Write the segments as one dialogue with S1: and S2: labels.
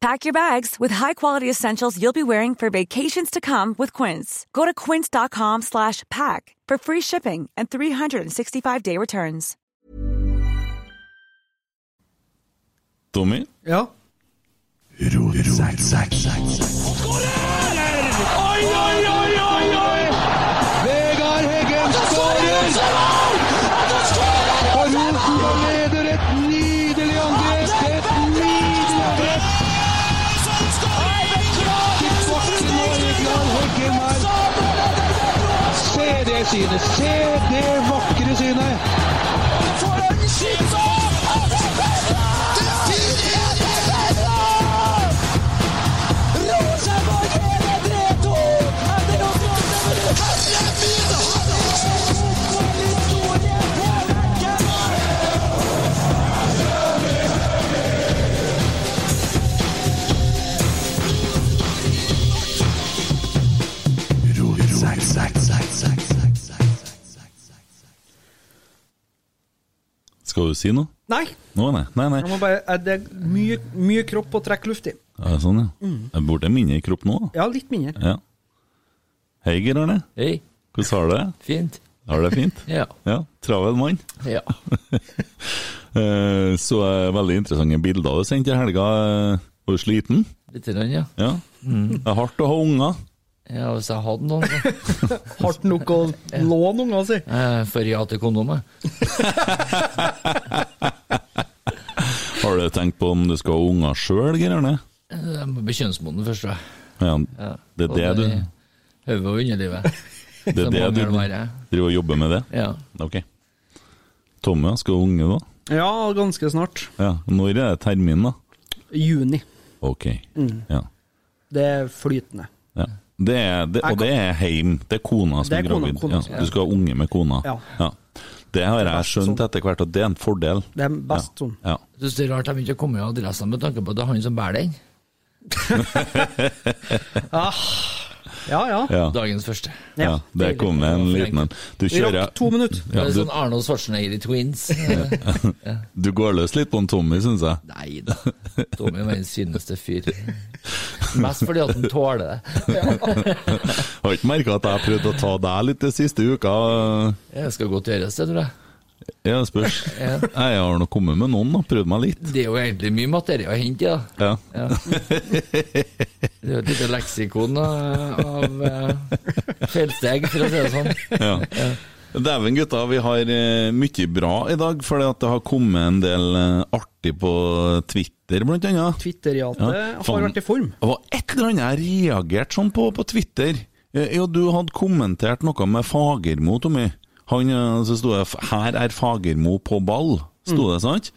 S1: Pack your bags with high-quality essentials you'll be wearing for vacations to come with Quince. Go to quince.com slash pack for free shipping and 365-day returns.
S2: Tommy?
S3: Ja.
S4: Oi, oi, oi, oi, oi! Vegard Heggen skårer! Og Rosenborg leder et nydelig angrep! Et nydelig angrep! Tilbake nå, Vegard Heggen her. Se det synet! Se det vakre synet!
S2: Skal du si noe?
S3: Nei.
S2: Nå, nei. Nei, nei.
S3: Jeg må bare, eh, det er mye, mye kropp å trekke luft i. Mm.
S2: Ja, sånn, ja. Jeg burde mindre kropp nå, da.
S3: Ja, litt mindre.
S2: Ja. Hei, Geir Arne.
S5: Hei,
S2: Hvordan har du det?
S5: fint.
S2: Har du det fint?
S5: Ja.
S2: Ja, Travel mann.
S5: ja.
S2: Eh, Så eh, veldig interessante bilder du sendte i helga. Eh, Var du sliten?
S5: Litt, grann, ja.
S2: Ja.
S5: Mm.
S2: Det er hardt å ha unger.
S5: ja. Hvis jeg hadde noen, så
S3: Hardt nok å låne unga si.
S5: eh, får jeg til kondomet.
S2: Har du tenkt på om du skal ha unger sjøl, Geir Arne?
S5: Jeg Eh, må bli kjønnsmoden først, tror jeg.
S2: Ja,
S5: Ja.
S2: det er det
S5: Både
S2: du,
S5: i Hodet og underlivet.
S2: det, er
S5: så
S2: det
S5: mange
S2: du
S5: er det bare.
S2: driver og jobber med det?
S5: Ja.
S2: Ok. Tomme, skal ha unge da?
S3: Ja, ganske snart.
S2: Ja. Når er det termin, da?
S3: Juni.
S2: Ok.
S3: Mm.
S2: Ja.
S3: Det er flytende.
S2: Ja. Det er, det, og det er heim. Det er kona som
S3: Det
S2: er,
S3: er kona-
S2: gravid.
S3: kona som
S2: ja.
S3: er
S2: Du skal ha unge med kona.
S3: Ja.
S2: Det har jeg
S3: best
S2: skjønt
S3: sånn.
S2: etter hvert, at det er en fordel.
S3: Det er best sånn.
S2: Ja.
S5: Jeg synes det er rart jeg begynte å komme i adressen med tanke på at det er han som bærer den.
S3: Ja, ja.
S2: Ja. Ja.
S5: Dagens første.
S2: ja. Der kom det en liten en. Du
S3: Vi
S2: kjører
S3: rakk to minutter.
S2: ja,
S5: det er
S2: du,
S5: sånn Arnold Schwarzenegger i Twins. Eh,
S2: du går løs litt på en Tommy, syns jeg.
S5: Nei da. Tommy er verdens fineste fyr. Mest fordi at han tåler det.
S2: Har ikke merka at jeg har prøvd å ta deg litt de siste uka.
S5: Det skal godt gjøres, det tror jeg.
S2: Ja, det spørs.
S5: Ja.
S2: Jeg har nå kommet med noen, da. Prøvd meg litt.
S5: Det er jo egentlig mye materie å hente i, da.
S2: Ja.
S5: Ja. Det er jo et lite leksikon eh, av eh, feilsteg, for å si det sånn.
S2: ja. Dæven, gutta. Vi har eh, mye bra i dag, fordi at det har kommet en del eh, artig på Twitter, blant annet.
S3: Twitter-jate har
S2: faen.
S3: vært i form.
S2: Det var et eller annet jeg reagerte sånn på på Twitter. Eh, Ja, du hadde kommentert noe med Fagermo, Tommy. Han, eh, så sto det f- 'Her er Fagermo på ball', sto det, sant?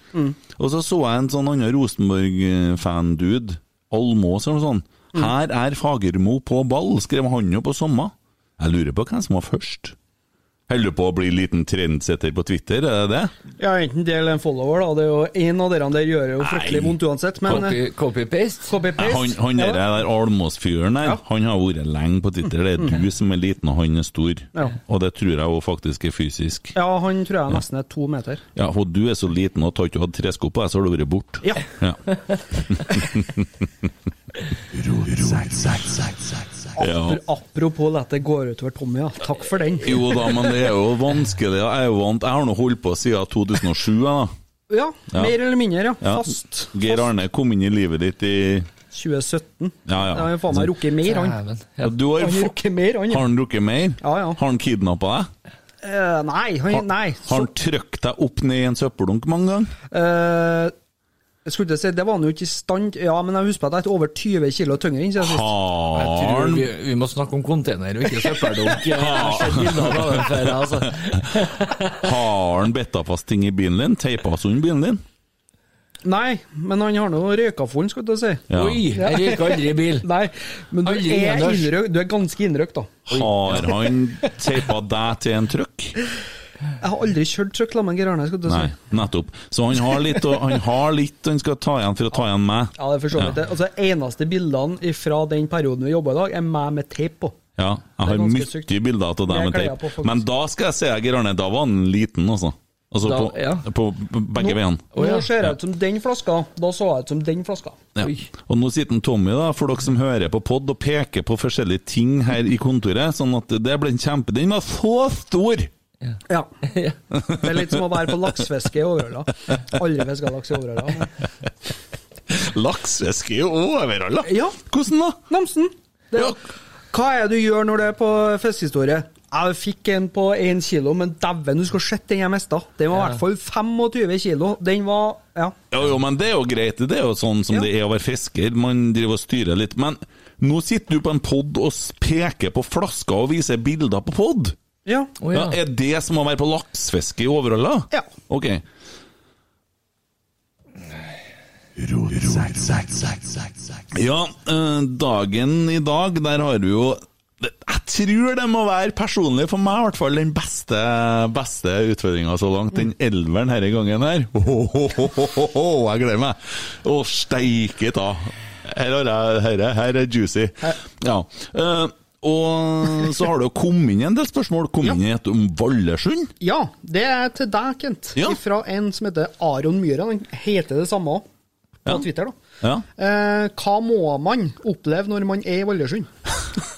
S2: Og så så jeg en sånn annen Rosenborg-fan-dude, Almås eller noe sånt. 'Her er Fagermo på ball', skrev han jo på sommer. Jeg lurer på hvem som var først. Holder du på å bli liten trendsetter på Twitter, er det det?
S3: Ja, enten det eller en follower, da. Det er jo En av dere der gjør jo fryktelig
S2: Nei.
S3: vondt uansett, men eh,
S5: Copy- Copy-paste.
S3: copy-paste.
S2: Han, han der,
S3: ja.
S2: der Almås-fyren der,
S3: Ja.
S2: han har vært lenge på Twitter. Det er du som er liten, og han er stor.
S3: Ja.
S2: Og det tror jeg jo faktisk er fysisk.
S3: ja, han tror jeg nesten er to meter.
S2: Ja, og du er så liten og har ikke hatt tresko på deg, så har du vært borte.
S3: Ja.
S2: Ja. Ja.
S3: For Apropos at det går utover Tommy, ja. Takk for den.
S2: Jo da, men det er jo vanskelig. Jeg er jo vant. Jeg har nå holdt på siden 2007. jeg, Da.
S3: Ja,
S2: Ja.
S3: mer eller mindre, ja.
S2: Ja.
S3: Fast.
S2: Geir Arne kom inn i livet ditt i
S3: 2017.
S2: Ja, ja.
S3: Da har han faen meg rukket mer, han.
S5: Dæven. Ja.
S2: Du har,
S3: Han rukker mer, han, ja.
S2: Har han drukket mer?
S3: Ja, ja.
S2: Har han kidnappa deg?
S3: Eh, nei,
S2: Har-
S3: han, nei. Så,
S2: Har han trykt deg opp ned i en søppeldunk mange ganger?
S3: eh, jeg skulle til å si, det var han jo ikke i stand Ja, men jeg husker på at jeg er over 20 kilo tyngre enn siden sist.
S5: Jeg
S2: Har
S5: tror
S2: han
S5: vi, vi må snakke om container, og ikke søppeldunk. Jeg har sett bilder av den før, altså.
S2: Har han bitta fast ting i bilen din? Teipa sund bilen din?
S3: Nei, men han har nå røyka full, skulle jeg til å si.
S2: Ja.
S5: Oi, jeg røyker aldri i bil.
S3: Nei, men du
S5: Aldri
S3: er,
S5: innendørs.
S3: innrøkt, du er ganske innrøkt, da.
S2: Har han teipa deg til en trøkk?
S3: Jeg har aldri kjørt trøkk sammen med Geir Arne, skulle jeg
S2: Nei,
S3: til å si.
S2: nettopp. Så han har litt, og han, har litt han skal ta igjen for å ta igjen meg.
S3: Ja, det er for så vidt det. Altså, eneste bildene fra den perioden vi jobba i dag, er meg med teip på.
S2: Ja, jeg
S3: Det er
S2: har
S3: ganske sykt.
S2: mye bilder av deg
S3: Det
S2: med
S3: kan jeg på,
S2: teip.
S3: faktisk.
S2: Men da skal jeg si deg, Geir Arne, da var han liten, altså. Altså
S5: Da-
S2: på,
S5: ja.
S2: på begge veiene.
S5: Å, ja.
S3: Nå ser jeg ut som den flaska, da så jeg ut som den flaska.
S2: Ja.
S5: Oi.
S2: Og nå sitter en Tommy, da, for dere som hører på pod og peker på forskjellige ting her i kontoret, sånn at det ble en kjempe... Den var så stor!
S3: Ja. Det er litt som å være på laksefiske i Overhalla. Aldri fiska laks i Overhalla. men-
S2: Laksefiske er jo overalt, da!
S3: Ja.
S2: Hvordan da?
S3: Namsen! Det,
S2: Ja.
S3: hva er det du gjør når det er på fiskehistorie? Jeg fikk en på én kilo, men dæven, du skulle sett den jeg mista. Den var i hvert fall 25 kilo. Den var Ja.
S2: Jo, jo, men det er jo greit. Det er jo sånn som
S3: Ja.
S2: det er å være fisker. Man driver og styrer litt. Men nå sitter du på en pod og s- peker på flasker og viser bilder på pod!
S3: Ja.
S5: Å, ja.
S2: Ja, er det som å være på laksefiske i Overhalla?
S3: Ja.
S2: Ok. Ja, eh, dagen i dag, der har vi jo Jeg tror det må være personlig for meg, i hvert fall, den beste, beste utfordringa så langt. Den elveren denne gangen her. Ohohohoho, jeg gleder meg! Å, steike ta! Her, har jeg, her, er- her er juicy. Ja. eh, og så har det jo kommet inn en del spørsmål. Kom inn et om Valdresund.
S3: ja. Det er til deg, Kent.
S2: Ja.
S3: Fra en som heter Aron Myhre. Han heter det samme òg, på
S2: Ja.
S3: Twitter. da.
S2: Ja.
S3: Eh, hva må man oppleve når man er i Valdresund?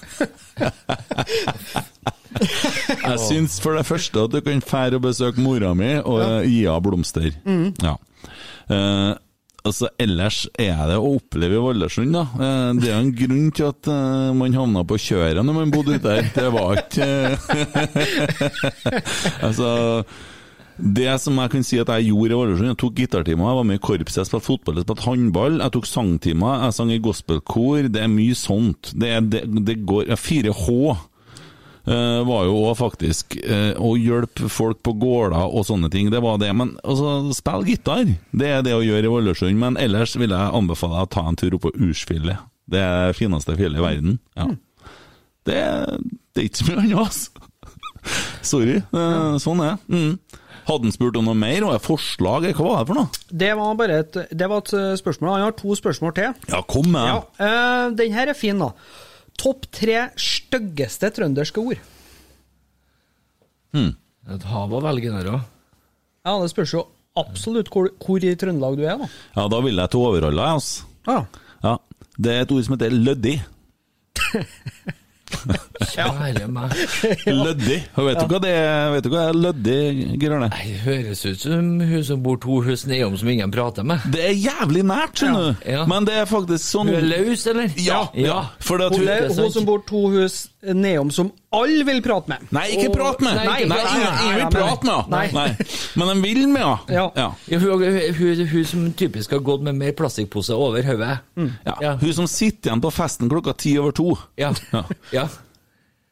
S2: Jeg syns for det første at du kan fære og besøke mora mi og eh, gi henne blomster. Ja. Eh, altså, ellers er det å oppleve i Valdresund, da. Eh, det er jo en grunn til at eh, man havna på kjøret når man bodde ute her. Det var ikke eh, Altså det som jeg kan si at jeg gjorde i Valdresund, jeg tok gitartimer, jeg var med i korpset, jeg spilte fotball, jeg spilte håndball, jeg tok sangtimer, jeg sang i gospelkor, det er mye sånt. Det, er- det, det går ja, 4H eh, var jo òg faktisk eh, å hjelpe folk på gårder og sånne ting. Det var det. Men altså, spill gitar! Det er det å gjøre i Valdresund. Men ellers vil jeg anbefale deg å ta en tur opp på Ursfjellet. Det er det fineste fjellet i verden. Ja. Det, det er ikke så mye annet, altså. Sorry. Eh, sånn er det. Mm. Hadde han spurt om noe mer, og et forslag, hva var det for noe?
S3: Det var bare et, det var et eh, spørsmål. Han har to spørsmål til.
S2: Ja, kom med
S3: Ja, eh, Den her er fin, da. Topp tre styggeste trønderske ord.
S5: Et hav å velge der òg.
S3: Ja, Det spørs jo absolutt hvor, hvor i Trøndelag du er, da.
S2: Ja, da vil jeg til Overhalla, jeg, altså.
S3: Ja.
S2: Ja. Det er et ord som heter løddig.
S5: Kjære meg.
S2: Løddig. Og Vet du hva det er, Vet du hva det er løddig, Grønne?
S5: Nei, Det høres ut som hun som bor to hus nedom som ingen prater med.
S2: Det er jævlig nært, skjønner du.
S5: Ja. Ja.
S2: Men det er faktisk sånn
S5: Hun er løs, eller?
S2: Ja, ja. For det at
S3: Hun,
S2: hun
S3: er, hun som bor to hus nedom, som alle vil prate med.
S2: Nei, ikke prat med
S5: Nei, ikke
S2: Nei,
S5: prat
S2: ingen
S5: med.
S2: ingen
S3: Nei,
S2: vil
S3: nei,
S2: prate med
S3: nei.
S2: henne. Nei. Men de vil med henne.
S3: Ja.
S2: Ja.
S5: Ja, hun, hun, hun, hun som typisk har gått med mer plastikkposer over hodet.
S2: Ja.
S5: Ja.
S2: Hun som sitter igjen på festen klokka ti over to,
S5: Ja.
S2: Ja.
S5: ja.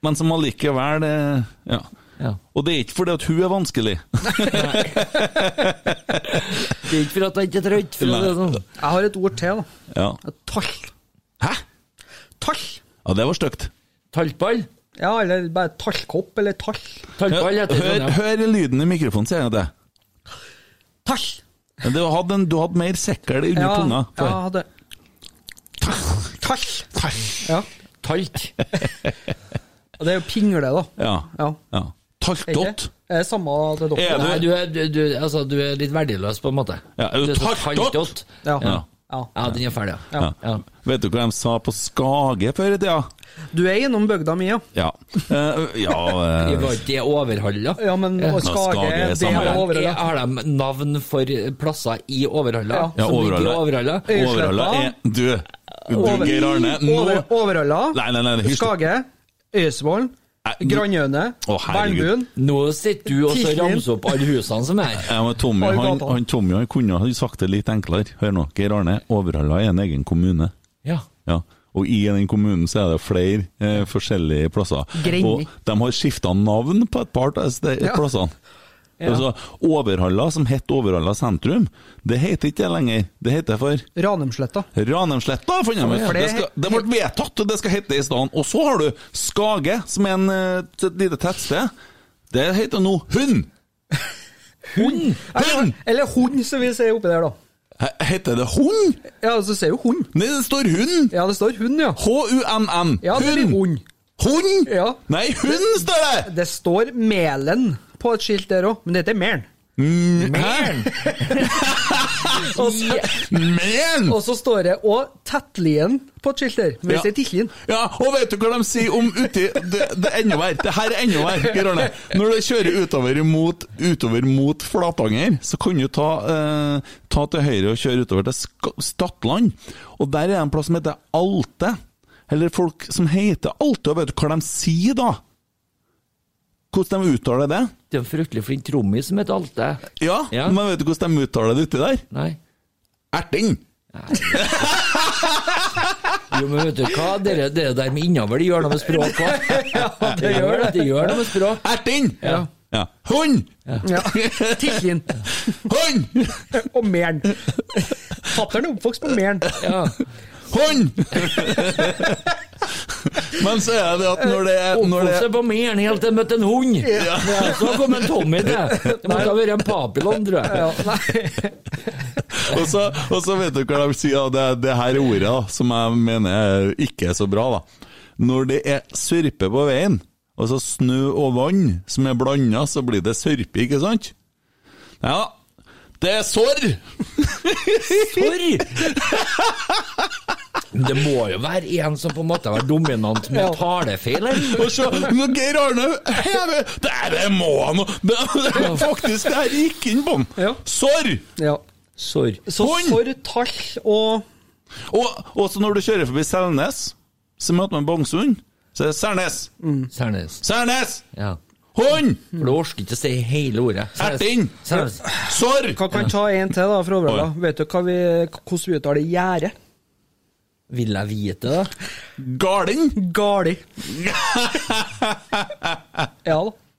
S2: men som allikevel eh, ja.
S5: ja.
S2: Og det er ikke fordi at hun er vanskelig.
S5: Det er ikke for at jeg ikke er trøtt. For å si det sånn.
S3: Jeg har et ord til, da.
S2: Ja.
S3: Tall.
S2: Hæ?
S3: Tall.
S2: Ja, det var stygt.
S5: Taltball?
S3: Ja, eller bare tallkopp, eller tall.
S5: Tallball
S2: Hør,
S5: heter sånn, det.
S2: hør,
S5: Trondheim.
S2: hør lyden i mikrofonen, sier jeg det.
S3: Tall!
S2: Men Du hadde, en, du hadde mer sekkel under
S3: Ja,
S2: tunga.
S3: ja,
S2: før.
S3: hadde Tall! Ja.
S5: Talt.
S3: Og det er jo pingle, da.
S2: Ja.
S3: Ja.
S2: ja.
S3: Er ikke?
S2: Taltot.
S3: Er det samme til dere?
S2: Er
S5: Nei, du er, du, du, altså, du er litt verdiløs, på en måte.
S2: Ja, er du
S5: du så
S2: talt
S5: talt
S2: opp?
S5: opp.
S3: Ja.
S2: Ja.
S3: Ja.
S5: Ja, den er ferdig, ja.
S2: Ja.
S5: Ja.
S2: Vet du hva de sa på Skage før i tida?
S3: Du er innom bygda mi, ja.
S2: Ja. Eh, ja
S5: Det
S2: eh,
S5: Var ikke det Overhalla?
S3: Ja, men og Skage,
S2: Skage er
S3: det
S2: samme,
S3: er
S2: ja.
S3: overhøyda.
S5: Har de navn for plasser i Overhalla?
S3: Ja.
S2: Ja,
S5: Som ligger i
S2: Overhalla. Overhalla
S5: Overhalla?
S2: er Du, du
S3: Over-
S2: Geir Arne,
S3: Over-
S2: nå
S3: Overhalla,
S2: Nei, nei, nei. hysj.
S3: Skage, Øysevollen,
S2: Nei, du-
S3: Grandøyene,
S2: Å, herregud.
S3: Vermbuen.
S5: Nå sitter du og så
S3: Tissen din.
S5: ramser opp alle husene som er her.
S2: Ja, men Tommy,
S3: Oi,
S2: han,
S3: gata.
S2: han, Tommy han kunne ha sagt det litt enklere. Hør nå. Geir Arne, Overhalla er en egen kommune.
S5: Ja.
S2: Ja. Og i den kommunen så er det flere eh, forskjellige plasser.
S3: Greni.
S2: Og de har skifta navn på et par av de
S3: Ja.
S2: plassene. Altså, Overhalla, som het Overhalla sentrum, det heter ikke det lenger. Det heter for
S3: Ranumsletta.
S2: Ranheimsletta, fant jeg ut.
S3: for det-
S2: Det skal- det ble vedtatt, og det skal hete i stedet. Og så har du Skage, som er en, eh, et lite tettsted. Det heter nå Hund! Hund! Hund!
S3: Eller hund, som vi sier oppi der, da.
S2: He- Heter det Hund?
S3: Ja, så sier jo hund.
S2: Nei, det står Hund!
S3: Ja, det står hund, ja.
S2: H-U-N-N.
S3: Ja, det blir hund.
S2: Hund?
S3: Ja.
S2: Nei, hund står det!
S3: Det står Melen på et skilt der òg, men det heter Mæren.
S2: Mæren!
S3: Og så-
S2: Mæren!
S3: og så står det òg Tettlien på et skilt der, men
S2: Ja.
S3: det sier Titlien.
S2: Ja, og vet du hva de sier om uti Det, det er enda verre. Det her er enda verre. Geir Arne. Når du kjører utover mot, utover mot Flatanger, så kan du ta, eh, ta til høyre og kjøre utover til Sk Stadland. Og der er det en plass som heter Alte. Eller folk som heter Alte. Og vet du hva de sier da? Hvordan de uttaler det?
S5: Det er en fryktelig flink trommis som heter Alte.
S2: Ja,
S5: Ja.
S2: men vet du hvordan de uttaler det uti der?
S5: Nei.
S2: Erting!
S5: Jo, men vet du hva, dere, dere der med innavl det gjør noe med språk også. det gjør det. Det gjør noe med språk.
S2: Erting!
S5: Ja.
S2: ja. Hund!
S3: Ja. Titlien
S2: Hund!
S3: og Mæren. Fatter'n er oppvokst på Mæren.
S5: Ja.
S2: Hånd! Men så er det at når det er når det,
S5: Oppholdt seg på meren helt til jeg møtte en hund. Så kom en Tommy til. Det måtte ha vært en papillon, tror jeg.
S3: Ja, nei.
S2: og, så, og så vet du hva de sier, og det, det her er ordet da, som jeg mener er ikke er så bra. da. Når det er sørpe på veien, altså snø og vann som er blanda, så blir det sørpe, ikke sant? Ja, det er sorr!
S5: For! Det må jo være en som på en måte har vært dominant med talefeil, eller?
S2: Og så når Geir Arne hever Det er det må han! og Det, det, faktisk, det her gikk inn på han.
S3: Ja.
S2: Sorr!
S3: Ja.
S5: Sorry.
S3: Så
S2: Hund!
S3: for tall og
S2: Og også når du kjører forbi Selnes, så møter man Bongsund, så er det Sernes!
S5: Sernes.
S2: Sernes!
S5: Ja.
S2: Hund!
S5: For du orker ikke å si hele ordet.
S2: Erting!
S5: Sernes.
S2: Sorr!
S3: Hva kan ta en til, da, fra Overhalla?
S2: Oi.
S3: Vet du hva vi, hvordan vi uttaler gjerde?
S5: Vil jeg vite det?
S2: Garden!
S3: Gali. Ja da,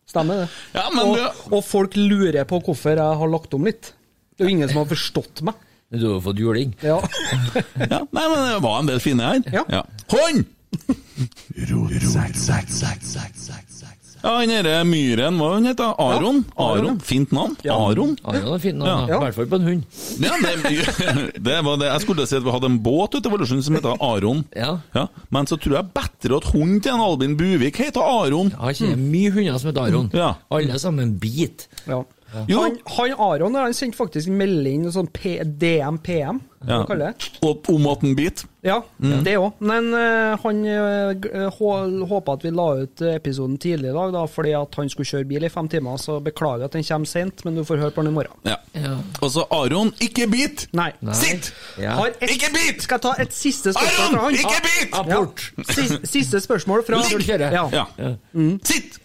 S3: stemmer det.
S2: Ja, men
S3: og,
S2: du-
S3: og folk lurer på hvorfor jeg har lagt om litt. Det er jo ingen som har forstått meg.
S5: Du har jo fått juling.
S3: Ja.
S2: Ja, nei, men det var en del fine her.
S3: Ja.
S2: Hund! Ja, han derre myren, hva han heter han? Aron? Aron. Fint navn. Aron.
S5: Ja, det var fint, da.
S2: Ja.
S5: I hvert fall på en hund.
S2: Ja, det, det var det. Jeg skulle si at vi hadde en båt ute i Valdresund som heter Aron.
S5: Ja.
S2: Men så tror jeg bedre at hunden til en Albin Buvik heter Aron.
S5: Jeg har kjenner mye hunder som heter Aron.
S2: Mm. Ja.
S5: Alle sammen bit.
S3: ja.
S2: Jo.
S3: Han, han Aron han sendte faktisk en melding, sånn P DM PM, hva
S2: Ja. Mm.
S3: kaller det?
S2: Og om at en bit.
S3: Ja, det òg. Men eh, han uh, håpa at vi la ut episoden tidlig i dag, da, fordi at han skulle kjøre bil i fem timer. Så beklager at den kommer seint, men du får høre på den i morgen.
S2: Ja. Og så Aron, ikke bit!
S3: Nei.
S5: Nei.
S2: Sitt!
S5: Ja.
S3: Har et,
S2: Ikke bit!
S3: Skal jeg ta et siste spørsmål fra
S2: Aron,
S3: han?
S2: ikke bit!
S3: Ja.
S5: Apport!
S3: Siste, siste spørsmål fra
S5: Ligg!
S3: Ja. Mm.
S2: Ja. Sitt!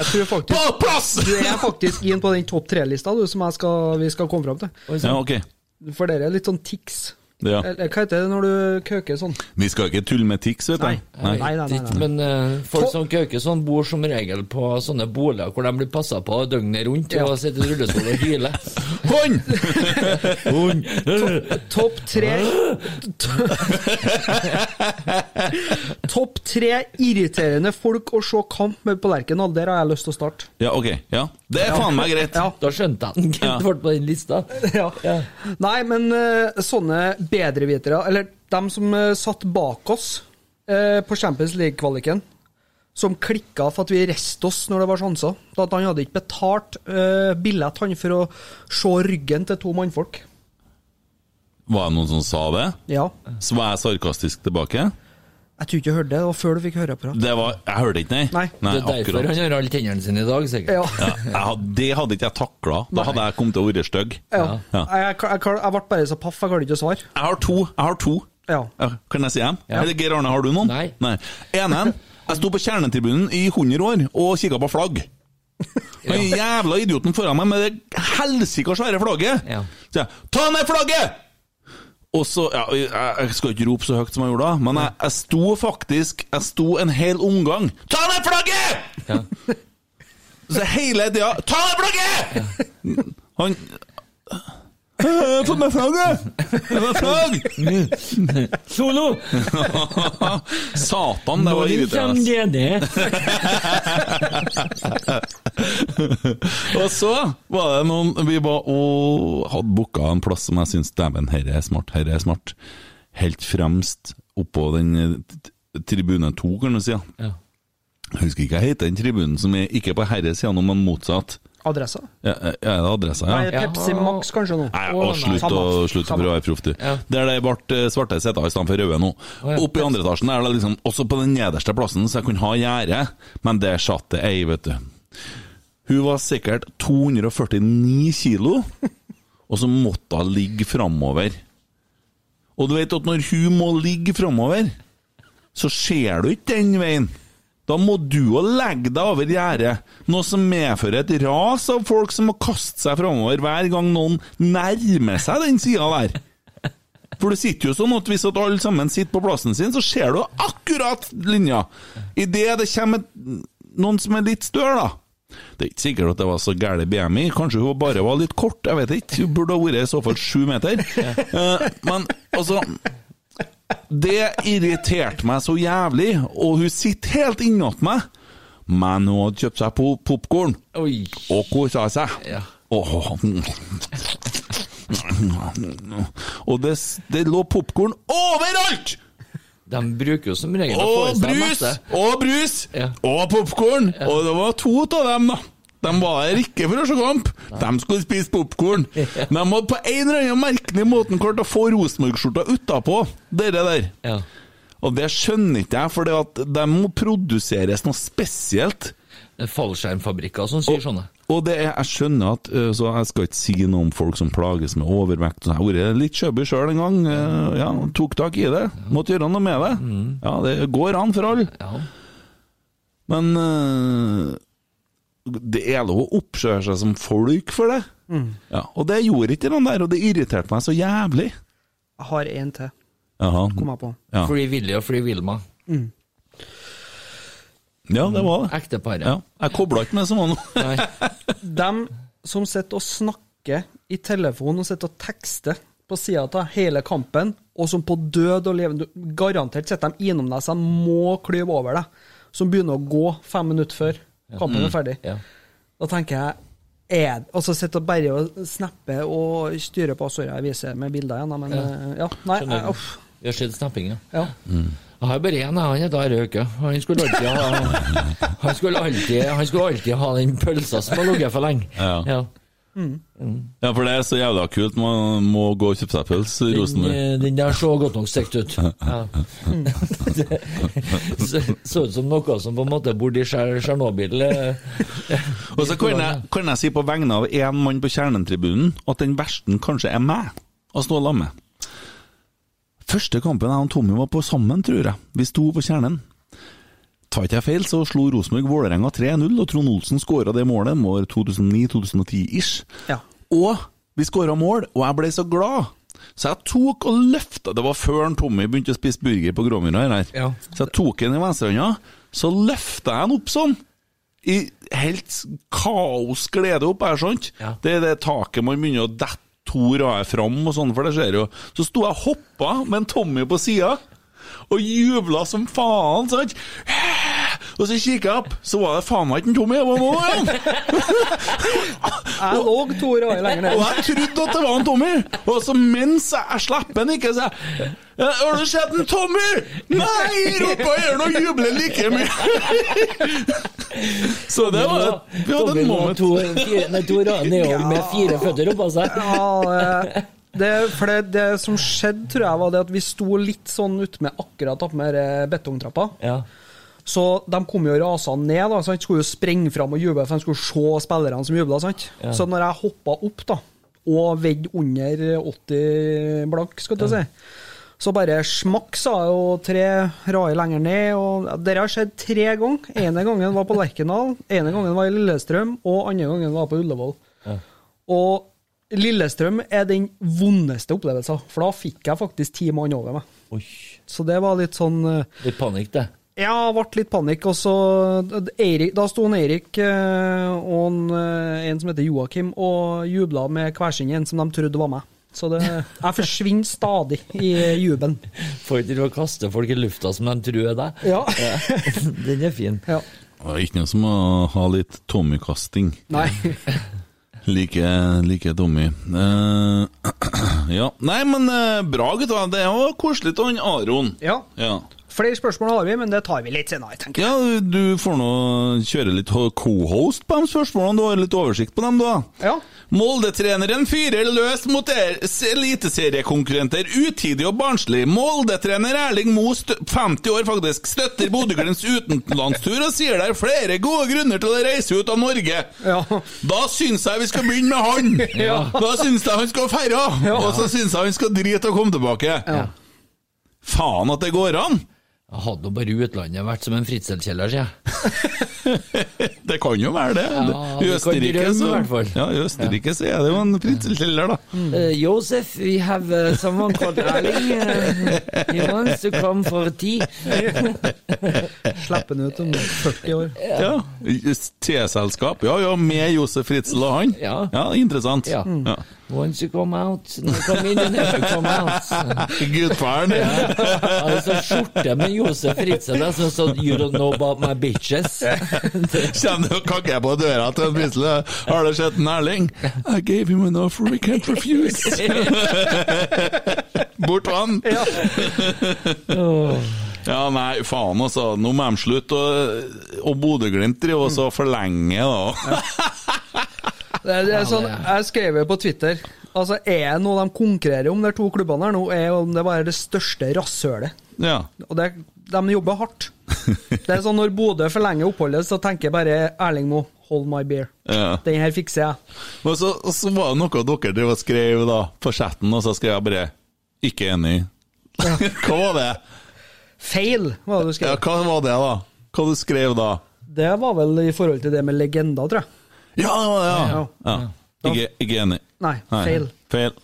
S3: Jeg tror
S2: På
S3: faktisk
S2: plass!
S3: du er faktisk inn på den topp tre-lista du, som jeg skal, vi skal komme fram til.
S2: Ja, ok.
S3: For dere er litt sånn tics.
S2: Ja.
S3: Eller hva heter det når du køker sånn?
S2: Vi skal ikke tulle med tics, vet du.
S3: Nei, nei, nei.
S5: Dritt,
S3: nei.
S5: Men eh, folk som kauker sånn, bor som regel på sånne boliger hvor de blir passa på døgnet rundt og sitter i rullestol og hyler.
S2: Hund!
S3: Topp tre Topp tre irriterende folk å se kamp med på Lerkendal. Der har jeg lyst til å starte.
S2: Ja, ok. Ja. Det er faen meg greit.
S3: Ja.
S5: Da skjønte jeg den
S2: Ja.
S5: ble på den lista.
S3: Ja.
S5: Ja.
S3: Nei, men eh, sånne bedrevitere, eller dem som eh, satt bak oss eh, på Champions League-kvaliken, som klikka for at vi reiste oss når det var sjanser. For At han hadde ikke betalt eh, billett han for å se ryggen til to mannfolk.
S2: Var det noen som sa det?
S3: Ja.
S2: Så var jeg sarkastisk tilbake?
S3: Jeg tror ikke du hørte det. Det var før du fikk høre på det.
S2: Det var, Jeg hørte ikke, nei.
S3: Nei.
S5: det er derfor
S2: akkurat.
S5: han har alle tennene sine i dag, sikkert.
S3: Ja.
S2: Ja, jeg hadde, det hadde ikke jeg takla. Da hadde jeg kommet til å være stygg.
S3: Ja.
S2: Ja.
S3: Jeg, jeg, jeg, jeg ble bare så paff, jeg klarte ikke å svare.
S2: Jeg har to. Jeg har to.
S3: Ja.
S2: Ja, Kan jeg si dem? Eller Geir Arne, har du noen?
S5: Nei.
S2: Nei. Enen. Jeg sto på kjernetribunen i 100 år og kikka på flagg. Den jævla idioten foran meg med det helsika svære flagget!
S5: Ja.
S2: Så jeg 'ta ned flagget!' Og så, ja, jeg, jeg skal ikke rope så høyt som jeg gjorde da, men jeg, jeg sto faktisk Jeg sto en hel omgang 'Ta ned flagget!'
S5: Ja.
S2: Så hele tida 'Ta ned flagget!' Han «Jeg har fått meg flagget! Det var flagg!
S5: Solo!
S2: Satan, det var
S5: Nå kommer
S2: irriterende.
S5: det ned.
S2: Og så var det noen Vi var og hadde booka en plass som jeg syns Dæven, herre er smart, herre er smart. Helt fremst oppå den eh, t- tribune to, kan du si. ja.
S5: Ja.
S2: Jeg husker ikke hva heter den tribunen som er ikke på herresida, men motsatt.
S3: Adressa?
S2: Ja, ja, er det adressa,
S3: Nei,
S2: ja?
S3: Pepsi Max kanskje nå.
S2: Nei,
S5: Å,
S2: og
S5: nei.
S2: slutt,
S3: Samme.
S2: å- slutt å
S3: Samme.
S2: prøve å være proff, du.
S5: Ja.
S2: Der det ble svarte seter istedenfor røde nå.
S5: Å, ja.
S2: Oppe i andre etasjen er det liksom også på den nederste plassen, så jeg kunne ha gjerde, men der satt det ei, vet du. Hun var sikkert 249 kilo, og så måtte hun ligge framover. Og du vet at når hun må ligge framover, så ser du ikke den veien. Da må du jo legge deg over gjerdet, noe som medfører et ras av folk som må kaste seg framover hver gang noen nærmer seg den sida der. For det sitter jo sånn at hvis at alle sammen sitter på plassen sin, så ser du akkurat linja. Idet det kommer et- noen som er litt større, da. Det er ikke sikkert at det var så gæren BMI, kanskje hun bare var litt kort, jeg vet ikke. Hun burde ha vært i så fall sju meter. Eh, Men altså Det irriterte meg så jævlig, og hun sitter helt innat meg. Men hun hadde kjøpt seg pop popkorn
S5: Oi.
S2: og kosa seg.
S5: Ja.
S2: Åh. Og det, det lå popkorn overalt!
S5: De bruker jo som regel å få i
S2: Og
S5: seg
S2: brus!
S5: masse.
S2: Og brus!
S5: Ja.
S2: Og popkorn! Og det var to av dem, da. De var her ikke for å se kamp, de skulle spise popkorn. De hadde på en eller annen merkelig måte klart å få Rosenborg-skjorta utapå, dere der.
S5: Ja.
S2: Og det skjønner ikke jeg, for det at de må produseres noe spesielt.
S5: Det er fallskjermfabrikker som sier sånne.
S2: Og det er, jeg skjønner at øh, Så jeg skal ikke si noe om folk som plages med overvekt. og sånn. Jeg har vært litt skjøbby sjøl en gang. øh, Ja, tok tak i det. Måtte gjøre noe med det. Ja, det går an for alle.
S5: Ja.
S2: Men øh, det er lov å oppføre seg som folk for det. Ja, og det gjorde ikke den der, og det irriterte meg så jævlig.
S3: Jeg har en til,
S2: Jaha.
S3: kom jeg på.
S2: Ja.
S5: Fly Willy og Fly Wilma.
S2: ja, det var det.
S5: Ekteparet.
S2: Ja. Jeg kobla ikke med som var noe.
S5: Nei.
S3: Dem som sitter og snakker i telefonen og sitter og tekster på sida av hele kampen, og som på død og levende Garantert sitter de innom deg, så de må klyve over deg. Som begynner å gå fem minutter før kampen er ferdig.
S5: Ja.
S3: Da tenker jeg er, altså sitter og bare og snapper og styrer på Sorry, jeg viser med bilder igjen, da, men eh, ja. Nei,
S5: Skjønner.
S3: eh, uff.
S5: Vi har sett snappinga.
S3: Ja.
S5: Jeg har bare én, jeg. han heter Are Øke. Han skulle alltid ha Han skulle alltid, han skulle alltid ha den pølsa som har ligget for lenge.
S2: Ja.
S5: Ja.
S2: Ja, for det er så jævla kult. Man må gå og kjøpe seg pølse i
S5: Den,
S2: Rosenborg.
S5: eh, den der så godt nok stekt ut. Ja. Det så- så ut som noe som på en måte bor i Tsjer- Tsjernobyl. eh.
S2: Og så kan jeg, kan jeg si på vegne av én mann på kjernetribunen at den versten kanskje er meg, å stå sammen med. Første kampen jeg og Tommy var på sammen, tror jeg. Vi sto på kjernen. Tar ikke jeg feil, så slo Rosenborg Vålerenga 3-0, og Trond Olsen skåra det målet mål 2009-2010-ish.
S3: ja.
S2: Og vi skåra mål, og jeg ble så glad. Så jeg tok og løfta Det var før han Tommy begynte å spise burger på Gråmyra. her.
S5: Ja.
S2: Så jeg tok han i venstrehånda, så løfta jeg han opp sånn. i helt kaosglede opp her, sant?
S5: Ja.
S2: Det er det taket man begynner å dette to rader fram og sånn, for det skjer jo. Så sto jeg og hoppa med en Tommy på sida, og jubla som faen, sant? Og så kikket jeg opp, så var det faen meg ikke en Tommy, det var noe annet!
S3: Jeg lå to rader lenger ned.
S2: Og jeg trodde at det var en Tommy! Og så mens jeg, jeg slipper den ikke, så jeg «Eh, Har du sett en Tommy?! Nei! roper jeg gjør noe jubler like mye! Så det var et, Vi hadde
S5: Tommy
S2: et
S5: lå
S2: moment.
S5: To, fire, nei, to rader nedover med fire føtter oppå seg.
S3: Ja, eh, det, for det, det som skjedde, tror jeg, var det at vi sto litt sånn utmed akkurat oppmed eh, betongtrappa.
S5: Ja.
S3: Så de kom jo rasende ned, da, så de skulle jo sprenge fram og juble, for de skulle se spillerne som jubla. sant?
S5: Ja.
S3: Så når jeg hoppa opp da, og veide under 80 blank, skal du si, så bare smakk, sa jeg, og tre rader lenger ned. og Det har skjedd tre ganger. Ene gangen var på Lerkendal, ene gangen var i Lillestrøm, og andre gangen var på Ullevål. Og Lillestrøm er den vondeste opplevelsen, for da fikk jeg faktisk ti mann over meg.
S5: Oi,
S3: Så det var litt sånn eh,
S5: litt panikk, det.
S3: ja, det ble litt panikk. Og så eh, Eirik, Da sto han Eirik eh, og en, eh, en som heter Joakim, og jubla med kværsingen som de trodde var meg. Så det, jeg forsvinner stadig i jubelen.
S5: Får ikke til å kaste folk i lufta som de tror er deg.
S3: Ja.
S5: Den er fin.
S3: ja.
S2: Det er ikke noe som å ha litt Tommy-kasting.
S3: Nei.
S2: Like, like Tommy. Eh, ja. Nei, men eh, bra, gutta. Det er jo koselig av han Aron.
S3: Ja.
S2: Ja.
S3: Flere spørsmål har vi, men det tar vi litt senere, tenker jeg.
S2: ja, du får nå kjøre litt ho- co-host på de spørsmålene. Du har litt oversikt på dem, du, da.
S3: Ja.
S2: Molde-treneren fyrer løs mot er- eliteseriekonkurrenter utidig og barnslig. Molde-trener Erling Moe, stø- 50 år faktisk, støtter Bodø-Glimts utenlandstur og sier det er flere gode grunner til å reise ut av Norge.
S3: Ja.
S2: Da syns jeg vi skal begynne med han! Da syns jeg han skal feire! Og så syns jeg han skal drite og komme tilbake. Faen at det går an!
S5: Jeg hadde nå bare i utlandet vært som en fritselkjeller, sier jeg.
S2: Det kan jo være det. I
S5: vi kan
S2: Østerrike,
S5: drømme,
S2: så,
S5: i hvert fall.
S2: ja, i Østerrike så er det jo en fritselskjeller, da.
S5: Uh, Josef, we have uh, someone called Erling. Uh, he wants to come for tea.
S3: Slipper den ut om 40 år.
S2: Ja. Teselskap. Ja ja, med Josef Fritzel og han.
S5: Ja.
S2: Interessant.
S5: Ja.
S2: Ja.
S5: Once you come out, no come in, you never come out.
S2: Gudfaren.
S5: Altså, skjorte med Josef Fritzl, jeg syns at sånn you don't know about my bitches.
S2: Kjenner du kakker på døra til en Fritzel? Har du sett en Erling? I gave him an offer we can't refuse. Bort med han.
S3: Ja.
S2: Ja, nei, faen altså. Nå må de slutte. Og, og Bodø-Glimt driver også og forlenger, da.
S3: Det er, det er sånn, jeg skrev jo på Twitter Altså, Er det noe de konkurrerer om, de to klubbene her nå, er jo om det bare er det største rasshølet.
S2: Ja.
S3: Og det, de jobber hardt. Det er sånn Når Bodø forlenger oppholdet, så tenker jeg bare Erling Moe, hold my beer.
S2: Ja.
S3: Den her fikser jeg.
S2: Og så, og så var det noe dere drev og skrev da, på chatten, og så skrev jeg bare 'ikke enig'. hva var det?
S3: Feil, var det du
S2: Ja,
S3: skrev.
S2: hva var det, da? Hva du skrev da?
S3: Det var vel i forhold til det med legender, tror jeg.
S2: Ja, det var det, ja!
S3: Ja.
S2: ja. Ikke, ikke enig.
S3: Nei, feil. Mm.
S2: Feil.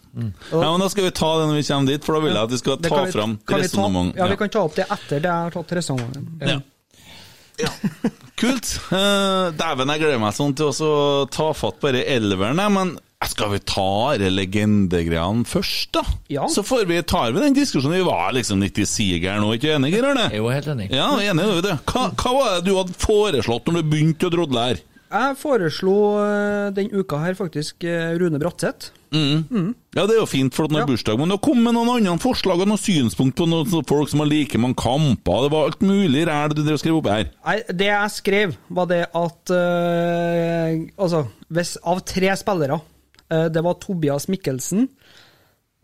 S2: Ja, men Da skal vi ta det når vi kommer dit, for da vil jeg at vi skal
S3: Det
S2: ta
S3: kan vi-
S2: fram
S3: kan vi ta-
S2: resonnement.
S3: Ja, vi kan ta opp det etter det jeg har tatt resonnementet.
S2: Ja. Kult. Eh, Dæven, jeg gleder meg sånn til også å ta fatt på disse elverne, men skal vi ta disse legendegreiene først, da?
S3: Ja.
S2: Så får vi, tar vi den diskusjonen. Vi var liksom litt i sigeren nå, ikke enig, Geir Arne?
S5: Jeg er jo helt enig.
S2: Ja, enig, du, vet du. Hva, hva var det du hadde foreslått når du begynte å drodle her?
S3: Jeg foreslo eh, den uka her faktisk eh, Rune Bratseth.
S2: Ja, det er jo fint, for at han har
S3: Ja.
S2: bursdag, men det kom med noen andre forslag og noen synspunkt på noen sånne folk som har like mange kamper, det var alt mulig ræl du drev og skrev opp her.
S3: Nei, det jeg skrev, var det at eh, Altså, hvis av tre spillere eh, Det var Tobias Mikkelsen,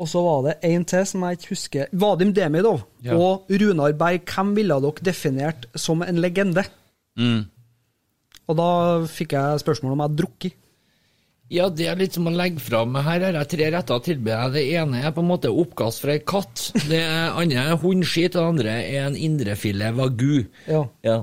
S3: og så var det en til som jeg ikke husker Vadim Demidov
S5: Ja.
S3: og Runar Berg. Hvem ville dere definert som en legende?
S5: Mm.
S3: Og da fikk jeg spørsmål om jeg hadde drukket.
S5: Ja, det er litt som å legge fram. Her har jeg tre retter å tilby deg. Det ene er på en måte oppkast fra ei katt. Det andre er hundskit, og det andre er en indrefilet vagu.
S3: Ja.
S5: Ja,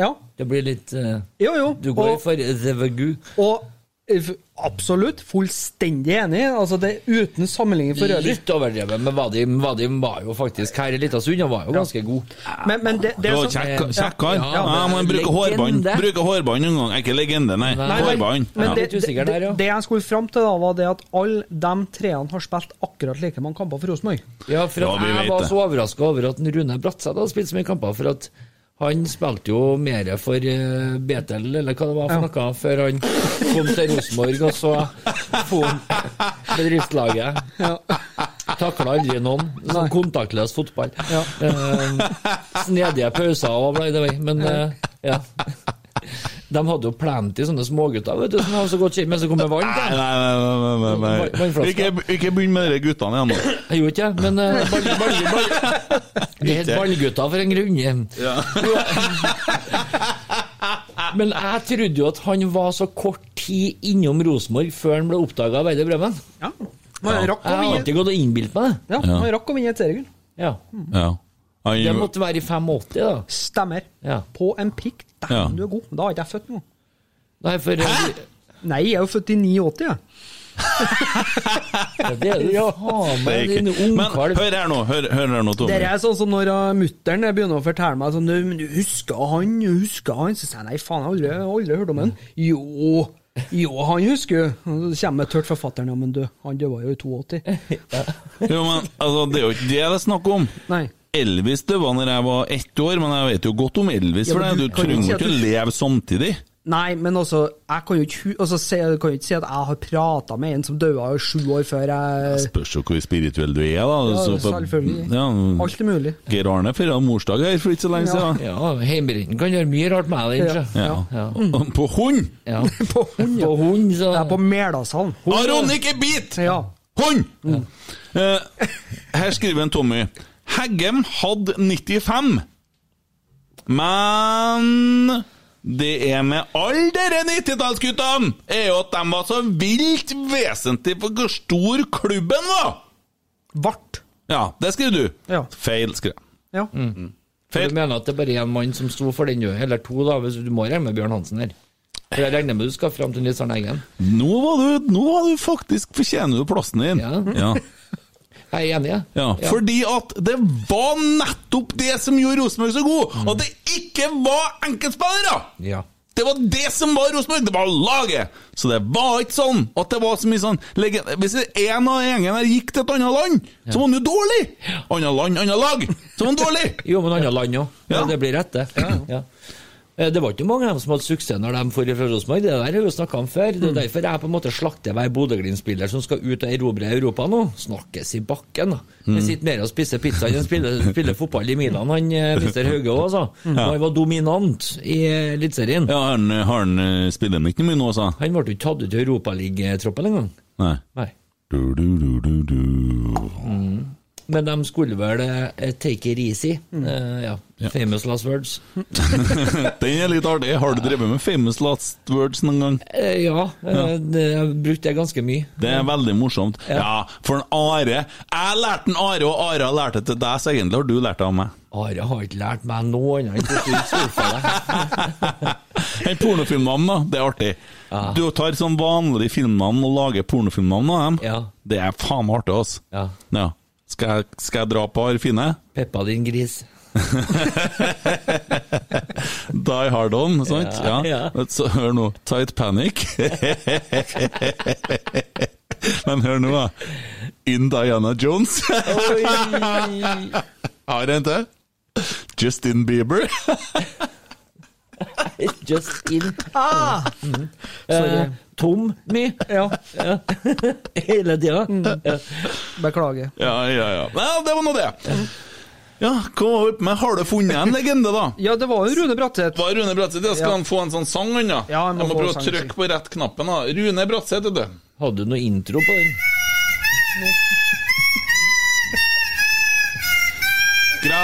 S3: ja.
S5: det blir litt eh,
S3: Jo, jo.
S5: Du går
S3: og,
S5: for the vagu.
S3: og f- absolutt fullstendig enig. Altså, det er uten sammenligning for øvrig.
S5: Litt overdrevet, men Vadim, Vadim var jo faktisk her en liten stund. Han var jo ganske god.
S3: Men, men det, det
S2: Det
S3: er
S2: var
S3: sånn-
S2: kjekk kjekk kar.
S5: Ja,
S2: Ja, men bruke hårbånd.
S5: legende.
S2: Bruke hårbånd en gang. Er Ikke legende, nei.
S5: Nei,
S3: Nei,
S2: Hårbånd.
S3: Men
S2: Ja.
S3: det,
S5: Litt usikker
S3: det,
S5: der, ja.
S3: det jeg skulle fram til, da, var det at alle de treene har spilt akkurat like mange kamper for Rosenborg.
S5: Ja, for
S2: Ja,
S5: at
S2: vi vet
S5: jeg var
S2: det.
S5: så overraska over at Rune Bratseth hadde spilt så mye kamper, for at han spilte jo mer for eh, Betel, eller hva det var for noe, før han kom til Rosenborg, og så for han bedriftslaget. Takla aldri noen. Sånn kontaktløs fotball. Eh, snedige pauser og by the way, men eh, ja. De hadde jo plenty sånne smågutter, vet du, som hadde så godt kjent, men så kom det vann
S2: Nei,
S5: til dem.
S2: nei, nei, nei,
S5: Vann-
S2: nei, nei.
S5: vannflaska.
S2: Ikke, ikke begynn med de guttene igjen nå.
S5: Jeg gjorde ikke det, men eh, ball, ball, ball. Det het Ballgutta for en grunn. men jeg trodde jo at han var så kort tid innom Rosenborg før han ble oppdaga av Veide Bremen.
S3: Ja. Man
S2: Ja.
S3: rakk å
S5: Jeg har
S3: vinne,
S5: alltid gått og innbilt meg det.
S3: ja, man rakk å vinne et seriegull.
S5: Ja.
S2: Ja. Han-
S5: Det måtte være i 85, da.
S3: Stemmer.
S5: Ja.
S3: På en prikk. Dæven,
S2: Ja.
S3: du er god. Da har ikke jeg født noe.
S5: Nei, for Hæ?
S3: Nei, jeg er jo født i 89, jeg.
S5: Det er du faen
S2: det
S5: meg,
S2: er ikke-
S5: din
S2: Men hør
S5: ungkalv.
S2: her nå, hør, hør her nå,
S3: Det
S2: Tommy.
S3: er sånn som når uh, mutter'n begynner å fortelle meg sånn «Du, men du husker han, du husker han? Så sier jeg nei, faen, jeg har aldri, aldri hørt om han. Jo, jo, han husker jo. Og Så kommer det tørt fra fatter'n, ja, men du, han døde jo i 82.
S2: Jo, men, altså, det er jo ikke det det er snakk om.
S3: Nei.
S2: Elvis døde når jeg var ett år, men jeg vet jo godt om Elvis.
S3: Ja,
S2: for
S3: men
S2: det.
S3: du
S2: Du
S3: kan jo
S2: trenger
S3: si
S2: jo
S3: at
S2: ikke
S3: du-
S2: leve samtidig.
S3: Nei, men altså, jeg kan jo ikke, hu- altså, se, jeg kan jo ikke si at jeg har prata med en som døde sju år før
S2: Det
S3: jeg
S2: spørs jo hvor spirituell du er, da.
S3: Eh, Ja,
S2: Så-
S3: selvfølgelig.
S2: Ja.
S3: Alt er mulig.
S2: Geir Arne feira morsdag her for ikke så lenge siden.
S5: Ja, Heimbrinten kan gjøre mye rart med den. sjø.
S2: Ja.
S3: Mm.
S2: Og- På hund!
S5: Ja.
S3: På hund, ja.
S5: På hund, så
S3: Jeg er på Merdalshallen.
S2: Aron, ikke bit!
S3: Ja. Mm.
S2: Hund! Eh, her skriver en Tommy. Heggem hadde 95, men det er med alle dere 90-tallsguttene, er jo at de var så vilt vesentlig for hvor stor klubben var!
S3: Vart.
S2: Ja, det skriver du.
S3: Ja.
S2: Feil, skrev jeg.
S3: Ja.
S5: For du mener at det er bare er én mann som sto for den, du? eller to, da, hvis du må regne med Bjørn Hansen her? For jeg regner med du skal fram til Nils Arne Eggen.
S2: Nå var du, nå var du faktisk fortjener du plassen din.
S5: Ja.
S2: Ja.
S5: Jeg er enig, jeg.
S2: Ja, Fordi at det var nettopp det som gjorde Rosenborg så god, at det ikke var enkeltspillere!
S5: Ja.
S2: Det var det som var Rosenborg, det var laget! Så det var ikke sånn at det var så mye sånn legend... Hvis en av gjengen her gikk til et annet land, så var han jo dårlig! Annet land, annet lag, så var han dårlig!
S5: Jo, men andre land òg. Ja.
S2: Ja.
S5: Det blir rett, det. Ja. Eh, Det var ikke mange av dem som hadde suksess når de for fra Rosenborg. Det der har vi jo snakka om før.
S2: Mm.
S5: Det er derfor jeg på en måte slakter hver Bodø-Glimt-spiller som skal ut og erobre Europa nå. Snakkes i bakken, da.
S2: Mm.
S5: Vi sitter mer og spiser pizza enn å spille, spille fotball i Milan, han eh, mister Hauge òg, altså.
S2: Mm.
S5: Han var dominant i eh, Eliteserien.
S2: Ja, han, han eh, spiller han ikke mye nå, sa
S5: Han ble jo ikke tatt ut i Europaligatroppen engang.
S2: Nei.
S5: Nei.
S2: Du, du, du, du, du.
S5: Men de skulle vel eh, take it easy. Eh, ja. Mm. Famous last words.
S2: Den er litt artig. Har du drevet med famous last words noen gang?
S5: Eh, ja, eh, det- jeg brukte det ganske mye.
S2: Det er veldig morsomt. Ja, for en Are. Jeg lærte en Are, og Are har lært det til deg, så egentlig har du lært det av meg.
S5: Are har ikke lært meg noe annet enn hvordan du surfer deg.
S2: Den pornofilmnavn, da, det er artig. Du tar sånn vanlig filmnavn og lager pornofilmnavn av dem.
S5: Ja.
S2: Det er faen meg artig, altså.
S5: Ja.
S2: Ja. Skal, jeg- skal jeg dra på Arfine?
S5: Peppa din gris.
S2: Die Hard On, sant? Ja.
S5: Ja, ja.
S2: Så hør nå, Tight Panic. Men hør nå, da. In Diana Jones. Har jeg en til? Justin Bieber.
S5: Just in.
S3: Ah!
S5: Eh, tom mye.
S3: Ja,
S5: Hele tida. Ja.
S3: beklager.
S2: Ja, ja, ja. Nei, det var nå det. Ja, hva var opp med? Har du funnet en legende, da?
S3: Ja, det var jo Rune Bratseth.
S2: Var Rune Bratseth det? Skal
S3: Ja.
S2: han få en sånn sang, han da?
S3: Ja, han må
S2: jeg må
S3: få
S2: prøve
S3: sang,
S2: å trykke på rett knappen, da. Rune Bratseth, vet du.
S5: Hadde du noe intro på den?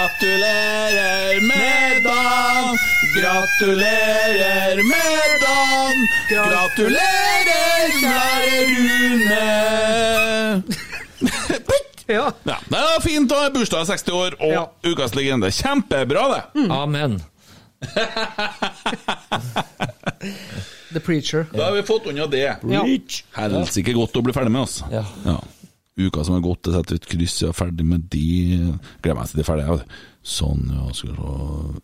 S2: Gratulerer med dagen! Gratulerer med dagen! Gratulerer, kjære Rune!
S3: Ja.
S2: Ja, det var fint, da. Bursdag er 60 år, og
S3: Ja. Mm.
S5: Mm.
S2: ukas legende. Kjempebra, det.
S5: Amen.
S3: The Preacher.
S2: Da har vi fått unna det.
S3: Ja.
S2: Helsike godt å bli ferdig med, altså.
S5: Ja.
S2: Uka som har gått, jeg setter et kryss, jeg er ferdig med de Gleder meg til de er ferdige. jeg. Sånn, ja, skal vi se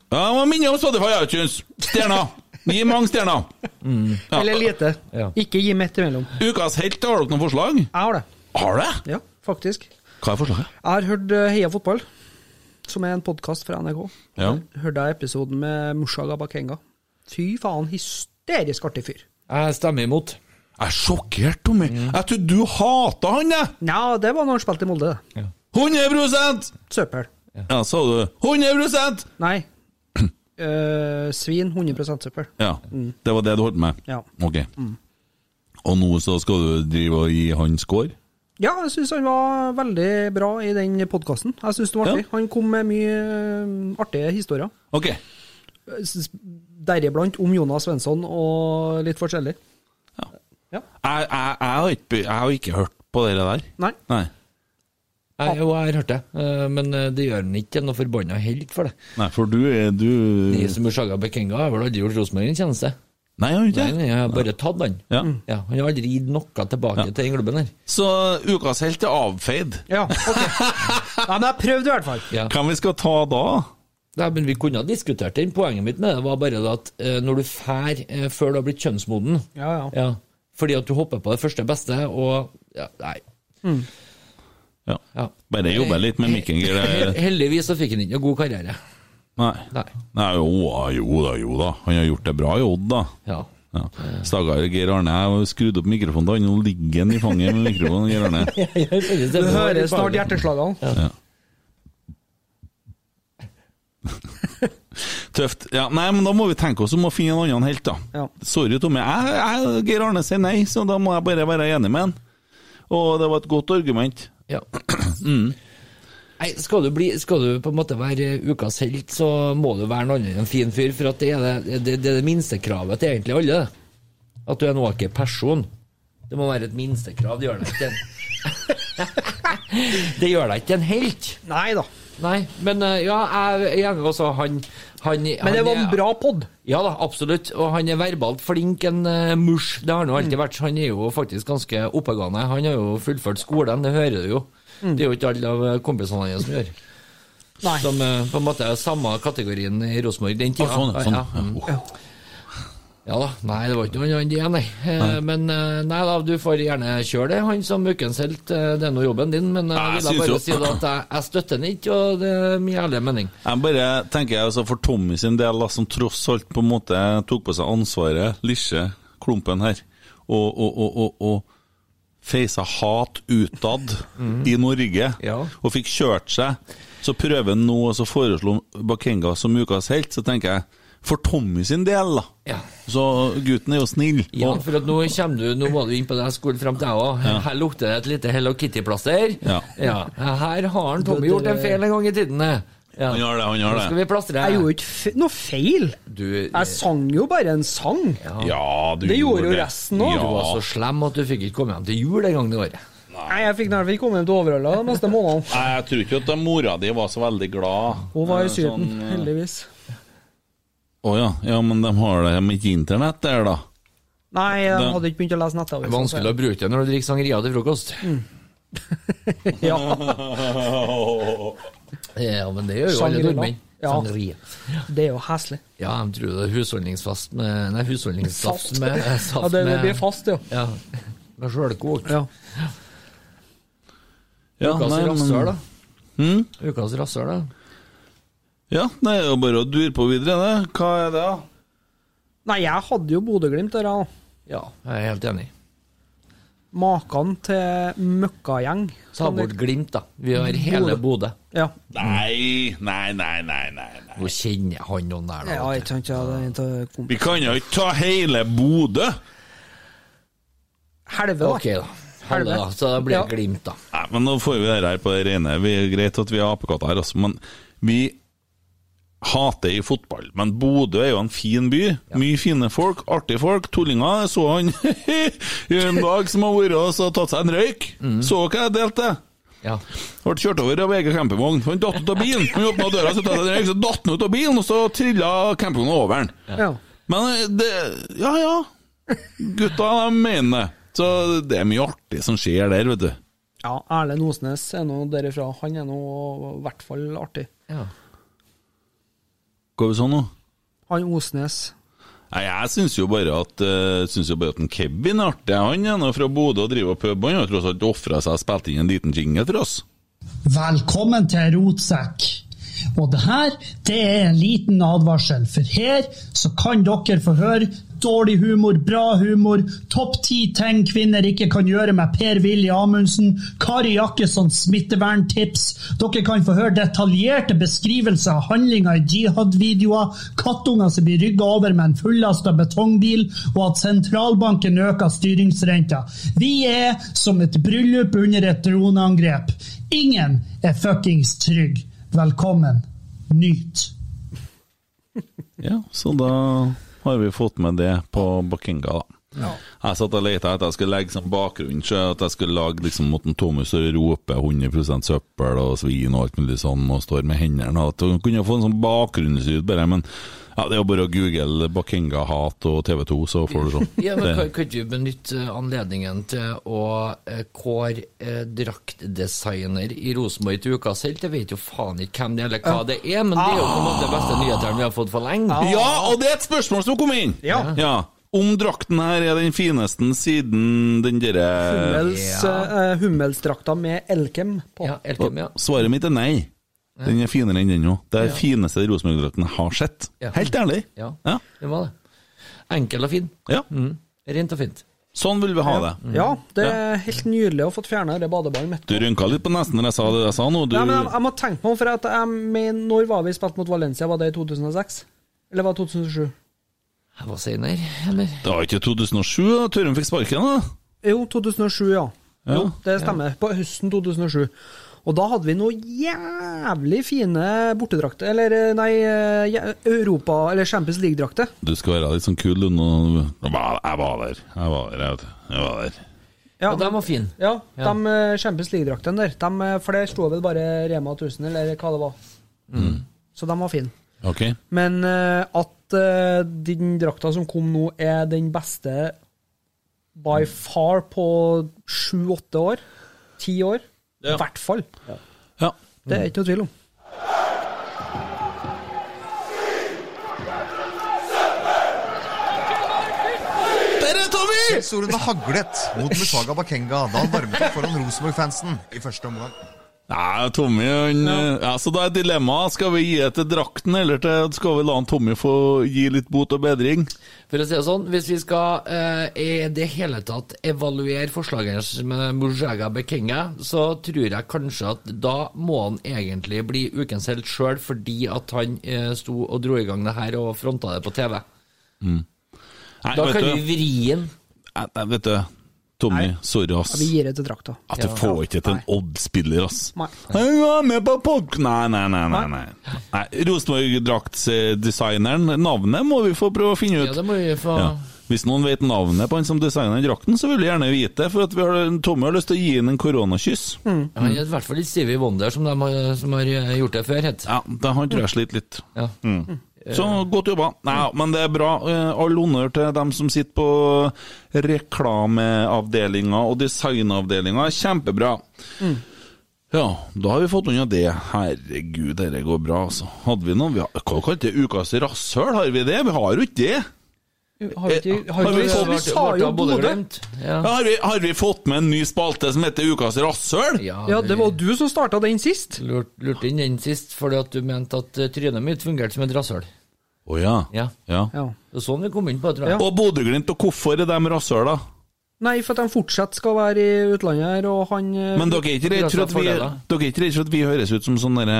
S2: Ja, jeg må minne om Spotify iTunes! Stjerner! Gi mange stjerner! Ja.
S3: Eller lite.
S5: Ja.
S3: Ikke gi midt imellom.
S2: Ukas helt, har dere noen forslag?
S3: Jeg har det.
S2: Har det?
S3: Ja, faktisk.
S2: Hva er forslaget?
S3: Jeg har hørt eh, Heia fotball, som er en podkast fra NRK.
S2: Ja.
S3: Hørte jeg episoden med Mushaga Bakenga. Fy faen, hysterisk artig fyr.
S5: Jeg stemmer imot.
S2: Jeg er sjokkert, Tommy. Jeg trodde du hata han, jeg!
S3: Nja, det var når han spilte i Molde, det.
S2: 100
S3: Søppel.
S2: Ja, sa du 100
S3: Nei. Eh, svin 100 søppel.
S2: Ja, det var det du holdt med?
S3: Ja.
S2: Ok. Og nå så skal du drive og gi han score?
S3: Ja, jeg syns han var veldig bra i den podkasten. Jeg syns det var artig.
S2: Ja.
S3: Han kom med mye eh, artige historier. Eh,
S2: Ok.
S3: S- Deriblant om Jonas Svensson og litt forskjellig.
S2: Jeg, jeg, jeg, har ikke, jeg har ikke hørt på det der.
S3: Nei.
S2: Nei.
S5: Jeg, jo, jeg har hørt det, eh, men eh, det gjør han ikke til noe forbanna helt for det.
S2: Nei, for du er du
S5: De som er Saga Bekenga, har vel aldri gjort Rosenborg en tjeneste.
S2: Nei, Mm. jeg har ikke
S5: Nei, nei,
S2: det.
S5: jeg har bare tatt han.
S2: Ja.
S5: Ja, han har aldri gitt noe tilbake til den klubben her.
S2: Så ukas helt er avfeid.
S3: Ja, ok. Nei, men jeg prøvde i hvert fall.
S5: Ja.
S2: Hvem vi skal ta da?
S5: Nei, men Vi kunne ha diskutert den. Poenget mitt med det var bare det at eh, når du fær eh, før du har blitt kjønnsmoden
S3: Ja, ja.
S5: ja, Fordi at du hopper på det første beste, og ja, Nei.
S2: Ja.
S5: Ja.
S2: Bare jobbe litt med mikken.
S3: Eh.
S5: Hel-
S2: greier.
S5: Heldigvis så fikk han ikke noe god karriere.
S2: Nei.
S5: Nei.
S2: Nei, jo, jo da, jo da. Han har gjort det bra i Odd, da.
S5: Ja.
S2: Ja. Stakkar Geir Arne, jeg har skrudd opp mikrofonen til han, nå ligger han i fanget med mikrofonen. Geir Arne.
S3: Du hører snart hjerteslagene.
S2: Tøft. Ja, nei, men da må vi tenke oss om å finne en annen helt, da.
S3: Ja.
S2: Sorry, Tommy. Jeg, jeg, Geir Arne sier nei, så da må jeg bare være enig med han. Og det var et godt argument.
S5: Ja. Mm. Nei, skal du, bli, skal du på en måte være ukas helt, så må du være noen annen enn en fin fyr. For at det, er det, det, det er det minste kravet til egentlig alle. det. At du er en ok person. Det må være et minstekrav. Det gjør deg ikke en Det gjør deg ikke en helt.
S3: Nei da.
S5: Nei, men eh, ja, jeg er enig også. Han, han
S3: Men det
S5: han
S3: var
S5: er-
S3: en bra pod.
S5: ja da, absolutt. Og han er verbalt flink, en uh, mush. Det har han jo
S2: Mm.
S5: alltid vært. så Han er jo faktisk ganske oppegående. Han har jo fullført skolen, det hører du jo.
S2: Mm.
S5: Det er jo ikke alle av eh, kompisene hans som gjør.
S3: Nei.
S5: Som eh, på en måte er samme kategorien i Rosenborg den
S2: Ja,
S5: tida.
S2: sånn, sånn.
S5: Ja,
S2: Ja.
S5: mm.
S2: Oh.
S5: ja da. Nei, det var ikke noe annet enn det, nei. Eh, Men eh, nei da, du får gjerne kjøre det, han som ukens helt. eh, Det er nå jobben din, men eh,
S2: Nei, jeg
S5: jeg ville
S2: synes jo-
S5: bare si da at jeg, jeg støtter den ikke, og det er min ærlige mening.
S2: Jeg bare tenker jeg altså for Tommy sin del, da, som tross alt på en måte tok på seg ansvaret, lisje, klumpen her, og, og, og, og, og feisa hat utad
S3: Mhm.
S2: i Norge,
S5: Ja.
S2: og fikk kjørt seg, så prøver han nå og så foreslo Bakenga som ukas helt, så tenker jeg for Tommy sin del, da.
S5: Ja.
S2: Så gutten er jo snill.
S5: Ja,
S2: og,
S5: for at nå kommer du, nå må du inn på det jeg skulle frem til jeg òg. Her lukter det et lite Hello Kitty-plaster.
S2: Ja.
S5: Her har han Tommy gjort en feil en gang i tiden. eh. Ja.
S2: Han gjør det, han gjør
S5: Nå
S2: det.
S5: skal vi plastre.
S3: Jeg gjorde ikke fe- noe feil.
S5: Du,
S3: Jeg sang jo bare en sang.
S2: ja, du
S3: Det gjorde jo resten også.
S2: Ja.
S5: du var så slem at du fikk ikke komme hjem til jul en gang i året.
S3: Nei, jeg fikk nærmest ikke komme hjem til Overhalla de neste månedene.
S2: Nei, jeg tror ikke at da mora di var så veldig glad.
S3: Hun var i
S2: Eh,
S3: Syden,
S2: sånn, eh,
S3: heldigvis.
S2: Å ja. ja, men de har det med ikke internett der, da.
S3: Nei, jeg
S2: Da-
S3: hadde ikke begynt å lese nettavis.
S5: Vanskelig å bruke det når du drikker sangria til frokost.
S3: Mm. Ja,
S5: Ja, men det gjør jo alle
S3: Sangria.
S5: nordmenn.
S3: Ja.
S5: Sangria.
S3: det er jo heslig.
S5: Ja, jeg tror det er husholdningsfast med Nei, husholdningssaft
S3: Saft.
S5: med eh,
S3: Ja,
S5: saft
S3: det, det
S5: med-
S3: blir fast, jo.
S5: Ja. Med sjølkokt.
S3: Ja.
S2: Ja,
S5: Ukas
S2: nei, men- Mm?
S5: rasshøl, da. Ukas rasshøl, da.
S2: Ja, det er jo bare å dure på videre, det. Hva er det, da?
S3: Nei, jeg hadde jo Bodø-Glimt der, jeg òg.
S5: Ja, jeg er helt enig.
S3: Maken til møkkagjeng.
S5: Ta
S3: som det-
S5: bort Glimt, da. Vi har hele Bodø.
S3: Ja.
S2: Nei, nei, nei, nei, nei. nei.
S5: Nå kjenner han noen der, da.
S3: ja,
S5: vet
S3: ikke sant. Ja, det er ikke
S2: Vi
S3: kompis.
S2: kan jo ikke ta hele Bodø!
S5: du.
S3: Helve,
S5: Ok,
S3: da.
S5: da. Halve, da. Så da blir det
S3: Ja.
S5: Glimt, da.
S2: Nei, men nå får vi det her på det rene. Vi er greit at vi er apekatter her, altså, men vi hater i fotball. Men Bodø er jo en fin by. Mye fine folk, artige folk. Tullinger jeg så han i en dag som har vært og så tatt seg en røyk. Så hva jeg delte?
S5: Ja.
S2: Ble kjørt over av egen campingvogn. Han datt ut av bilen! Han åpna døra, så datt han- så datt han ut av bilen, og så trilla campingvogna over han.
S3: Ja.
S2: Men eh, det Ja ja. Gutta de mener det. Så det er mye artig som skjer der, vet du.
S3: ja, Erlend Osnes er nå derifra. Han er nå i hvert fall artig.
S5: Ja.
S2: Går vi sånn nå?
S3: Han Osnes
S2: Nei, Jeg syns jo bare at eh, Synes jo bare at en Kevin er artig. Han er nå fra Bodø og driver pub. Han har tross alt ofra seg og spilt inn en liten jingle for oss.
S6: Velkommen til Rotsekk. Og det her, det er en liten advarsel, for her så kan dere få høre dårlig humor, bra humor, topp ti ting kvinner ikke kan gjøre med Per-Willy Amundsen, Kari Jakkesson smitteverntips. Dere kan få høre detaljerte beskrivelser av handlinger i jihad-videoer, kattunger som blir rygga over med en fullasta betongbil, og at sentralbanken øker styringsrenta. Vi er som et bryllup under et droneangrep. Ingen er fuckings trygg. Velkommen. Nyt.
S2: Ja, så da har vi fått med det på Bakenga, da. Jeg satt og leta etter jeg skulle legge som bakgrunn, så at jeg skulle lage liksom måten Thomas og rope 100 søppel og svin og alt mulig sånn, og står med hendene og at hun kunne få en sånn bakgrunnslyd, bare. Men ja, det er jo bare å google Bakenga-hat og TV2, så får du sånn.
S5: Ja, men
S2: Det-
S5: kan, kan ikke vi benytte eh, anledningen til å eh, kåre eh, draktdesigner i Rosenborg til uka selv? Jeg vet jo faen ikke hvem det er, eller hva det er, men det er jo på en måte de beste nyhetene vi har fått for lenge.
S2: Ja, og det er et spørsmål som kom inn!
S3: Ja.
S2: Om drakten her er den fineste siden den derre
S3: Hummels, eh, Hummelsdrakta med Elkem på.
S5: Ja, Elkem, ja.
S2: Svaret mitt er nei. Den er finere enn den nå. Det er den fineste Rosenborg-drakten jeg har sett.
S5: Ja.
S2: Helt ærlig.
S5: Ja.
S2: Ja.
S5: Det var det. Enkel og fin.
S2: Ja.
S5: Mm. Rent og fint.
S2: Sånn vil vi ha det.
S3: Ja, det er helt nydelig å ha fått fjerna det badeballet mitt.
S2: Du rynka litt på nesen når jeg sa det jeg sa nå. Du,
S3: Nei, men jeg, jeg må tenke meg om, for at jeg mener, når var vi spilt mot Valencia? Var det i 2006? Eller var det 2007?
S5: Jeg var senere, eller?
S2: Det var ikke 2007 da Tørum fikk sparken, da?
S3: Jo, 2007, ja.
S2: Ja.
S3: Jo, det stemmer. På høsten 2007. Og da hadde vi noen jævlig fine bortedrakter Eller eh, nei, eh, ja, Europa- eller Champions League-drakter.
S2: Du skal være litt sånn kul, du. nå. Jeg var jeg var der. Jeg var der. jeg vet. Jeg var der.
S3: Ja,
S5: Og den var fin.
S3: ja,
S5: Ja.
S3: de eh, Champions League-draktene der. De, eh, for der sto vel bare Rema 1000, eller hva det var. Så de var fine.
S2: Ok.
S3: Men eh, at eh, den drakta som kom nå, er den beste by far på sju-åtte år. Ti år. I hvert fall.
S2: Ja.
S3: Det er ikke noe tvil om.
S2: Der er Tommy!
S7: Solen var haglet mot Mushaga Bakenga da han varmet opp foran Rosenborg-fansen i første omgang.
S2: Nei, Tommy han, ja. Så da er dilemmaet. Skal vi gi det til drakten, eller til, skal vi la han Tommy få gi litt bot og bedring?
S5: For å si det sånn, hvis vi skal eh, i det hele tatt evaluere forslagene med Mujaga Bekenga, så tror jeg kanskje at da må han egentlig bli ukens helt sjøl, fordi at han eh, sto og dro i gang det her og fronta det på TV.
S2: Nei,
S5: Da
S2: vet
S5: kan
S2: du.
S5: vi vri den.
S2: Nei, nei, vet du, Tommy, sorry ass.
S3: Vi gir det til drakta.
S2: At du får ikke til en Odd-spiller, ass.
S3: Nei.
S2: Jeg var med på pod... Nei, nei, nei. nei, nei. nei Rosenborg-draktdesigneren, navnet må vi få prøve å finne
S5: Ja,
S2: ut.
S5: det må vi få
S2: Ja. Hvis noen vet navnet på han som designer drakten, så vil vi gjerne vite det. For at vi har, Tommy har lyst til å gi han en koronakyss.
S5: Han er i hvert fall ikke Stevie Wonder, som, de har, som har eh, gjort det før, het.
S2: Ja, det har han tror jeg slitt litt.
S5: Mm.
S2: Mm.
S5: Ja. Mm.
S2: Så godt jobba. Nei, ja, men det er bra. Eh, All honnør til dem som sitter på reklameavdelinga og designavdelinga. Kjempebra.
S5: Mm.
S2: Ja, da har vi fått unna det. Herregud, dette går bra, altså. Hadde vi noe vi har, Hva kalte det? Ukas rasshøl? Har vi det? Vi har jo ikke det!
S3: Har vi, ikke, har
S2: Eh, Har
S3: vi,
S2: vi
S3: ikke,
S2: fått-
S3: vi sa jo Bodø!
S5: Ja.
S2: Har vi, har vi fått med en ny spalte som heter Ukas rasshøl?
S3: Ja, det var du som starta den sist.
S5: Lurt, lurt inn den sist, fordi at du mente at eh, trynet mitt fungerte som et rasshøl.
S2: Å ja.
S5: Ja.
S2: ja.
S3: Ja.
S5: Det var sånn vi kom inn på, tror jeg.
S3: Ja.
S2: Og Bodø-Glimt, og hvorfor er de rasshøla?
S3: Nei, for at de fortsatt skal være i utlandet her, og han eh,
S2: Men dere er ikke redd for at vi,
S5: Rasshøl-fordeler.
S2: dere er ikke redd for at vi høres ut som sånn derre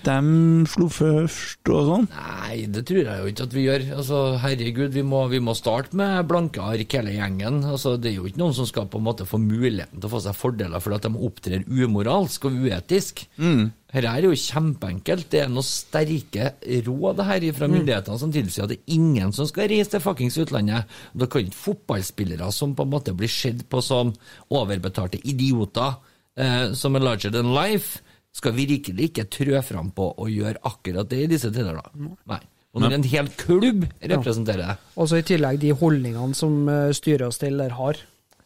S2: Dem slo først og sånn?
S5: Nei, det tror jeg jo ikke at vi gjør. Altså, herregud, vi må, vi må starte med blanke ark hele gjengen. Altså, det er jo ikke noen som skal på en måte få muligheten til å få seg fordeler fordi at de opptrer umoralsk og uetisk. Her er jo kjempeenkelt. Det er noen sterke råd her fra myndighetene som tilsier at det er ingen som skal reise til fuckings utlandet. Da kan ikke fotballspillere som på en måte blir sett på som overbetalte idioter, eh, eh, som er larger than life, skal virkelig ikke trø fram på å gjøre akkurat det i disse tider, da. Nei. Og når en hel klubb representerer det
S3: Og så i tillegg de holdningene som eh, styrer oss til der har.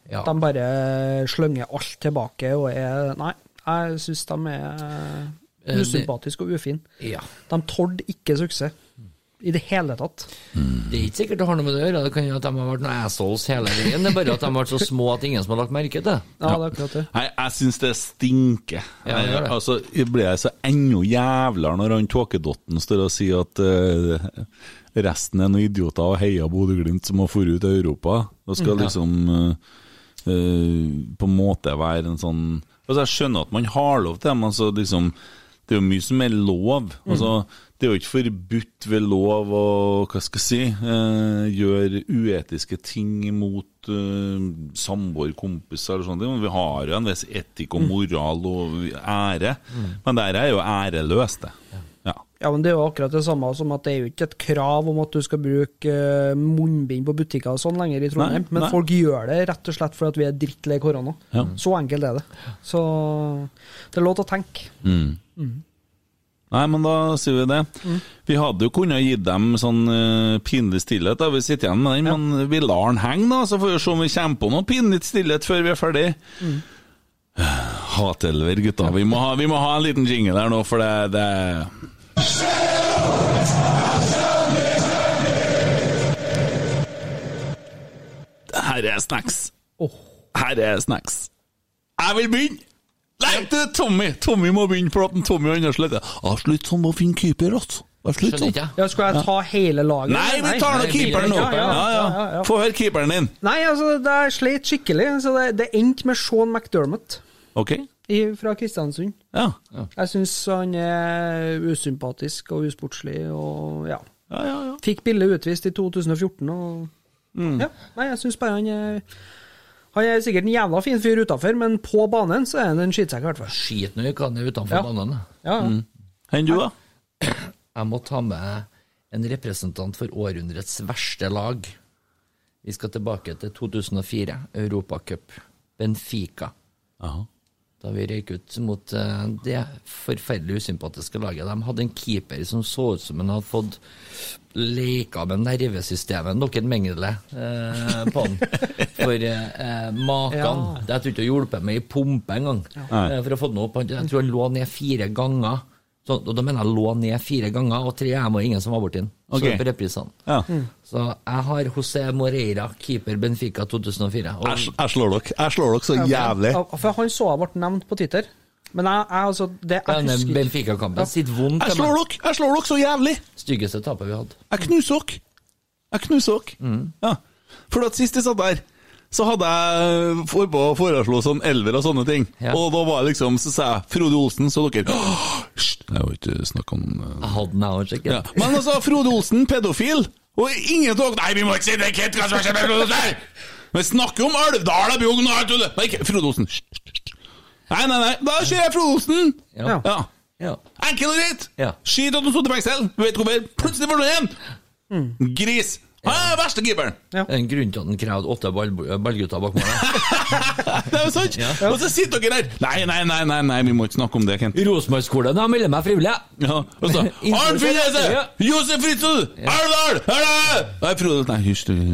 S5: Ja.
S3: De bare slynger alt tilbake og er Nei, jeg syns de er
S5: Eh, det-
S3: usympatiske og ufine.
S5: Ja.
S3: De tålte ikke suksess. I det hele tatt.
S5: Det er ikke sikkert det har noe med det å gjøre, det kan jo at de har vært noen assholes hele veien. Det er bare at de har vært så små at ingen som har lagt merke til det.
S3: Ja, det er akkurat det.
S2: Nei, jeg syns det stinker.
S5: Ja, det gjør det.
S2: Altså, jeg ble jeg så enda jævligere når han Tåkedotten står og sier at eh, resten er noen idioter og heier Bodø-Glimt som har dratt ut av Europa. Da skal liksom eh, eh, på en måte være en sånn Altså, jeg skjønner at man har lov til det, men altså, liksom Det er jo mye som er lov. Altså, det er jo ikke forbudt ved lov å hva skal jeg si, eh, gjøre uetiske ting mot eh, samboer, kompiser eller sånne ting. Men Vi har jo en viss etikk og moral og ære, men det her er jo æreløst, det. Ja.
S3: Ja, men Det er jo akkurat det samme som at det er jo ikke et krav om at du skal bruke eh, munnbind på butikker og sånn lenger i Trondheim,
S2: Nei,
S3: men
S2: nei.
S3: folk gjør det rett og slett fordi at vi er drittlei korona.
S2: Ja.
S3: Så enkelt er det. Så det er lov til å tenke.
S2: Nei, men da sier vi det. Vi hadde jo kunnet gi dem sånn eh, pinlig stillhet, da vi sitter igjen med den, men vi lar den henge, da, så får vi se om vi kommer på noe pinlig stillhet før vi er ferdig. Hatelver, gutta. Vi må, ha, vi må ha en liten jingle her nå, for det, det Her er snacks.
S3: Åh.
S2: Her er snacks. Jeg vil begynne! Nei, det er Tommy! Tommy må begynne for at en Tommy og Anders Løkke ah, Slutt sånn med å finne keeper, altså. Vær slutt
S5: Skjønner
S2: sånn.
S5: ikke jeg.
S3: Ja, skal jeg ta hele laget?
S2: Nei, vi tar nå
S5: nei,
S2: keeperen nå!
S5: ja,
S2: Ja,
S5: ja,
S2: ja.
S3: ja, ja.
S2: Få høre keeperen din.
S3: Nei, altså, det er slet skikkelig. Så det, det endte med Sean McDermott
S2: OK?
S3: i, fra Kristiansund.
S2: Ja.
S3: Jeg syns han er usympatisk og usportslig og ja.
S2: Ja, ja, ja.
S3: Fikk Bille utvist i 2014 og
S2: Mm.
S3: Ja. Nei, jeg syns bare han er Han er sikkert en jævla fin fyr utafor, men på banen så er han en skittsekk, i hvert fall.
S5: Skit nå i hva han er utenfor
S3: Ja.
S5: banen.
S3: Ja,
S2: Mm.
S3: ja.
S2: Enn du, da?
S5: Jeg må ta med en representant for århundrets verste lag. Vi skal tilbake til 2004, Europacup. Benfica.
S2: Aha.
S5: Da vi røyk ut mot eh, det forferdelig usympatiske laget. De hadde en keeper som så ut som han hadde fått leika med nervesystemet nok en mengde eh, på han. For eh, eh, maken.
S3: Ja.
S5: Det Jeg tror ikke det hjelper med ei pumpe engang. eh, For å få den opp. Han- Jeg tror han lå ned fire ganger. Så, og da mener jeg lå ned fire ganger, og tre hjem og ingen som var borti den. Så
S2: Ok.
S5: det på reprisene.
S2: Ja.
S5: Så jeg har José Moreira, keeper Benfica 2004. Og,
S2: Jeg sl- jeg slår dere. Jeg slår dere så jævlig.
S3: Ja, For han så jeg ble nevnt på Twitter, men jeg, jeg altså det, jeg
S5: denne
S3: husker ikke.
S5: Benfica-kampen sitter vondt.
S2: Jeg
S5: til meg.
S2: slår dere! Jeg slår dere så jævlig!
S5: Styggeste tapet vi hadde.
S2: Jeg knuser dere. Jeg knuser dere.
S5: Mm.
S2: Ja. For at sist jeg satt der, så hadde jeg for på å foreslå sånn elver og sånne ting.
S5: Ja.
S2: Og da var det liksom, så sa jeg Frode Olsen, så dere «Åh, Hysj! Jeg har ikke snakka om eh,
S5: Jeg hadde den, jeg òg, sikkert.
S2: ja. Men altså, Frode Olsen, pedofil, og ingen tok Nei, vi må ikke si det! Kent, hva som skjer med Frode Olsen her? Vi snakker om Alvdal og Bjugn og alt det der. Men ikke- Frode Olsen hysj, hysj, hysj. Nei, nei, nei. Da kjører jeg Frode Olsen!
S5: Ja.
S2: ja.
S5: Ja.
S2: Enkel og greit!
S5: Ja.
S2: Skit at de satt i fengsel! Du vet hvorfor. Plutselig forsvant igjen! Gris! Han er den verste keeperen!
S3: Hmm. Ja.
S5: Det er en grunn til at han krevde åtte ball, ballgutter bak målet.
S2: Det er jo sant! Og så sitter dere der! Nei, nei, nei, nei, nei, vi må ikke snakke om det, Kent.
S5: Rosenborg-skolen, jeg melder meg frivillig!
S2: Ja, og så
S5: Innenfor-
S2: Arnfinn Hese!
S5: Ja.
S2: Josef Fritzl! Alvdal! Hør da! Nei, Frode Nei, hysj, du.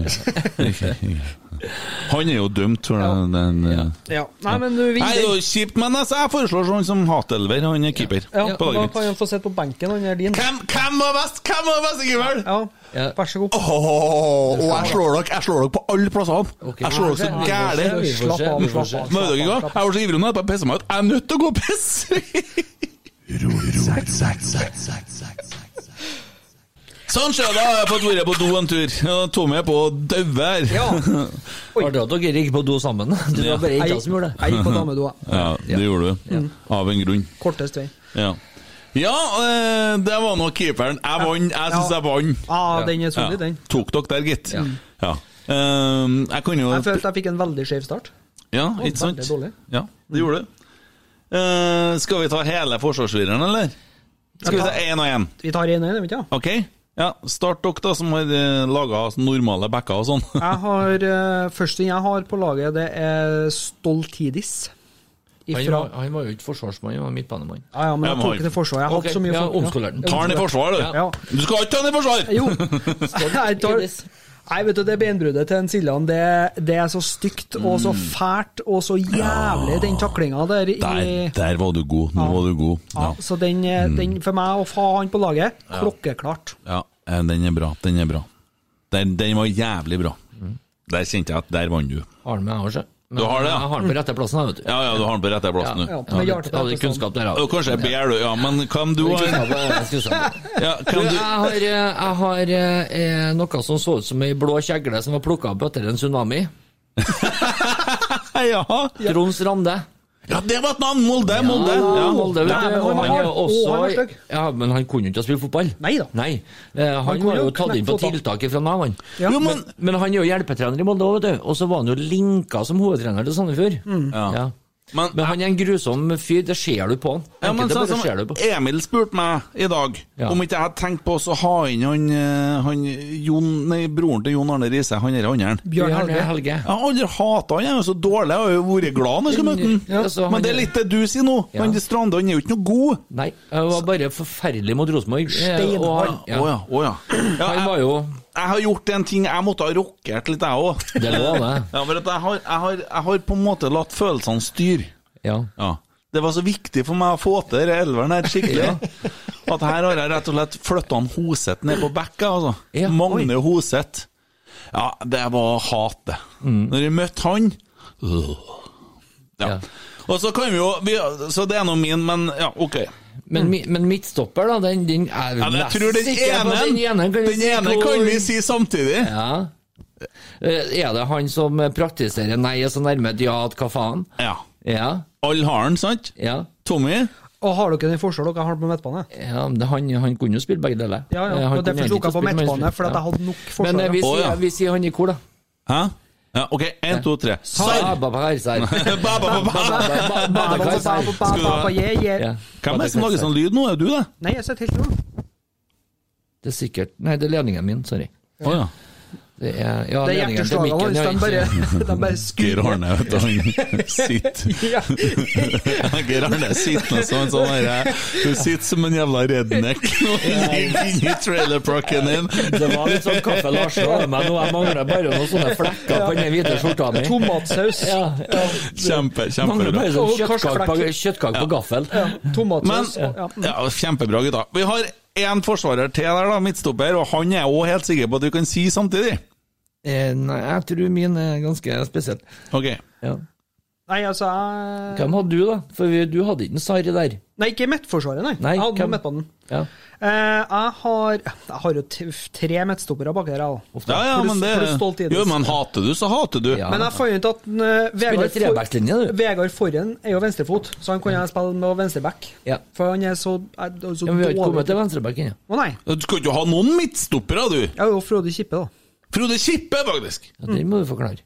S2: Han er jo dømt for den, den eh,
S3: Ja. Nei, men du
S2: Nei, det er
S3: vinner.
S2: jo kjipt, men altså, jeg foreslår sånn som Hatelver. Han er keeper.
S3: Ja,
S2: på
S3: da
S2: laget
S3: kan
S2: mitt.
S3: han få sitte på benken, han er din.
S2: Hvem, hvem var best? Hvem var best, Ingvild?
S3: Ja,
S5: Ja.
S3: vær så god.
S2: Åh, og jeg slår dere jeg slår dere på alle plassene! Jeg slår dere så gæli.
S5: Vi får
S3: Slapp
S5: se,
S3: av,
S5: vi får
S3: slapp av.
S5: se.
S2: Men vet dere hva? Jeg var så ivrig nå at jeg pissa meg ut. Jeg er nødt til å gå og pisse! Sånn skjer det. da har Jeg fått vært på do en tur. Og Tommy er på å daue her.
S3: Ja,
S5: Var det at dere gikk på do sammen? Det var bare jenta som gjorde det.
S3: jeg gikk på damedoa.
S2: Ja, det gjorde du. Av en grunn.
S3: Kortest vei.
S2: Ja, ja eh, det var nå keeperen. Jeg vant. Jeg syns jeg vant.
S3: Ja, Ah, den er solid,
S2: Ja.
S3: den.
S2: Tok dere der, gitt. Ja. Ehm, jeg kan jo
S3: Jeg følte jeg fikk en veldig skjev start.
S2: Ja,
S3: Å,
S2: ikke sant?
S3: veldig dårlig.
S2: Ja, det gjorde du. Eh, skal vi ta hele forsvarsfireren, eller? Skal vi ta én og én?
S3: Vi tar 1-1, vet du. Ja.
S2: Ok? Ja, Start dere, da, som har laga normale backer og sånn.
S3: Jeg har, eh, Første ting jeg har på laget, det er Stoltidis
S5: Han
S3: ifra
S5: var, han var jo ikke forsvarsmann, han var midtbanemann.
S3: Ja, ja, men jeg
S2: Ja, men
S3: tok
S2: han-
S3: ikke til forsvar. Jeg har
S5: Ok,
S3: hatt så mye
S5: ja,
S3: folk-
S5: omskolert.
S2: Ta han i forsvar, du!
S3: Ja.
S2: Du skal ikke ta han i forsvar!
S3: Jo. Jeg tar, nei, vet du, det benbruddet til en Siljan, det, det er så stygt og så
S2: Mm.
S3: fælt og så jævlig, den taklinga der i
S2: Der, der var du god. Nå var du god.
S3: ja,
S2: Ja. Mm.
S3: Så den, eh, den for meg å få han på laget, klokkeklart.
S2: ja. eh, Den er bra. Den er bra. Den, den var jævlig bra. Der kjente jeg at der vant du.
S5: Har han med jeg også. Men
S2: Du har det, ja.
S5: Jeg har han på rette plassen, jeg, vet du.
S2: Ja, ja, du har den på rette plassen,
S5: Ja,
S2: du.
S3: men
S5: Jeg
S3: Jarl på
S5: hadde- hadde
S3: rette
S5: kunnskap der,
S2: Og kanskje jeg ber du, ja, men kan du
S5: Jeg
S2: ha
S5: hadde kunnskap der.
S2: ja,
S5: Du,
S2: kan
S5: jeg
S2: du,
S5: har, eh, jeg har eh, noe som så ut som ei blå kjegle som var plukka opp etter en tsunami.
S2: ja.
S5: Trond Strande.
S2: ja, det var et navn! Molde! Molde! Ja,
S5: Molde, vet
S2: Nei,
S5: du.
S3: men
S5: Og
S3: han
S5: han
S3: var-
S5: er jo også
S3: å, han var stygg.
S5: Ja, Men han kunne jo ikke spille fotball.
S3: Nei da.
S5: Eh, Han
S3: kunne
S5: var jo
S3: jo
S5: tatt inn på
S3: knekke foten.
S5: tiltak fra Nav, han.
S2: Jo, men
S5: Men, men han er jo hjelpetrener i Molde òg, vet du. Og så var han jo linka som hovedtrener til Sandefjord.
S2: Ja.
S5: Ja.
S2: Men-
S5: Men han er en grusom fyr, det ser du på han.
S2: Ja, men
S5: Enkelte
S2: sånn
S5: bare
S2: som
S5: ser du på.
S2: Emil spurte meg i dag
S5: Ja.
S2: om ikke jeg hadde tenkt på å ha inn han, eh, han Jon, nei, broren til Jon Arne Riise, han derre
S3: Bjørn
S2: andre.
S5: Bjørn
S3: Helge.
S5: Helge.
S2: Jeg har aldri hata han, jeg er jo så dårlig, jeg har jo vært glad når jeg skal møte han.
S5: Ja, så han
S2: Men det er
S5: er-
S2: litt det du sier nå.
S5: Ja.
S2: Han Strande han er jo ikke noe god.
S5: Nei, han var bare forferdelig mot Rosenborg. eh, og han-
S2: Å ja, å ja. ja
S5: Han var
S2: jeg,
S5: jo
S2: jeg har gjort en ting jeg måtte ha rockert litt, jeg òg.
S5: Det lå det.
S2: Ja, for at jeg, har, jeg, har, jeg har på en måte latt følelsene styre.
S5: Ja.
S2: Ja. Det var så viktig for meg å få til den elveren her skikkelig. At her har jeg rett og slett flytta han Hoseth ned på bekka, altså.
S5: Ja,
S2: Magne Hoseth. Ja, det var hat, det. Når jeg møtte han øh. ja.
S5: Mm. Ja.
S2: Og så kan vi jo vi, Så det er nå min, men ja, ok.
S5: Men, mi- men midtstopper, da, den, den er
S2: Ja, men jeg tror den
S5: på
S2: ene
S5: den ene kan vi
S2: Den
S5: si
S2: ene
S5: hvor-
S2: kan vi si samtidig.
S5: Ja. Eh, Er det han som praktiserer nei er så nærme et ja at hva faen?
S2: Ja.
S5: Ja.
S2: Alle har den, sant?
S5: Ja.
S2: Tommy?
S3: Og har dere den forskjellen dere har på midtbane?
S5: Ja, men det- han, han kunne jo spille begge deler.
S3: Ja, ja,
S5: Eh, han
S3: og derfor tok jeg
S5: kunne egentlig
S3: på
S5: spille, men han
S3: midtbane,
S5: spilte-
S3: for at
S5: ja.
S3: jeg hadde nok
S5: Men eh,
S3: forsvar.
S5: vi,
S2: Å,
S5: sier,
S2: ja.
S5: vi sier han i kor, da.
S2: Hæ? Ja, ok, én, to, tre. Sar!
S5: Babakar Sar.
S2: Ba, ba, ba, ba.
S5: Babakar Sar. Ja.
S2: Hvem er det som
S5: Babakar
S2: lager
S5: Sar.
S2: sånn lyd nå? Er det du, det?
S3: Nei, jeg sitter helt rolig.
S5: Det er sikkert Nei, det er ledningen min, sorry.
S2: Å ja.
S5: Det er, ja,
S3: Det er
S5: ledningen til
S3: hjerteslagene
S5: mikken,
S3: hans,
S5: ja,
S3: de
S5: ikke-
S3: bare, de bare
S2: Geir
S3: skrur.
S2: Arne, vet du, han sitter
S3: Ja.
S2: Geir Arne sitter nå som en sånn herre Du sitter som en jævla redneck og ligger inni trailerparken din.
S5: Det var litt sånn Kaffe Larsen over meg nå. Jeg mangler bare noen sånne flekker på den hvite skjorta mi.
S3: Tomatsaus.
S5: Ja, ja.
S2: Kjempe,
S5: Mangler
S2: kjempebra.
S5: bare sånn
S3: Og
S5: kjøttkake på,
S3: karskflekker.
S5: kjøttkake på gaffel.
S2: Men,
S3: Tomatsaus. ja.
S2: ja, kjempebra, gutta. Vi har én forsvarer til der, da, midtstopper, og han er jeg òg helt sikker på at du kan si samtidig.
S5: Eh, Nei, jeg tror min er ganske spesiell.
S2: Ok.
S5: Ja.
S3: Nei, altså jeg...
S5: Hvem hadde du, da? For vi, du hadde ikke en Sarri der.
S3: Nei, ikke midtforsvaret, nei.
S5: Nei,
S3: Jeg hadde
S5: hvem-
S3: noe midtbanen.
S5: Ja.
S3: Eh, jeg har Jeg har jo t- tre midtstoppere bak her, jeg òg.
S2: Ja, ja,
S3: For du-
S2: men det
S3: for du stolt i det.
S2: Jo, men hater du, så hater du.
S5: Ja.
S3: Men jeg fant ut at den, eh, Vegard,
S5: trebackslinje, du.
S3: Vegard Forhen er jo venstrefot, så han kunne jeg spille med venstreback.
S5: Ja.
S3: For han er så, er, er så
S5: Ja, men vi har ikke kommet
S3: dårlig.
S5: til venstrebacken, ja.
S3: Å nei.
S2: Du skal ikke ha noen midtstoppere, du!
S3: Jeg er jo Frode Kippe, da.
S2: Frode Kippe, faktisk!
S5: ja. Den må du forklare.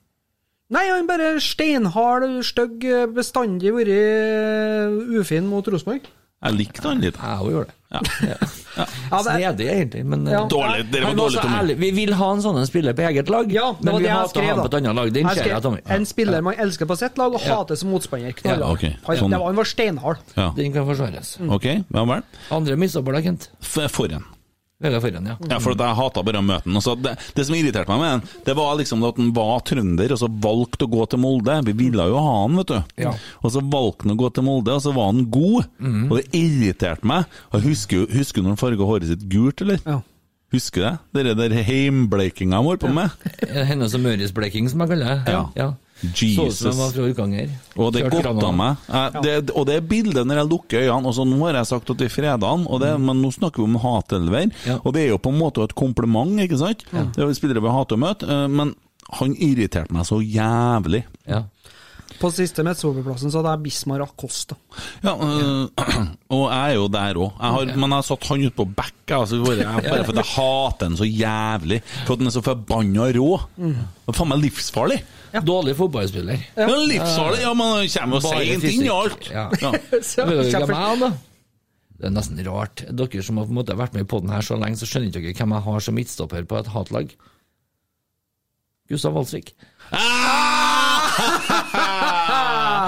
S3: Nei, han bare steinhard, stygg, bestandig vært eh, ufin mot Rosenborg.
S2: Jeg likte han litt.
S5: Jeg òg gjorde det.
S3: Ja, det er-
S5: Snedig, egentlig, men eh,
S3: Ja.
S2: Dårlig, dere
S5: Han
S2: var
S5: var
S2: dårlig,
S5: så
S2: Tommy.
S5: ærlig. Vi vil ha en sånn en spiller på eget lag,
S3: Ja, det
S5: men
S3: var
S5: vi
S3: det jeg
S5: hater å
S3: skrev,
S5: ha
S3: da.
S5: han på et annet lag. Den
S3: Jeg
S5: ser jeg,
S3: skrev,
S5: Tommy. Ja.
S3: En spiller man elsker på sitt lag og
S5: Ja.
S3: hater som motstander. knallhardt.
S2: Ja, ok.
S3: Han-
S2: Sånn.
S3: det var- Han var steinhard.
S2: Ja.
S5: Den kan forsvares.
S3: Mm.
S2: Ok, ja vel.
S5: Mm. Andre midtstopper, da, Kent?
S2: F- Forhen.
S5: Vegard Forhen, ja.
S2: Ja, for at jeg hata bare å møte han. Og så Det, det som irriterte meg med han, det var liksom at han var trønder, og så valgte å gå til Molde. Vi ville jo ha han, vet du.
S5: Ja. Mhm.
S2: Og så valgte han å gå til Molde, og så var han god. Og det irriterte meg. Og jeg husker, jo- husker du når han farga håret sitt gult, eller?
S3: Ja.
S2: Husker du det? Det der heimbleikinga han holdt på med.
S5: Hennes og Møres bleking, som jeg kaller det.
S2: Ja.
S5: Så ut som
S2: Jesus.
S5: jeg var fra Orkanger.
S2: Og det
S5: Kjørt
S2: godta
S5: Granaden.
S2: meg. Jeg, det, og det er bildet når jeg lukker øynene. Og så nå har jeg sagt at det er fredagen, og det, men nå snakker vi om hatelver.
S5: Ja.
S2: Og det er jo på en måte et kompliment, ikke sant? Det er jo spillere vi hater å møte, eh, men han irriterte meg så jævlig.
S5: Ja.
S3: På siste midtstopperplassen så hadde jeg Bismar Acosta.
S2: Ja, øh, og jeg er jo der òg. Men jeg har satt han ut på bekka, altså, bare, jeg, bare fordi jeg hater han så jævlig. For at han er så forbanna rå. Det er faen meg livsfarlig.
S5: Dårlig fotballspiller.
S2: Mm. Ja, livsfarlig, ja, men han kommer jo
S5: Bare
S2: seint inn i
S5: fysikk.
S2: alt.
S5: Ja.
S2: Ja.
S5: Vet dere
S3: kjempe-
S5: hvem jeg er, da? Det er nesten rart. Dere som har på en måte vært med i podden her så lenge, så skjønner ikke dere hvem jeg har som midtstopper på et hatlag. Gustav Walsvik.
S2: Ah!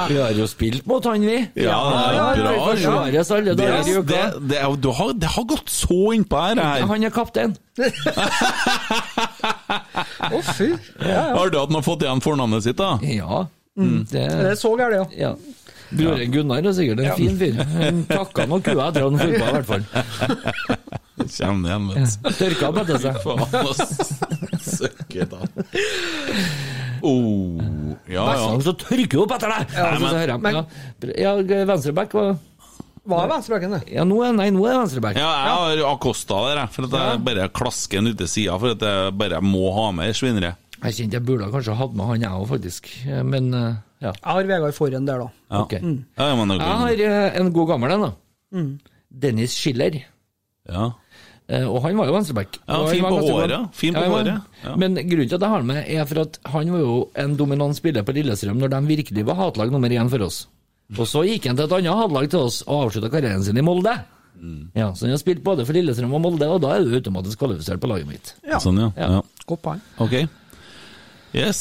S5: Vi har jo spilt mot han, vi.
S2: Ja, det er
S5: vi
S2: bra.
S5: forsvares alle
S2: Det,
S5: dager i
S2: det,
S5: uka.
S2: det, er- du har, det har gått så innpå her. her.
S5: Han er kaptein.
S3: Å, fy.
S2: Har du at han har fått igjen fornavnet sitt, da?
S5: Ja.
S2: Mm.
S5: Det,
S3: Det er så gærent, ja.
S5: ja. Broren Gunnar er sikkert en fin fyr. Han takka noen kua etter han fotba, i hvert fall.
S2: Kjem det igjen, vet du.
S5: Tørka og bedte seg.
S2: Faen, ass. Søkke, da. Oh, ja, ja.
S5: Vestland, så tørker opp etter deg! Ja, så, så hører jeg, ja, ja venstreback var
S3: Hva er venstrebacken, det?
S5: Ja, nå er, nei, nå er det venstreback.
S2: Ja, jeg har Acosta der, jeg, for at jeg bare klasker den ut til sida, for at jeg bare må ha med svinnere.
S5: Jeg kjente jeg burde kanskje hatt med han jeg òg, faktisk. Eh, Men eh, ja.
S3: Jeg har Vegard Forhen der, da.
S2: Ja.
S5: Ok.
S2: Ja, men det er
S5: Jeg har eh, en god gammel en, da.
S2: Mm.
S5: Dennis Schiller.
S2: ja.
S5: Eh, Og han var jo venstreback.
S2: Ja,
S5: Og han
S2: fin
S5: var
S2: på
S5: ganske
S2: håret,
S5: god.
S2: ja. Fin på
S5: han var-
S2: håret, ja.
S5: Men grunnen til at jeg har han med, er for at han var jo en dominant spiller på Lillestrøm når de virkelig var hatlag nummer én for oss. Og så gikk han til et annet hatlag til oss og avslutta karrieren sin i Molde.
S2: Mm.
S5: Ja, Så han har spilt både for Lillestrøm og Molde, og da er du automatisk kvalifisert på laget mitt.
S2: Sånn, ja.
S5: Ja.
S2: ja.
S3: Godt poeng.
S2: Ok. Yes.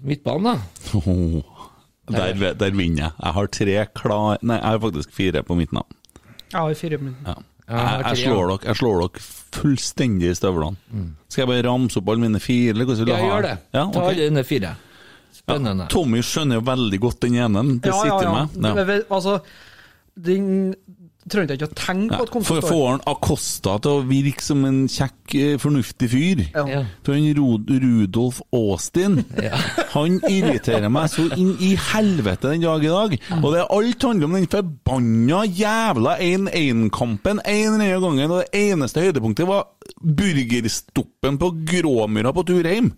S5: Midtbanen, da.
S2: Oh, der, der vinner jeg. Jeg har tre klar... Nei, jeg har faktisk fire på midten. av.
S3: Jeg har fire minutter.
S2: Ja.
S5: jeg har
S2: Jeg, jeg,
S5: tre,
S2: slår dere, jeg slår dere fullstendig i støvlene. Skal jeg bare ramse opp alle mine fire? eller Hvordan vil du
S5: Jeg
S2: ha
S5: Mm. gjør det.
S2: Ja,
S5: Ta
S2: ok.
S5: alle dine fire. Spennende.
S2: Tommy skjønner jo veldig godt den ene. Det sitter med.
S3: Det- det- altså, den trengte jeg ikke å tenke på at kom til
S2: For
S3: å
S2: å få
S3: stå.
S2: han Acosta til å virke som en kjekk, eh, fornuftig fyr
S5: Ja.
S2: For han Ro- Rudolf Austin Han irriterer meg så inn i helvete den dag i dag. Og det er alt handler om den forbanna jævla 1-1-kampen en eller annen gangen. Og det eneste høydepunktet var burgerstoppen på Gråmyra på tur hjem.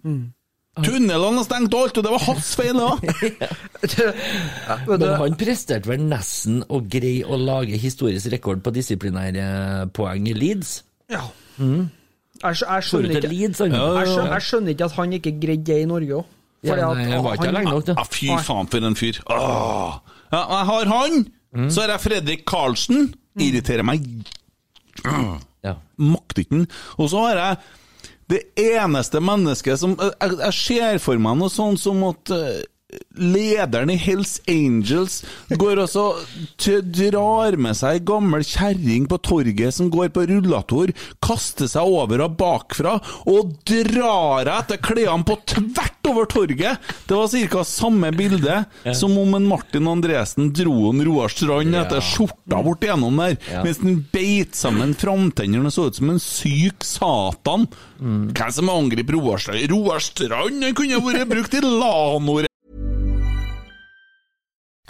S2: Tunnelene er stengt og alt, og det var hans feil, da!
S3: Vet du,
S5: Men han presterte vel nesten å greie å lage historisk rekord på disiplinærpoeng i Leeds.
S3: ja. Jeg, skj- jeg,
S5: Tror du
S3: skjønner
S5: til
S3: ikke, jeg,
S5: Leeds, han?
S3: skjønner, jeg skjønner ikke at han ikke greide det i Norge òg.
S5: Ja, nei, jeg var ikke der lenge nok, da.
S2: Ja, fy faen, for en fyr. Åh. Ja, jeg har han,
S5: Mm.
S2: så har jeg Fredrik Karlsen. Irriterer meg
S5: Ja.
S2: makter ikke den. Og så har jeg det eneste mennesket som eh, Jeg, jeg ser for meg noe sånn som at eh, lederen i Hells Angels går og så t- drar med seg ei gammel kjerring på torget som går på rullator, kaster seg over og bakfra, og drar henne etter klærne på tvert over torget! Det var ca. samme bilde som om en Martin Andresen dro en Roar Strand etter skjorta bort igjennom der, mens den beit sammen framtennene og så ut som en syk satan. Hvem som angriper Roar Strand? Roar Strand han kunne vært brukt i Lanor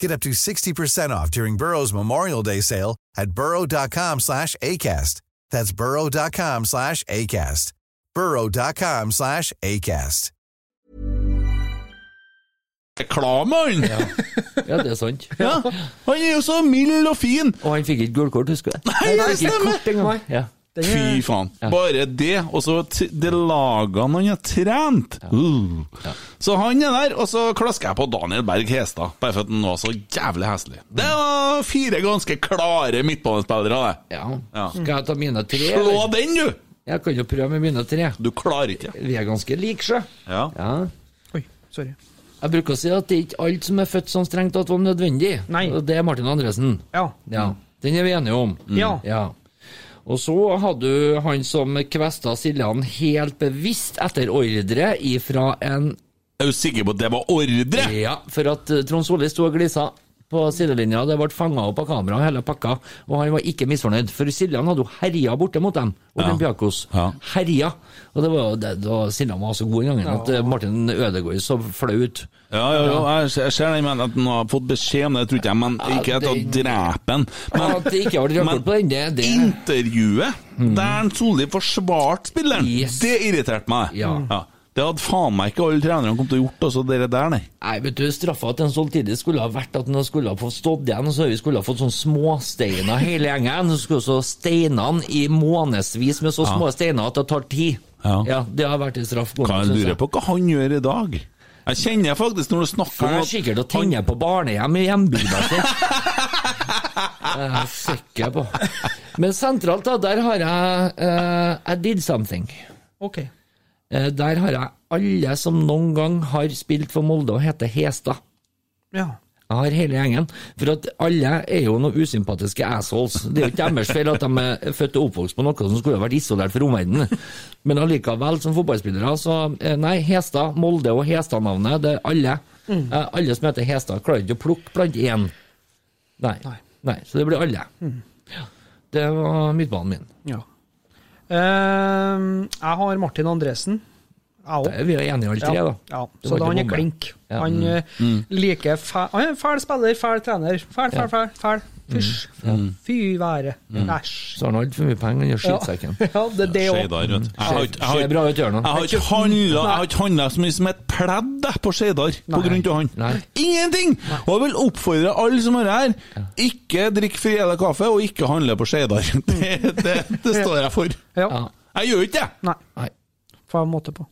S8: Get up to 60% off during Burrow's Memorial Day sale at burrow.com slash ACAST. That's burrow.com slash ACAST. burrow.com slash ACAST.
S2: Reklame, han! Ja.
S5: ja, det er sant.
S2: Han er jo så mild og fin!
S5: Og han fikk ikke gult kort, husker du? Nei, han fikk ikke kort engang. Ja.
S3: Den
S2: Fy
S3: er-
S2: faen. Bare det, og så t- de lagene han har trent! Uh. Så han er der, og så klasker jeg på Daniel Berg Hestad, bare for at han var så jævlig heslig. Det var fire ganske klare midtbanespillere, det.
S5: Skal jeg ta mine tre?
S2: Slå
S5: eller?
S2: den, du!
S5: Jeg kan jo prøve med mine tre.
S2: Du klarer ikke.
S5: Vi er ganske like, sjø.
S2: Ja.
S3: Oi, sorry.
S5: Jeg bruker å si at det er ikke alt som er født sånn strengt at det var nødvendig. Og det er Martin Andresen.
S3: Ja.
S5: Den er vi enige om.
S3: Ja.
S5: Og så hadde du han som kvesta Siljan helt bevisst etter ordre ifra en
S2: Er du sikker på at det var ordre?
S5: Ja, for at eh, Trond Solli sto og glisa på sidelinja, det ble fanga opp av kamera hele pakka, og han var ikke misfornøyd, for Siljan hadde jo herja borte mot dem, Olympiakos. Herja. Og det var, det, det var, Siljan var så god den gangen at eh, Martin Ødegaard så flau ut.
S2: Ja, ja, ja. Jeg ser- Jeg ser den, men at han har fått beskjed om det, tror ikke jeg, men ikke at han dreper han. Men
S5: At det ikke har vært rekord på den, det, det
S2: intervjuet der Solli forsvarte spilleren,
S5: Mm. Yes.
S2: det irriterte meg.
S5: Ja.
S2: Det hadde faen meg ikke alle trenerne kommet til å gjort, altså, dere der, nei.
S5: Nei, vet du, straffa til en soltidig skulle ha vært at han skulle ha fått stått igjen, og så vi skulle ha fått sånne småsteiner hele gjengen. Så skulle så steinene i månedsvis med så små
S2: Ja.
S5: steiner at det tar tid. Ja. det har vært en straff.
S2: Kan jeg lure på hva han gjør i dag? Jeg kjenner faktisk når du snakker
S5: Han
S2: om
S5: er
S2: at
S5: sikkert og tenner på barnehjem i hjembygda si. Det er jeg sikker på. Men sentralt, da, der har jeg eh, I did something.
S3: Ok.
S5: Eh, der har jeg alle som noen gang har spilt for Molde og heter Hestad.
S3: Ja.
S5: Jeg har hele gjengen. For at alle er jo noen usympatiske assholes. Det er jo ikke deres feil at de er født og oppvokst på noe som skulle ha vært isolert fra omverdenen. Men allikevel, som fotballspillere, så eh, Nei, Hestad, Molde og Hestad-navnet, det er alle.
S3: Mm.
S5: Eh, Alle som heter Hestad, klarer ikke å plukke blant én. Nei. nei. Så det blir alle.
S3: Mm.
S5: Det var midtbanen min.
S3: ja. Ehm, jeg har Martin Andresen. Jeg
S5: Da er vi jo enige alle tre,
S3: ja.
S5: da.
S3: Ja.
S5: Det
S3: Så da
S5: var ikke
S3: han er
S5: bombe.
S3: klink.
S5: Ja.
S3: Han
S5: Mm.
S3: eh, liker fæl Han er en fæl spiller, fæl trener. Fæl, fæl,
S5: Ja. Mm.
S3: fæl. fæl. Fysj. Fy være. Æsj.
S5: Så har han altfor mye penger, han gjør skittsekken.
S3: Ja, det er det
S2: Skje
S3: òg.
S2: der, vet du. Jeg har ikke- jeg har
S5: Ser Mm. bra ut, gjør han.
S2: Jeg har ikke handla- jeg har ikke handla så mye som et pledd jeg, på Skeidar på grunn av han.
S5: Nei.
S2: Ingenting! Og jeg vil oppfordre alle som er her, ikke drikk Friele kaffe, og ikke handle på Skeidar. Det, det, det står jeg for.
S3: Ja.
S5: Ja.
S2: Jeg gjør ikke det!
S3: Nei,
S5: Nei.
S3: får jeg måte på.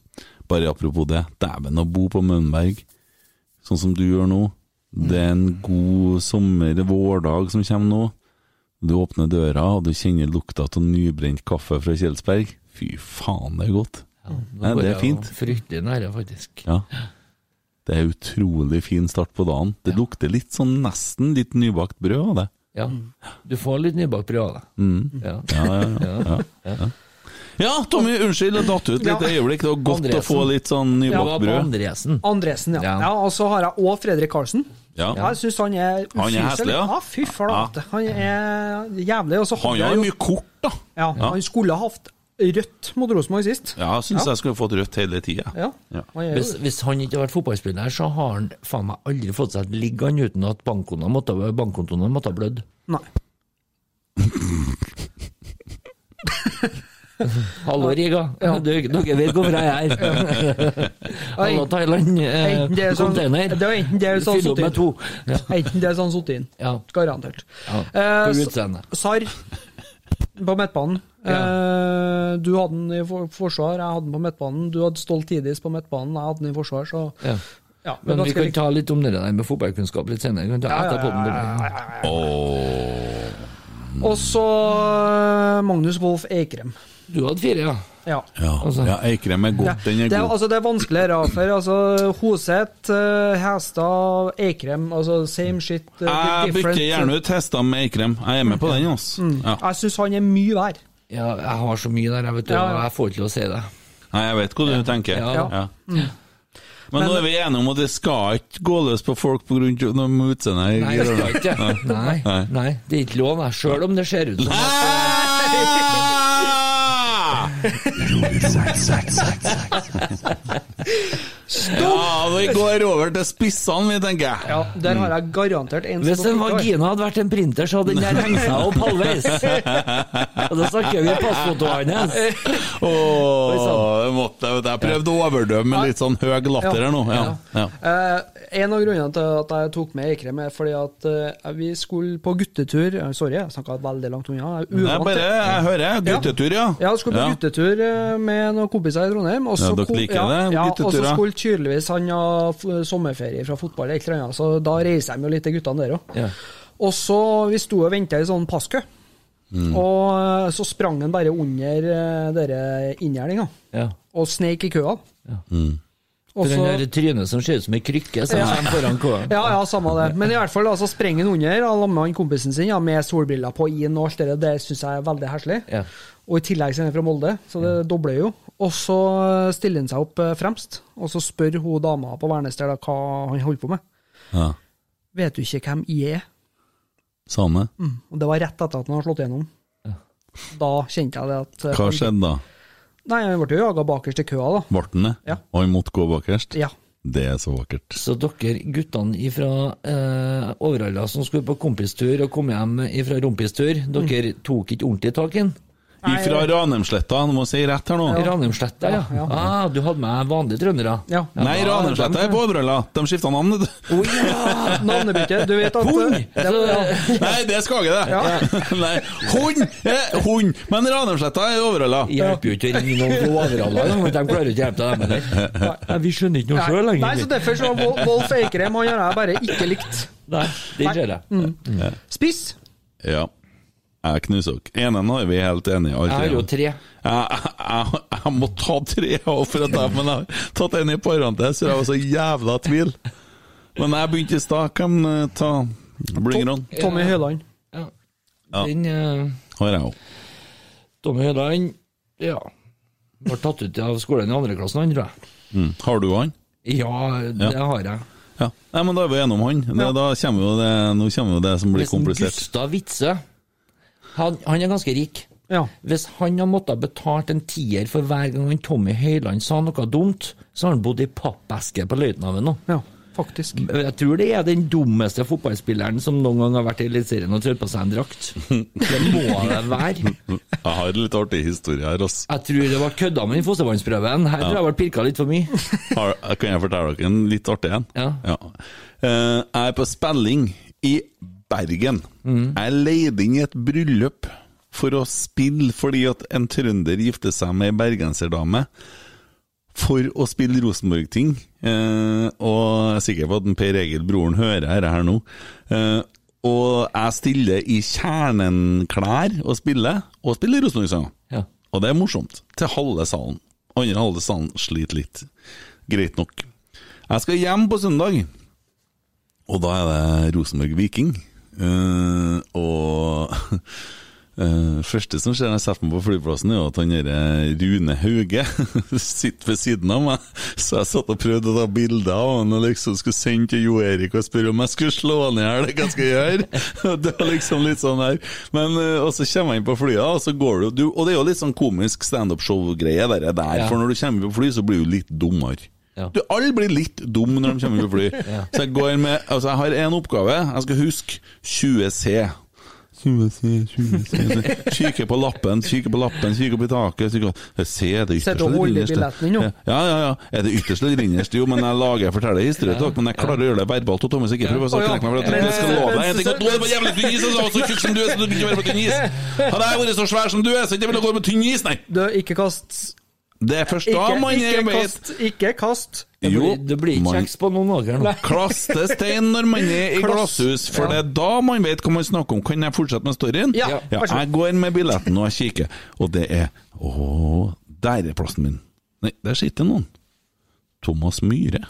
S2: Bare apropos det, dæven å bo på Mønberg, sånn som du gjør nå. Det er en god sommer, vårdag som kommer nå. Du åpner døra, og du kjenner lukta av nybrent kaffe fra Kjelsberg. Fy faen, det er godt. Nei, det er fint.
S5: Fryktelig nære, faktisk.
S2: Ja. Det er utrolig fin start på dagen. Det lukter litt sånn nesten litt nybakt brød av det.
S5: Ja.
S3: Mm.
S5: Du får litt nybakt brød av det. Ja.
S2: Mm. Ja, ja, ja, ja, ja. ja Tommy, unnskyld, jeg datt ut litt
S3: Ja.
S2: et øyeblikk. Det var godt å få
S5: Andresen.
S2: litt sånn
S5: Det var
S2: nybakt
S5: på
S2: brød.
S5: Andresen.
S3: Andresen, ja.
S5: Ja.
S3: ja og så har jeg òg Fredrik Karlsen.
S2: Ja.
S3: Ja, jeg syns han er
S2: Han er
S3: ufyselig.
S2: heslig, ja.
S3: ja. Fy flate. Han er jævlig. Og så hadde
S2: Han har
S3: jeg
S2: jo
S3: jo
S2: mye kort, da.
S3: ja, Han skulle ha hatt rødt mot Rosenborg sist.
S2: Ja, jeg syns jeg skulle fått rødt hele tida.
S3: Ja. Han er jo-
S5: Hvis, hvis han ikke har vært fotballspiller, så har han faen meg aldri fått seg et ligg han uten at bankkontoen måtte, bankkontoen måtte ha blødd.
S3: Nei.
S5: Hallo, Riga. Du, dere vet hvorfor jeg er her. Hallo, Thailand. Eh,
S3: Enten det er sånn,
S5: container.
S3: det er enten det er sånn
S5: Fyll opp med to.
S3: sotin.
S5: Ja.
S3: Enten det er sånn sotin.
S5: Ja.
S3: Garantert.
S5: Ja,
S3: Eh,
S5: på
S3: så-
S5: utseendet.
S3: Sarr på midtbanen. Eh, du hadde den i for forsvar, jeg hadde den på midtbanen. Du hadde Stolt Tidis på midtbanen, jeg hadde den i forsvar, så
S5: Ja.
S3: ja, det er
S5: Men vi
S3: ganske
S5: kan
S3: likt.
S5: ta litt om det der med fotballkunnskap litt senere. Vi kan ta etterpå om det.
S3: Og så eh, Magnus Wolff Eikrem.
S5: Du hadde fire, ja.
S3: Ja.
S2: Ja, ja Eikrem er god. Den er
S3: det, er-
S2: god.
S3: altså, det er vanskeligere for altså, Hoseth, eh, Hestad, Eikrem altså, Same shit, eh,
S2: Jeg
S3: different.
S2: bytter gjerne ut hester med Eikrem. Jeg er med på den, altså. Ja.
S3: Jeg syns han er mye vær.
S5: ja. Jeg har så mye der, jeg vet du,
S3: Ja,
S5: og
S3: ja.
S5: jeg får ikke til å si det.
S2: Nei, jeg vet hva du tenker.
S5: Ja.
S2: Ja. Men nå er vi enige om at det skal ikke gå løs på folk pga. utseendet.
S5: Nei, jeg skal ikke det. Nei,
S2: Nei.
S5: nei, det er ikke lov, nei, sjøl om det ser ut som
S2: Ah! Ja, vi går over til spissene, vi, tenker jeg.
S3: Ja, Der har jeg garantert en
S5: Hvis en
S3: ikke har.
S5: vagina hadde vært en printer, så hadde den der hengt seg opp halvveis. Og da snakker vi passfotoet hans.
S2: Åh,
S5: Oi, sann.
S2: jeg måtte, jeg vet, jeg prøvde å overdøve med litt sånn høy latter her nå. Ja, ja.
S3: Eh, en av grunnene til at jeg tok med Eikrem, er fordi at eh, vi skulle på guttetur Eh, Sorry, jeg snakka veldig langt unna. Jeg er
S2: Nei,
S3: uvant til-
S2: bare, jeg hører guttetur, ja.
S3: Ja, skulle på
S2: Ja.
S3: guttetur eh, med noen kompiser i Trondheim. og så
S2: Ja, dere
S3: kom-
S2: liker
S3: ja,
S2: det,
S3: ja, Og så
S2: gutteturer.
S3: skulle tydeligvis han ha f- sommerferie fra fotball, eller et eller annet, så da reiser de jo litt, de guttene der òg.
S5: Ja.
S3: Og så vi sto og venta i sånn passkø,
S5: Mm.
S3: og eh, så sprang han bare under eh, dere inngjerdinga
S5: Ja.
S3: og sneik i køa. Og
S5: For den
S3: så-
S5: der trynet som ser ut som ei krykke, som
S3: Ja.
S5: kommer foran køen.
S3: Ja, ja, samme det. Men i hvert fall, altså, sprenger han under og lammer han kompisen sin ja, med solbriller på inn og alt det der. Det syns jeg er veldig heslig.
S5: Ja.
S3: Og i tillegg så er han fra Molde, så det dobler jo. Og så stiller han seg opp eh, fremst, og så spør hun dama på Værnes der da hva han holder på med.
S2: ja.
S3: Vet du ikke hvem jeg er?
S2: Sane,
S3: Mm. Og det var rett etter at han hadde slått gjennom. Da kjente jeg det at eh,
S2: hva skjedde da?
S3: Nei, han ble jo jaga bakerst i køa, da.
S2: Ble han det?
S3: Ja.
S2: Og han måtte gå bakerst?
S3: Ja.
S2: Det er så vakkert.
S5: Så dere guttene fra eh, Overhalla som skulle på kompistur og kom hjem fra rompistur,
S3: Mm.
S5: dere tok ikke ordentlig tak i den?
S2: Ifra Ranheimsletta, nå må jeg si rett her nå.
S5: Ranheimsletta, ja.
S2: Ja, ja.
S5: Ah, du hadde med vanlige trøndere?
S3: Ja.
S2: Nei, Ranheimsletta er på Overhalla. De skifta navn, vet du.
S3: Navnebytte. Du vet at eh,
S2: Hund!
S3: det, ja.
S2: Nei, det er Skage, det. Nei, hund! Eh, hund! Men Ranheimsletta er i Overhalla.
S5: Hjelper jo ikke å ringe noen fra Overhalla, de de klarer jo ikke å hjelpe deg med det. Nei, vi skjønner ikke noe sjøl
S3: Nei,
S5: lenger.
S3: nei, så derfor så Wol- Wolf Eikrem han har jeg bare ikke likt.
S5: Nei, det ser jeg.
S3: Mm. Spiss.
S2: Ja. Jeg knuser dere. Enen har vi helt enig i. alle
S5: Jeg har jo
S2: tre.
S5: tre.
S2: Jeg, jeg, jeg må ta tre òg, for at jeg, men jeg har tatt en i parentes, for jeg var så jævla tvil. Men jeg begynte i stad. Hvem eh, ta Blingeron?
S3: Tommy Høiland.
S2: Ja.
S5: Den eh,
S2: Har jeg òg.
S5: Tommy Høiland, ja Ble tatt ut av skolen i andre klassen, han, tror jeg.
S2: Mm. Har du han?
S5: Ja, det har jeg.
S2: Ja. Nei, men da er vi gjennom han. Det, Da kommer jo det, nå kommer jo det som blir
S5: Hvis en
S2: komplisert.
S5: Gustav Witzøe han, han er ganske rik. Hvis han har måttet betalt en tier for hver gang han Tommy Høiland sa noe dumt, så har han bodd i pappeske på Løitenhaven nå.
S3: Ja, faktisk.
S5: Jeg tror det er den dummeste fotballspilleren som noen gang har vært i Eliteserien og trødd på seg en drakt. Det må det være.
S2: Jeg har litt artig historie her, ass.
S5: Jeg tror det ble kødda med den fostervannsprøven. Her tror jeg ble pirka litt for mye.
S2: Har, kan jeg fortelle dere en litt artig en? Ja. Eh, jeg er på spilling i Bergen.
S5: Mhm.
S2: Jeg er leid inn i et bryllup for å spille fordi at en trønder gifter seg med ei bergenserdame. For å spille Rosenborg-ting, eh, og jeg er sikker på at en Per Egil, broren, hører dette her nå. Eh, og jeg stiller i kjernenklær og spiller, og spiller Rosenborg-sanger.
S5: Ja.
S2: Og det er morsomt. Til halve salen. Andre halve salen sliter litt. Greit nok. Jeg skal hjem på søndag, og da er det Rosenborg Viking. Eh, og eh, første som skjer når jeg setter meg på flyplassen, er jo at han derre Rune Hauge sitter ved siden av meg. Så jeg satt og prøvde å ta bilder av han og liksom skulle sende til Jo Erik og spørre om jeg skulle slå han i hjel, hva skal jeg gjøre? Og Det var liksom litt sånn her. Men, eh, og så kommer jeg inn på flyet, og så går det jo du, Og det er jo litt sånn komisk standup-show-greie der, der
S5: Ja.
S2: for når du kommer på fly, så blir du litt dummere. Du, alle blir litt dum når de kommer på fly.
S5: Ja.
S2: Så jeg går med Altså, jeg har én oppgave. Jeg skal huske 20C. 20C, 20C Kikke på lappen, kikke på lappen, kikke opp i taket kikke opp- Se, er det ytterste
S3: Sitter og
S2: eller
S3: holder
S2: innerste?
S3: billetten din nå.
S2: Ja, ja, ja. Er det ytterste eller innerste? Jo, men jeg lager jeg forteller historie til dere, men jeg klarer å gjøre det verbalt. Og Thomas, ikke prøv å
S5: Å, ja.
S2: knekke meg for at jeg skal love deg en ting. Og du er på jævlig tynn is, altså. og så- så tjukk som du er, så du kan ikke være på tynn is. Hadde jeg vært så svær som du er, så ikke ville jeg gått på tynn is, nei.
S3: Du, ikke kast
S2: Det er først da
S3: ikke,
S2: man
S3: ikke
S2: vet
S3: kast, ikke kast.
S2: Det blir- Jo, det blir ikke man-
S5: Kjeks på noen dager nå.
S2: Kaste stein når man er i
S5: Klass.
S2: glasshus, for det er da man vet hva man snakker om. Kan jeg fortsette med storyen?
S5: Ja, vær så god.
S2: jeg går med billetten og jeg kikker, og det er Å, der er plassen min. Nei, der sitter noen. Thomas Myhre.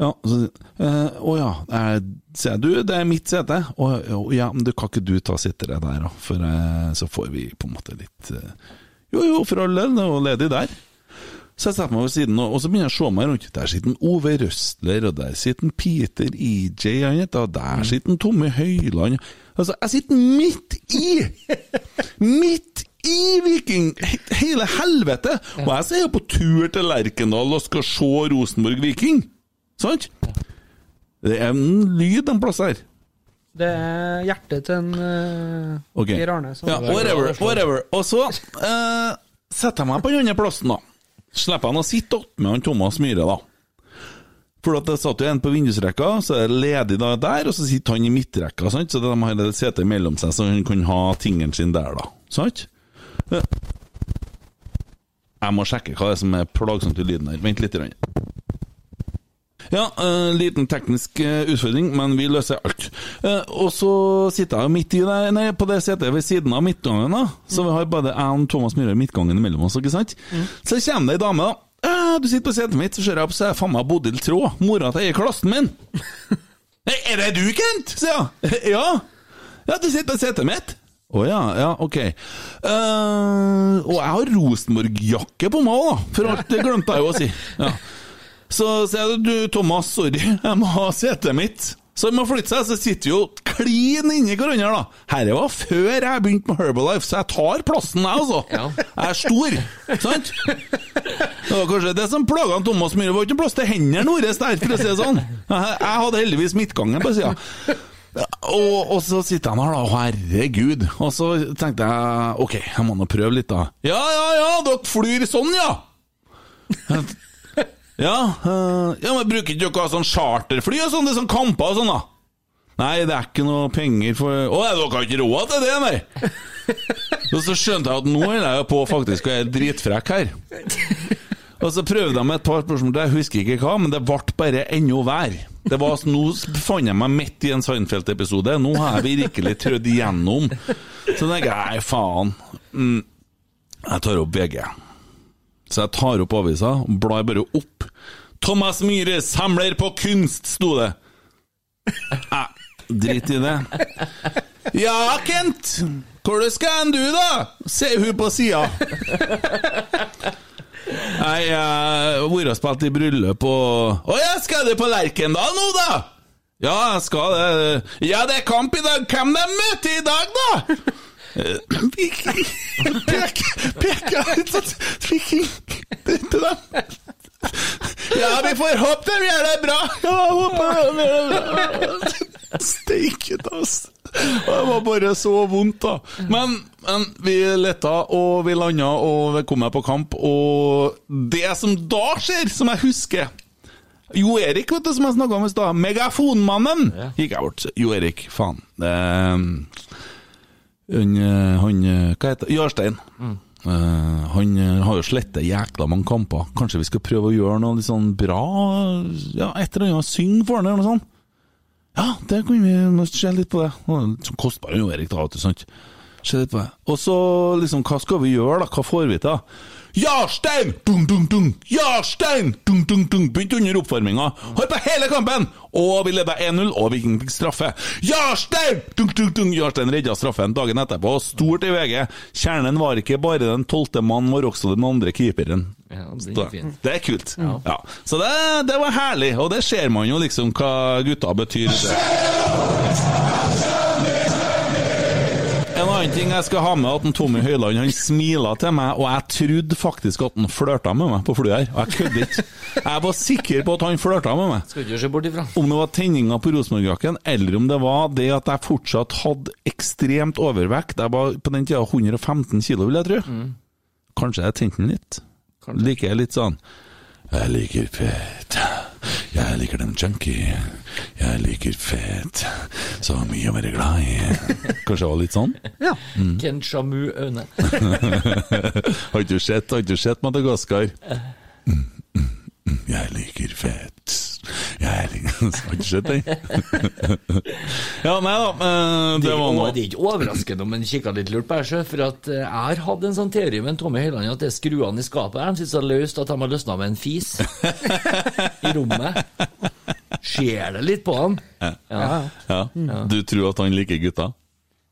S2: Ja, så, eh, å ja, eh, sier jeg, du, det er mitt sete. Å å, ja, men du kan ikke du ta sitteret der, da, for eh, så får vi på en måte litt eh, Jo jo, for all del, det er jo ledig der. Så jeg setter meg ved siden, og og så begynner jeg å se meg rundt. Der sitter en Ove Røsler, og der sitter en Peter EJ, han heter, og der sitter en Tommy Høiland. Altså, jeg sitter midt i! Midt i Viking! he- Hele helvete! Og jeg skal jo på tur til Lerkendal og skal se Rosenborg Viking. Sant? Det er en lyd en plass her.
S3: Det er hjertet til en eh,
S2: Ok.
S3: Per Arne. som-
S2: Ja, whatever, whatever. Og så eh, setter jeg meg på den andre plassen, da. Slipper han å sitte opp med han Thomas Myhre, da. For at det satt jo en på vindusrekka, så er det ledig da der, og så sitter han i midtrekka, sant? så de har et sete mellom seg, så han kan ha tingen sin der, da. Sant? Eh, Jeg må sjekke hva det er som er plagsomt i lyden her. Vent litt. Grann. Ja, eh, liten teknisk eh, utfordring, men vi løser alt. Eh, og så sitter jeg midt i der, nei, på det setet ved siden av midtgangen, da. Så vi har bare jeg og Thomas Myhre i midtgangen mellom oss, ikke sant? Så kommer det ei dame, da. «Eh, du sitter på setet mitt, så ser jeg opp, så er faen meg Bodil Traa, mora til ei i klassen min. «Nei, Er det du, Kent? sier jeg. Ja. Ja, du sitter på setet mitt. Å ja, ja, ok. Eh, og jeg har Rosenborg-jakke på meg òg, da, for alt det glemte jeg jo å si. Ja. Så sier jeg du, Thomas, sorry, jeg må ha setet mitt. Så jeg må flytte seg, så sitter vi jo klin inni hverandre, da. Herre var før jeg begynte med Herbalife, så jeg tar plassen, jeg, altså. Jeg er stor, sant? Det var kanskje det som plaga han Thomas Myhre, var ikke plass til hendene våre der, for å si det sånn. Jeg jeg hadde heldigvis midtgangen på sida. Og, og så sitter han her, da. Herregud. Og så tenkte jeg ok, jeg må nå prøve litt, da. Ja, ja, ja, dere flyr sånn, ja! Ja, eh, ja men bruker ikke dere sånn charterfly og sånn, det er sånn kamper og sånn da? Nei, det er ikke noe penger for Å, nei, dere har ikke råd til det, nei! Og så skjønte jeg at nå er jeg jo på faktisk å være dritfrekk her. Og så prøvde jeg med et par spørsmål, jeg husker ikke hva, men det ble bare enda vær. Det var, sånn, nå fant jeg meg midt i en Seinfeld-episode, nå har jeg virkelig trødd igjennom. Så tenker jeg, nei faen. Mm, jeg tar opp VG. Så jeg tar opp avisa, og blar bare opp. Thomas Myhre samler på kunst, sto det. Eh, drit i det. Ja, Kent! Hvor skal du, da? Se hun på sida. Nei, jeg har vært og spilt i bryllup og Å ja, skal du på Lerkendal nå, da? Ja, jeg skal det. Ja, det er kamp i dag. Hvem de møter i dag, da? Eh, Viking Pek, Peker ut sånn Viking til dem. Ja, vi får håpe de gjør det bra. Ja, jeg håper de gjør det bra. Steike ta, ass. Det var bare så vondt, da. Men, men vi letta, og vi landa, og vi kom meg på kamp. Og det som da skjer, som jeg husker Jo Erik, vet du, som jeg snakka om i stad. Megafonmannen! Gikk jeg bort. Jo Erik, faen. Eh, han, eh, han eh, Hva heter Jarstein. Eh, han eh, har jo slettet jækla mange kamper. Kanskje vi skal prøve å gjøre noe litt sånn bra? Ja, Et eller annet synge for han, eller noe sånt? Ja, det kunne vi må se litt på det. Så kostbar jo Erik, da, vet du. sant? Se litt på det. Og så liksom, hva skal vi gjøre, da? Hva får vi til? da? Jarstein! Dung, dung, dung! Jarstein! Dung, dung, dung! Begynte under oppvarminga. Holdt på hele kampen! Og vi leda 1-0, og Viking fikk straffe. Jarstein! Dung, dung, dung! Jarstein redda straffen dagen etterpå. Stort i VG. Kjernen var ikke bare den tolvte mannen, var også den andre keeperen.
S5: Ja, det
S2: Så
S5: er fint.
S2: Det er kult. Ja. Så det, det var herlig, og det ser man jo liksom hva gutta betyr. En annen ting jeg skal ha med, at en Tommy Høiland han smila til meg, og jeg trodde faktisk at han flørta med meg på flyet her. Og jeg kødder ikke. Jeg var sikker på at han flørta med meg.
S5: Skal ikke se bort ifra.
S2: Om det var tenninga på Rosenborg-jakken, eller om det var det at jeg fortsatt hadde ekstremt overvekt. Jeg var på den tida 115 kilo, vil jeg tro. Kanskje jeg tente den litt. Liker jeg litt sånn Jeg liker fett. Jeg liker den junkie. Jeg liker fett. Så mye å være glad i. Kanskje jeg var litt sånn?
S5: Ja. Kent Shamu Aune.
S2: har ikke du sett, har ikke du sett Madagaskar? Mm, mm, mm, Jeg liker fett. Jeg liker Har ikke sett den? ja, nei da. eh,
S5: Det
S2: Det var
S5: er ikke-
S2: noe.
S5: Det er ikke overraskende om en kikker litt lurt på her, sjø, for at eh, jeg har hatt en sånn teori med en Tommy Høiland at det er skruene i skapet her, de sitter så løst at de har løsna med en fis i rommet. Ser det litt på han. Ja.
S2: Ja.
S5: Ja.
S2: Du tror at han liker gutta?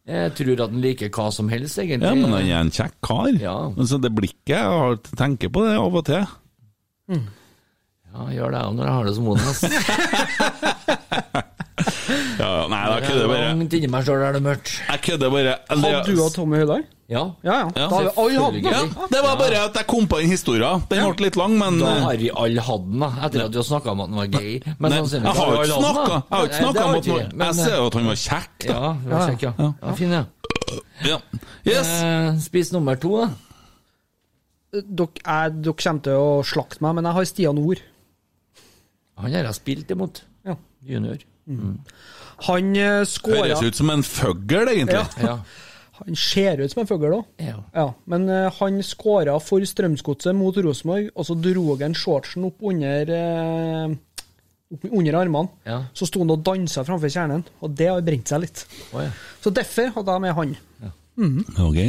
S5: Jeg tror at han liker hva som helst, egentlig.
S2: Ja, men han er en kjekk kar. Men Så det blikket jeg har, tenker på det av og til.
S5: Ja, gjør det jeg òg når jeg har det som vond. ass.
S2: Ja, ja, nei, da kødder bare.
S5: langt inni meg sjøl er det mørkt.
S2: Jeg kødder bare.
S3: Hadde du og Tommy Høiland?
S5: Ja.
S3: Ja, ja. Da har vi alle hatt den.
S2: Ja, det var bare at jeg kom på den historien. Den ble litt lang, men
S5: Da har vi alle hatt den, da, etter at vi har snakka om at den var gay. Men
S2: Nei,
S5: sannsynligvis
S2: jeg har jo
S5: vi
S2: ikke
S5: alle hatt den,
S2: snakka
S5: da.
S2: Jeg har jo ikke
S5: Nei, det
S2: snakka om
S5: har
S2: at
S5: vi
S2: han-
S5: ikke, men, eh,
S2: Jeg ser jo at han var kjekk, da.
S5: Ja, det var kjekk, ja. ja. fin, ja.
S2: Ja. Yes.
S5: Eh, spis nummer to, da.
S3: Dere, jeg, dere kommer til å slakte meg, men jeg har Stian Ord.
S5: Han har jeg spilt imot.
S3: Ja.
S5: Junior.
S3: Han eh,
S2: Høres
S3: skåra
S2: ut som en føggel, egentlig.
S5: Ja.
S3: Han ser ut som en fugl òg.
S5: Ja.
S3: Ja, men eh, han skåra for Strømsgodset mot Rosenborg, og så dro han shortsen opp under eh, opp under armene.
S5: Ja.
S3: Så sto han og dansa framfor kjernen, og det har brent seg litt.
S5: Å, ja.
S3: Så derfor hadde jeg med han.
S2: Ok.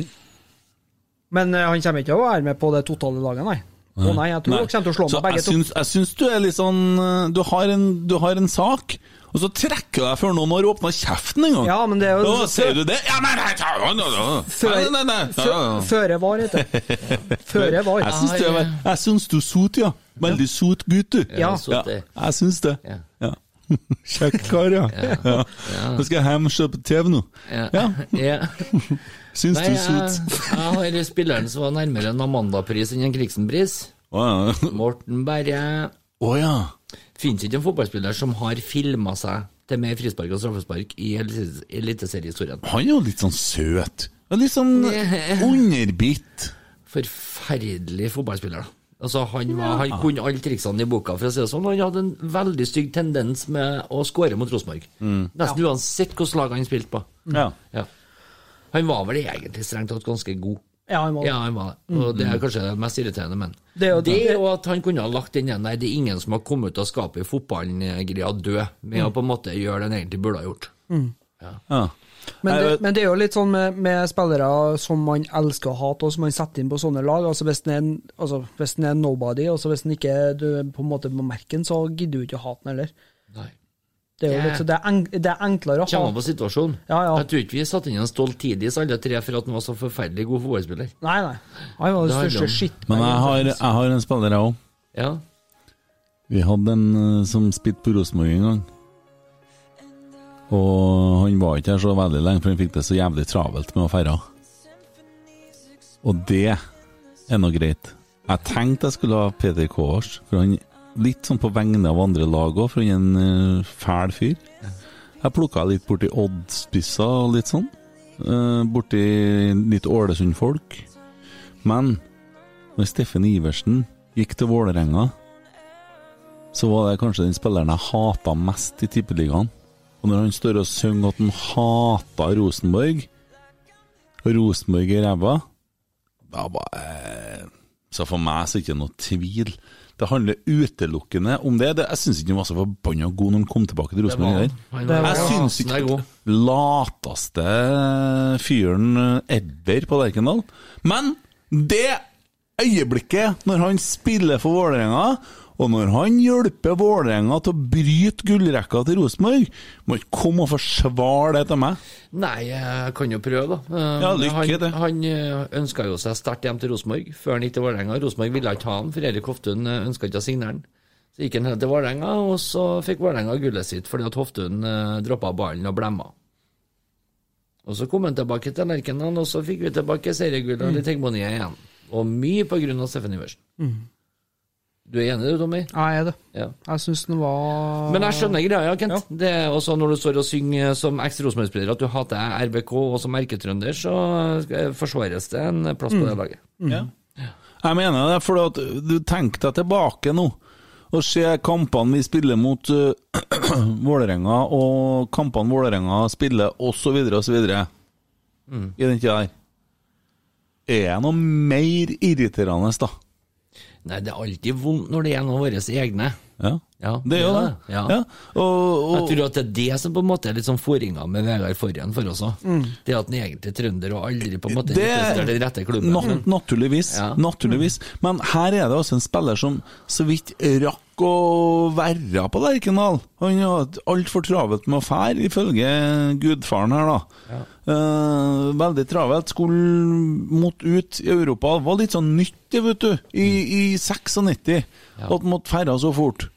S3: Men eh, han kommer ikke til å være med på det totale laget, nei. Å nei, jeg tror
S2: Nei.
S3: dere kommer til å slå
S2: Så
S3: meg begge
S2: jeg
S3: to.
S2: syns, jeg syns du er litt sånn eh, Du har en, du har en sak, og så trekker du deg før noen har åpna kjeften en gang.
S3: Ja, men det er jo-
S2: Å, sier du det? Ja, men jeg tar jo noe, da.
S3: Før-
S2: Nei, nei, nei, nei,
S3: Fø-
S2: nei, nei.
S3: Føre var, heter det. Føre var.
S2: Jeg syns du er vel- jeg syns du er sot, ja. Veldig sot gutt, du.
S3: Ja.
S5: sot, det.
S2: jeg syns det.
S5: Ja.
S2: Ja. Kjekk kar, ja. ja. Nå skal jeg hjem og se på TV nå. Ja,
S5: Ja.
S2: syns
S5: Nei,
S2: du er
S5: jeg,
S2: sot?
S5: jeg har spilleren som var nærmere en Amanda-pris enn en Krigsen-pris.
S2: Å ja.
S5: Morten Berre.
S2: Å ja.
S5: Fins ikke en fotballspiller som har filma seg til mer frispark og straffespark i elit- eliteseriehistorien.
S2: Han er jo litt sånn søt. Ja, Litt sånn underbitt.
S5: Forferdelig fotballspiller. da. Altså, han, var, han kunne alle triksene i boka, for å si det sånn. og Han hadde en veldig stygg tendens med å skåre mot Rosenborg.
S3: Mm.
S5: Nesten uansett hvilket lag han spilte på.
S2: Ja.
S5: Ja. Han var vel egentlig strengt tatt ganske god.
S3: Ja, han var det. Mm.
S5: Ja, han var det. Og det er kanskje det mest irriterende, men
S3: Det er jo det.
S5: og at han kunne ha lagt den igjen Nei, det er ingen som har kommet ut av skapet i fotballen-greia død, med
S3: Mm.
S5: å på en måte gjøre det han egentlig burde ha gjort.
S2: ja.
S3: Men
S2: Nei,
S3: det,
S2: vet-
S3: men det er jo litt sånn med, med spillere som man elsker å hate, og som man setter inn på sånne lag. Altså Hvis den er, en- altså, hvis den er nobody, altså hvis den ikke du, på en måte må merke den, så gidder du ikke å hate den heller.
S5: Nei.
S3: Det er jo
S5: Ja.
S3: litt, så det er, enk, det er enklere å
S5: Kommer an
S3: hate
S5: på situasjonen.
S3: Ja, ja.
S5: Jeg tror ikke vi satte inn en stolt tidis alle tre for at han var så forferdelig god fotballspiller.
S3: Nei, nei. Han var den
S5: Det er
S3: største
S5: dum.
S3: skitt...
S2: Men jeg har, jeg har en spiller, jeg òg.
S5: Ja.
S2: Vi hadde en eh, som spilte på Rosenborg en gang. Og han var ikke her så veldig lenge, for han fikk det så jævlig travelt med å ferde. Og det er nå greit. Jeg tenkte jeg skulle ha Peter Kårs, for han litt sånn på vegne av andre lag òg, for han er en eh, fæl fyr. Jeg plukka litt borti Odd-spissa og litt sånn. Eh, Borti litt Ålesund-folk. Men når Steffen Iversen gikk til Vålerenga så var det kanskje den spilleren jeg hata mest i Tippeligaen. Og når han står og synger at han hata Rosenborg, og Rosenborg er ræva da bare- Så for meg så er det ikke noe tvil. Det handler utelukkende om det. det jeg syns ikke han var så forbanna god når han kom tilbake til Rosenborg. heller.
S3: Det
S5: Han var-
S3: var-
S2: Jeg syns
S5: Han er
S2: ikke
S5: god.
S2: lateste fyren ever på Lerkendal. Men det øyeblikket når han spiller for Vålerenga, og når han hjelper Vålerenga til å bryte gullrekka til Rosenborg, må ikke komme og forsvare det til meg.
S5: Nei, jeg kan jo prøve, da. Eh,
S2: Ja, lykke
S5: han,
S2: til.
S5: Han ønska jo seg sterkt hjem til Rosenborg, før han gikk til Vålerenga. Rosenborg ville ikke ha han, for Erik Hoftun ønska ikke å signere han. Så gikk han helt til Vålerenga, og så fikk Vålerenga gullet sitt fordi at Hoftun eh, droppa ballen og blemma. Og så kom han tilbake til Lerkendal, og så fikk vi tilbake seriegullet og litt hegemoni igjen. Og mye på grunn av Steffen Iversen. Du er enig du, Tommy?
S3: Ja, jeg er det.
S5: Ja.
S3: Jeg syns den var
S5: Men jeg skjønner greia, Kent. Det er også når du står og synger som eks-Rosenborg-spiller at du hater RBK og som erketrønder, så eh, forsvares det en plass på det
S2: Mm.
S5: laget.
S2: Jeg mener det, for at du tenker deg tilbake nå og se kampene vi spiller mot eh, Vålerenga, og kampene Vålerenga spiller, osv., osv. videre
S5: Mm.
S2: I den tida der. Er det noe mer irriterende, da?
S5: Nei, det er alltid vondt når det er en av våre egne.
S2: Ja.
S5: Ja,
S2: Det er jo
S5: ja,
S2: det.
S5: ja.
S2: Og,
S5: Jeg
S2: og,
S5: tror at det er det som på en måte er litt sånn forringa med Vegard Forhen for oss òg. Det at han egentlig er trønder og aldri på en måte
S2: Mm. Det-
S5: representerer den rette klubben.
S2: Nat naturligvis,
S5: Ja.
S2: naturligvis. Men her er det altså en spiller som så vidt rakk å være på Lerkendal. Han har altfor travelt med å fære, ifølge gudfaren her, da. Eh, veldig travelt. Skulle måtte ut i Europa. Det var litt sånn nytt, det, vet du, i, i 96. At han måtte ferde så fort.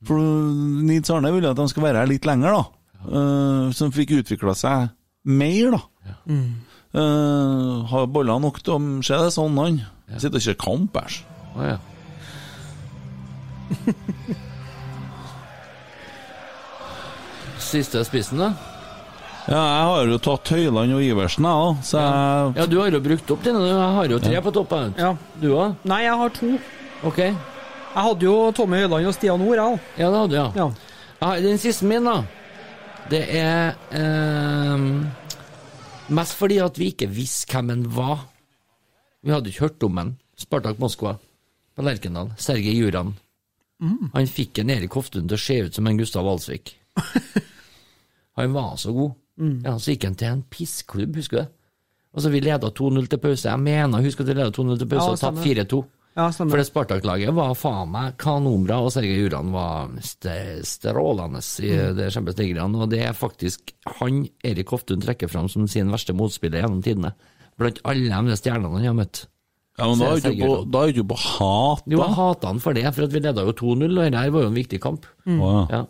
S2: For Nils Arne ville at de skulle være her litt lenger, da. eh, som fikk utvikla seg mer, da. Eh, har boller nok til å se det sånn, han. Sitter og kjører kamp, æsj.
S5: Siste spissen, da?
S2: Ja, jeg har jo tatt Høyland og Iversen, jeg òg, så jeg
S5: Ja, du har jo brukt opp dine. Jeg har jo tre
S2: Ja.
S5: på toppen.
S3: Ja.
S5: Du òg?
S3: Nei, jeg har to.
S5: Ok.
S3: Jeg hadde jo Tommy Høiland og Stian Nord, jeg òg.
S5: Ja, det hadde du, ja. Jeg har- Den siste min, da, det er ehm, mest fordi at vi ikke visste hvem han var. Vi hadde ikke hørt om han. Spartak Moskva på Lerkendal. Sergej Juran.
S3: Mm.
S5: Han fikk en Erik Hoftun til å se ut som en Gustav Alsvik. Han var så god.
S3: Mm.
S5: Ja, Så gikk han til en pissklubb, husker du det? Og så Vi leda 2-0 til pause. Jeg mener, husker at vi leda 2-0 til pause
S3: Ja,
S5: og tapte
S3: stemmer.
S5: 4-2.
S3: Ja, stemmer.
S5: For det Spartak-laget var faen meg kanonbra, og Sergej Juran var st strålende i
S3: Mm.
S5: det Champions League-greiene. Og det er faktisk han Erik Hoftun trekker fram som sin verste motspiller gjennom tidene. Blant alle de stjernene han har møtt.
S2: Ja, men da er
S5: Så
S2: du
S5: Sergej
S2: ikke på,
S5: Juran.
S2: da er du ikke på hat,
S5: Jo, jeg
S2: da.
S5: hata han for det, for at vi leda jo 2-0, og dette her var jo en viktig kamp.
S2: Mm. Å,
S5: Ja.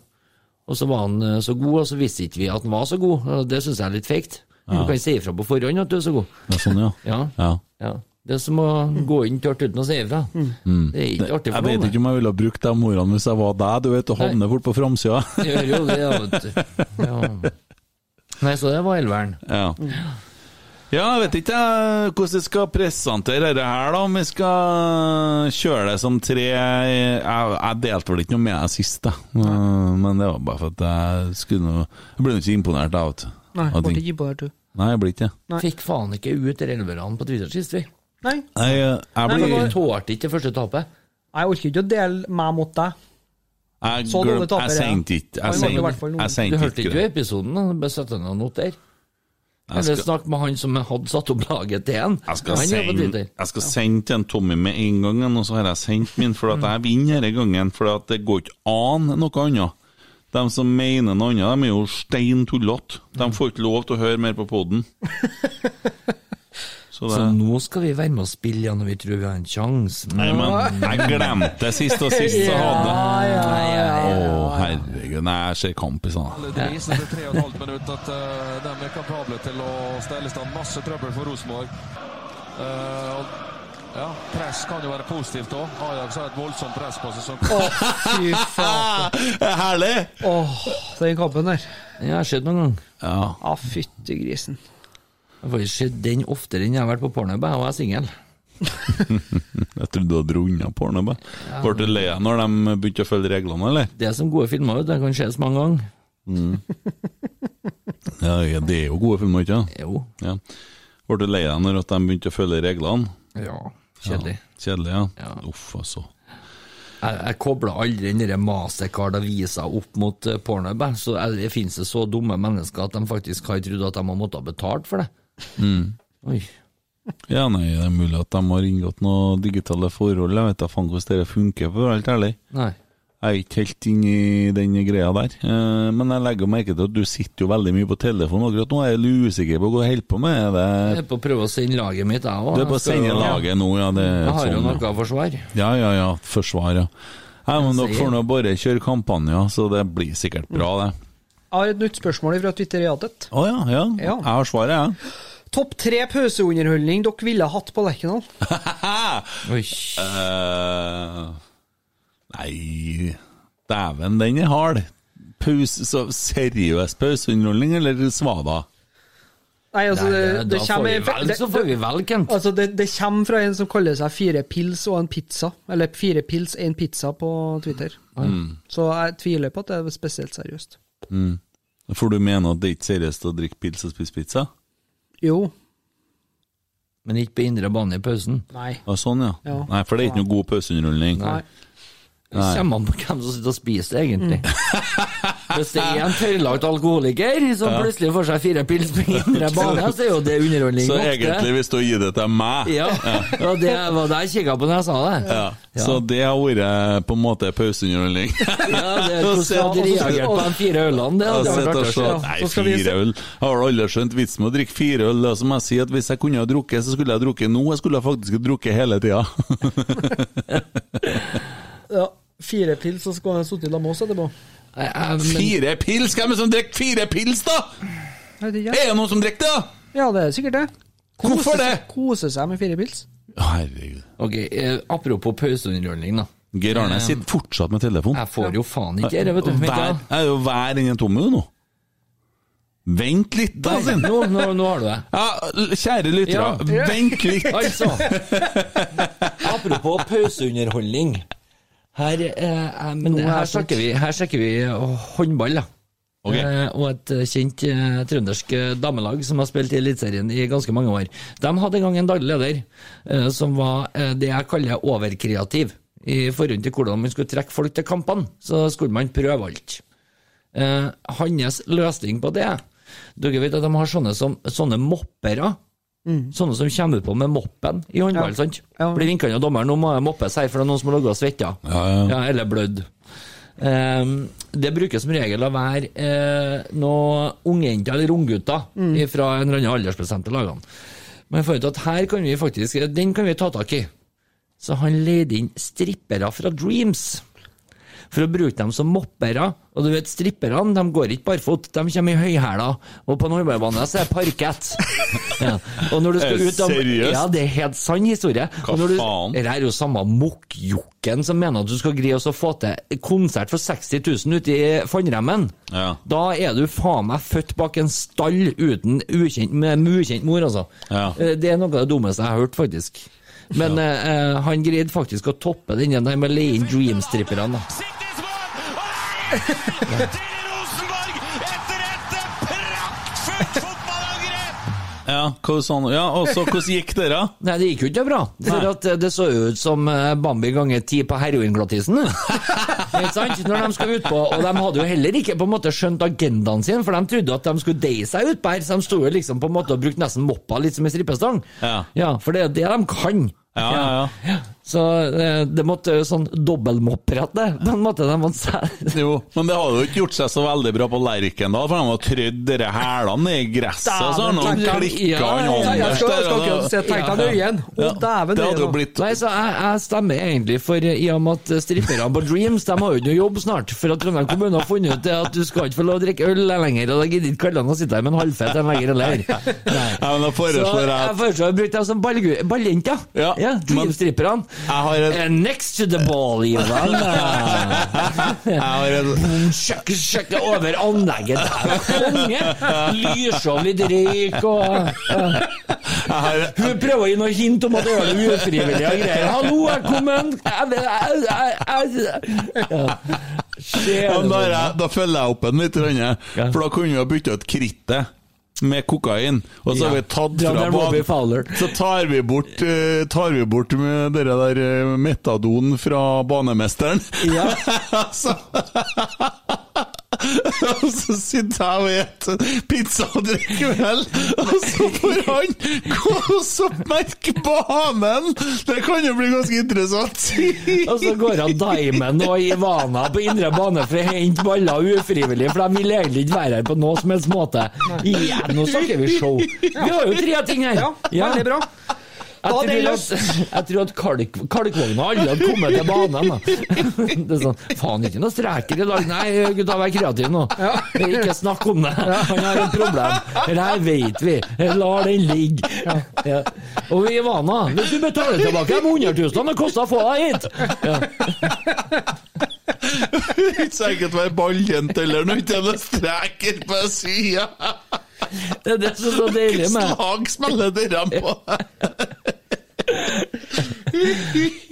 S5: Og så var han eh, så god, og så visste ikke vi at han var så god. og Det syns jeg er litt feigt.
S2: Ja.
S5: Du kan si ifra på forhånd at du er så god.
S2: Ja, sånn, ja.
S5: Ja.
S2: ja.
S5: Ja. Det er som å gå inn tørt uten å si ifra.
S2: Mm.
S5: Det er ikke artig
S2: Jeg
S5: for
S2: vet
S5: noen.
S2: ikke om jeg ville ha brukt de ordene hvis jeg var deg, du vet, du havner fort på framsida.
S5: Jeg Gjør jo det, ja, vet du. Ja. Nei, så det var elveren.
S2: Ja. ja, jeg vet ikke jeg, hvordan jeg skal presentere dette her, da. Om vi skal kjøre det som tre Jeg, jeg delte vel ikke noe med deg sist, da. Men det var bare for at jeg skulle nå Jeg ble nå ikke imponert, jeg, vet du.
S3: Nei,
S2: Av
S3: ble
S2: ting.
S3: ikke imponert, du.
S2: Nei, jeg ble ikke det.
S3: Nei.
S5: Fikk faen ikke ut elverne på Twitter sist, vi.
S3: Nei,
S2: Nei, jeg, jeg
S3: Nei,
S2: blir
S3: det var-
S5: Vi tålte ikke det første tapet.
S3: jeg orker ikke å dele meg mot deg.
S2: Jeg,
S3: Så dårlig
S2: glem-
S3: taper,
S2: jeg
S3: ja.
S2: sendte ikke
S3: Han var
S2: Jeg
S3: i hvert fall
S2: sendte
S3: noen.
S2: jeg
S5: Du
S2: sendte
S5: hørte
S2: ikke
S5: ikke jo
S2: det.
S5: episoden, da? Bare sette ned noe der.
S2: Jeg
S5: Eller
S2: skal-
S5: snakk med han som hadde satt opp laget til en.
S2: Jeg skal,
S5: han er på
S2: sende,
S5: Twitter.
S2: jeg skal sende til en Tommy med en gang, og så har jeg sendt min, for at jeg vinner denne gangen. For at det går ikke an noe annet. De som mener noe annet, de er jo stein tullete. De får ikke lov til å høre mer på poden. Så det
S5: Så nå skal vi være med og spille igjen, og vi tror vi har en sjanse.
S2: Nei, men jeg glemte det sist, og sist så hadde jeg Å, herregud. Nei, jeg ser kamp i sånn.
S9: Det viser etter tre og et halvt minutt at eh, de er kapable til å stelle i stand masse trøbbel for Rosenborg. Eh, og- ja, press kan jo være positivt òg. Ajax har et voldsomt press på seg. Som
S3: Fy faen.
S2: Herlig!
S3: Åh, den kampen der.
S5: Ja, har skjedd noen gang.
S2: Ja.
S3: Ja, fytti grisen.
S5: Jeg har faktisk sett den oftere enn jeg har vært på pornhub, jeg, og jeg er singel.
S2: Jeg trodde du hadde runda porno. bare. Ble du lei deg når de begynte å følge reglene, eller?
S5: Det er som gode filmer, vet du. Det kan skjes mange ganger.
S2: Ja, ja, det er jo gode filmer, ikke sant?
S5: Jo.
S2: Ja. Ble du lei deg når at de begynte å følge reglene?
S5: Ja. Kjedelig.
S2: Kjedelig, ja. Uff, altså.
S5: Jeg, jeg kobla aldri den der Mastercard-avisa opp mot eh, pornhub. jeg. Så jeg- det finnes det så dumme mennesker at de faktisk har trodd at de har måttet ha betalt for det.
S2: Mm.
S5: Oi.
S2: Ja, nei, det er mulig at de har inngått noen digitale forhold. Jeg vet da faen hvordan det funker, for å være helt ærlig.
S5: Nei.
S2: Jeg er ikke helt inne i den greia der. Eh, Men jeg legger merke til at du sitter jo veldig mye på telefonen akkurat nå. Jeg er litt usikker på hva jeg holder på med. Er
S5: Jeg
S2: det
S5: er på å prøve å sende laget mitt, jeg òg.
S2: Du er på sendelaget nå, ja. Det er
S5: Jeg har jo
S2: sånn, ja.
S5: noe å forsvare.
S2: Ja, ja, ja. Forsvar, ja. Nei, men dere
S5: sier-
S2: får nå bare kjøre kampanjer, så det blir sikkert bra, det.
S3: Jeg har et nytt spørsmål fra Twitteriatet.
S2: Å ja, ja.
S3: Ja.
S2: Jeg har svaret, jeg.
S3: Topp tre pauseunderholdning dere ville hatt på Lerkendal?
S5: Oi.
S2: Eh, nei Dæven, den er hard. Pause, så seriøs pauseunderholdning, eller svada?
S3: Nei, altså,
S5: Nei,
S3: det,
S5: det-
S3: det
S5: da får
S3: kommer
S5: vi vel-
S3: det-
S5: så får vi vel, Kent.
S3: Altså, det, det kommer fra en som kaller seg Fire pils og en pizza. Eller Fire pils, en pizza på Twitter.
S5: Mm.
S3: Så jeg tviler på at det er spesielt seriøst.
S2: For du mener at det er ikke seriøst å drikke pils og spise pizza?
S3: Jo.
S5: Men ikke på indre bane i pausen.
S3: Nei.
S2: Ja, sånn, ja.
S3: Ja.
S2: Nei, for det er ikke noe god pauseunderholdning.
S3: Nei.
S5: Det kommer an på hvem som sitter og spiser, det, egentlig.
S3: Mm.
S5: Hvis det er en tørrlagt alkoholiker som plutselig får seg fire pils på indre bane, så er jo det underholdning
S2: Så
S5: nok, det.
S2: egentlig, hvis du gir det til meg
S5: Ja, og det var det jeg kikka på når jeg sa det.
S2: Ja. Så det har vært på en måte pauseunderholdning.
S5: Ja, det er Hvordan hadde reagert på de fire ølene? Det
S2: Jeg
S5: hadde
S2: sitter og
S5: vært artig.
S2: ser-
S5: å se.
S2: Nei,
S3: Så skal vi
S2: fire øl. Jeg har aldri skjønt vitsen med å drikke fire øl. Det er som jeg sier, at hvis jeg kunne ha drukket, så skulle jeg ha drukket nå. Jeg skulle ha faktisk ha drukket hele tida.
S3: Ja, fire pils, og så skal han sitte sammen med oss etterpå.
S5: eh,
S2: Fire pils? Hvem er det som drikker fire pils, da?!
S3: Er det
S2: Er det noen som drikker det?!
S3: Ja, det er sikkert det.
S2: Hvorfor det?
S3: Kose seg med fire pils.
S2: Herregud.
S5: Ok, eh, Apropos pauseunderholdning, da.
S2: Geir Arne
S5: Eh,
S2: sitter fortsatt med telefon.
S5: Jeg får jo faen ikke dette, vet du.
S2: Hver- Jeg er jo hver inni tomme nå. Vent litt, da,
S5: Nei,
S2: sin!
S5: Altså, nå- nå- nå har du det.
S2: Ja, l- kjære lyttere,
S5: Ja.
S2: vent litt!
S5: Altså, apropos pauseunderholdning. Her, eh, eh, men
S3: Nå er
S5: her
S3: jeg
S5: snakker vi, her snakker vi eh, håndball, da.
S2: Ok.
S5: Eh, og et eh, kjent eh, trøndersk eh, damelag som har spilt i Eliteserien i ganske mange år. De hadde en gang en daglig leder eh, som var eh, det jeg kaller overkreativ i forhold til hvordan man skulle trekke folk til kampene. Så skulle man prøve alt. Eh, hans løsning på det Dere vet at de har sånne, som, sånne moppere. Sånne som kommer på med moppen i
S3: Mm.
S5: håndball.
S3: Ja.
S5: sant? Blir vinket av dommeren nå må jeg moppes her, for det er noen som har ligget og svetta.
S2: ja.
S5: eller blødd. Ehm, det brukes som regel å være eh, noen ungjenter eller unggutter
S2: Mm.
S5: fra en eller annen aldersbestemte lagene. Men jeg fant ut at her kan vi faktisk, eh, den kan vi ta tak i. Så han leide inn strippere fra Dreams for å bruke dem som moppere. Og du vet, stripperne de går ikke barfot, de kommer i høyhæla, og på en håndballbane så er det parkett. Ja. Og når du skal
S2: Er det
S5: ut av,
S2: seriøst?
S5: ja, det er helt sann historie.
S2: Hva
S5: når du,
S2: faen?
S5: Dette er jo samme mokkjokken som mener at du skal greie å få til konsert for 60 000 ute i Fannremmen.
S2: Ja.
S5: Da er du faen meg født bak en stall uten ukjent, med med ukjent mor, altså.
S2: Ja.
S5: Eh, Det er noe av det dummeste jeg har hørt, faktisk. Men eh, eh, han greide faktisk å toppe den der med å leie inn dreamstripperne. da.
S2: Ja, hva sa han? Ja, og så hvordan gikk det, da?
S5: Nei, det gikk jo ikke bra. For at eh, det så jo ut som eh, Bambi ganger ti på heroinglattisen. Ikke sant? Når de skal ut på, og de hadde jo heller ikke på en måte skjønt agendaen sin, for de trodde at de skulle deie seg utpå her, så de sto jo liksom på en måte og brukte nesten moppa litt som en strippestang.
S2: Ja.
S5: Ja, for det er det de kan.
S2: Ja, ja, ja.
S5: Så eh, det måtte jo sånn dobbeltmopprette. Den måtte de måtte se.
S2: Jo, men det har jo ikke gjort seg så veldig bra på Lerkendal, for han har trødd dere hælene i gresset, og så har han
S3: Dæven,
S2: klikket
S5: tenker han-
S2: han
S5: Ja, ja,
S3: Nei, jeg skal, jeg skal ikke se
S2: Anders der. og da-
S3: tenkt deg nøye igjen. Å,
S2: Ja,
S3: dæven.
S2: Det
S3: er
S2: hadde jo
S3: noe.
S2: blitt
S5: Nei, så jeg, jeg stemmer egentlig for eh, i og med at eh, stripperne på Dreams de har jo ikke noe jobb snart. For at Trondheim kommune har funnet ut det at du skal ikke få lov å drikke øl lenger, og da gidder ikke kallene å sitte her med en halvfett en lenger eller Nei.
S2: Ja, men da
S5: Så
S2: foreslår jeg
S5: jeg
S2: at
S5: foreslår å bruke dem som ballgu- balljenter.
S2: Ja,
S5: Ja, Dreams-stripperne.
S2: jeg har et
S5: And next to the ball, Ivan.
S2: jeg har et-
S5: Sjekke, sjekke over anlegget der. Konge! Lyrshow, litt røyk og ja.
S2: jeg har-
S5: Hun prøver å gi noe hint om at det er noe ufrivillig og greier. Hallo, jeg kom en jeg- jeg- jeg- jeg- Ja.
S2: Ja,
S5: Skjer
S2: men
S5: det
S2: da,
S5: noe?
S2: er jeg, da følger jeg opp en litt, Rønne,
S5: Ja.
S2: for da kunne vi ha bytta ut krittet. Med kokain, og så har vi tatt
S5: Ja,
S2: fra
S5: det er Robbie Fowler.
S2: Så tar vi bort, eh, tar vi bort med dere der eh, metadon fra banemesteren.
S5: Ja.
S2: så, og så sitter jeg og spiser pizza og drikker øl, og så får han gå og så merke banen! Det kan jo bli ganske interessant.
S5: Og så går han Diamond og Ivana på indre bane for å hente baller ufrivillig, for de vil egentlig ikke være her på noe som helst måte. Ja, nå snakker vi show. Vi har jo tre ting her.
S3: Ja, veldig bra.
S5: Jeg
S3: Da er det
S5: tror, at, jeg tror at kalk, kalkvogna aldri hadde kommet til banen. Da. Det er sånn, Faen, ikke noe streker i dag. Nei, gutta, vær kreative nå. Ikke snakk om det. Han har et problem. Det her vet vi. La den ligge. Ja. Og Ivana, hvis du betaler tilbake de 100 000 det kosta å få deg hit ja.
S2: Ikke så enkelt å være balljent eller noe, ikke noen streker på sida.
S5: Det er det som er så deilig med
S2: Slag spiller dere på.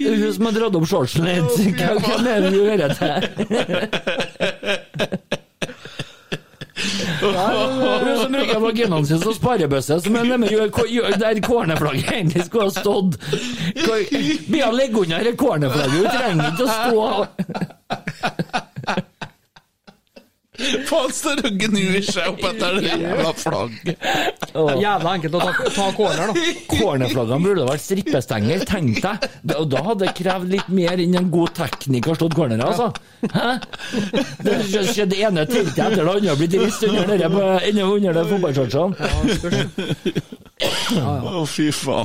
S5: hun som har dratt opp shortsen litt. Hva hvem er det du hører til? Hun som bruker vaginene sine som sparebøsse, som er nemlig gjør- gjør- der cornerflagget egentlig skulle ha stått. Hva- Be han legge unna dette cornerflagget, hun trenger ikke å stå
S2: Faen, står og gnur seg opp etter det jævla flagget.
S3: Jævla enkelt å ta, ta corner, da.
S5: Cornerflaggene burde vært strippestenger, tenk deg. Da- Og da hadde det krevd litt mer enn en god tekniker stått corneret, altså. Hæ? Det skjedde det ene teltet etter det andre, blitt rist under dere på- under under de fotballshortsene.
S2: Å, fy faen.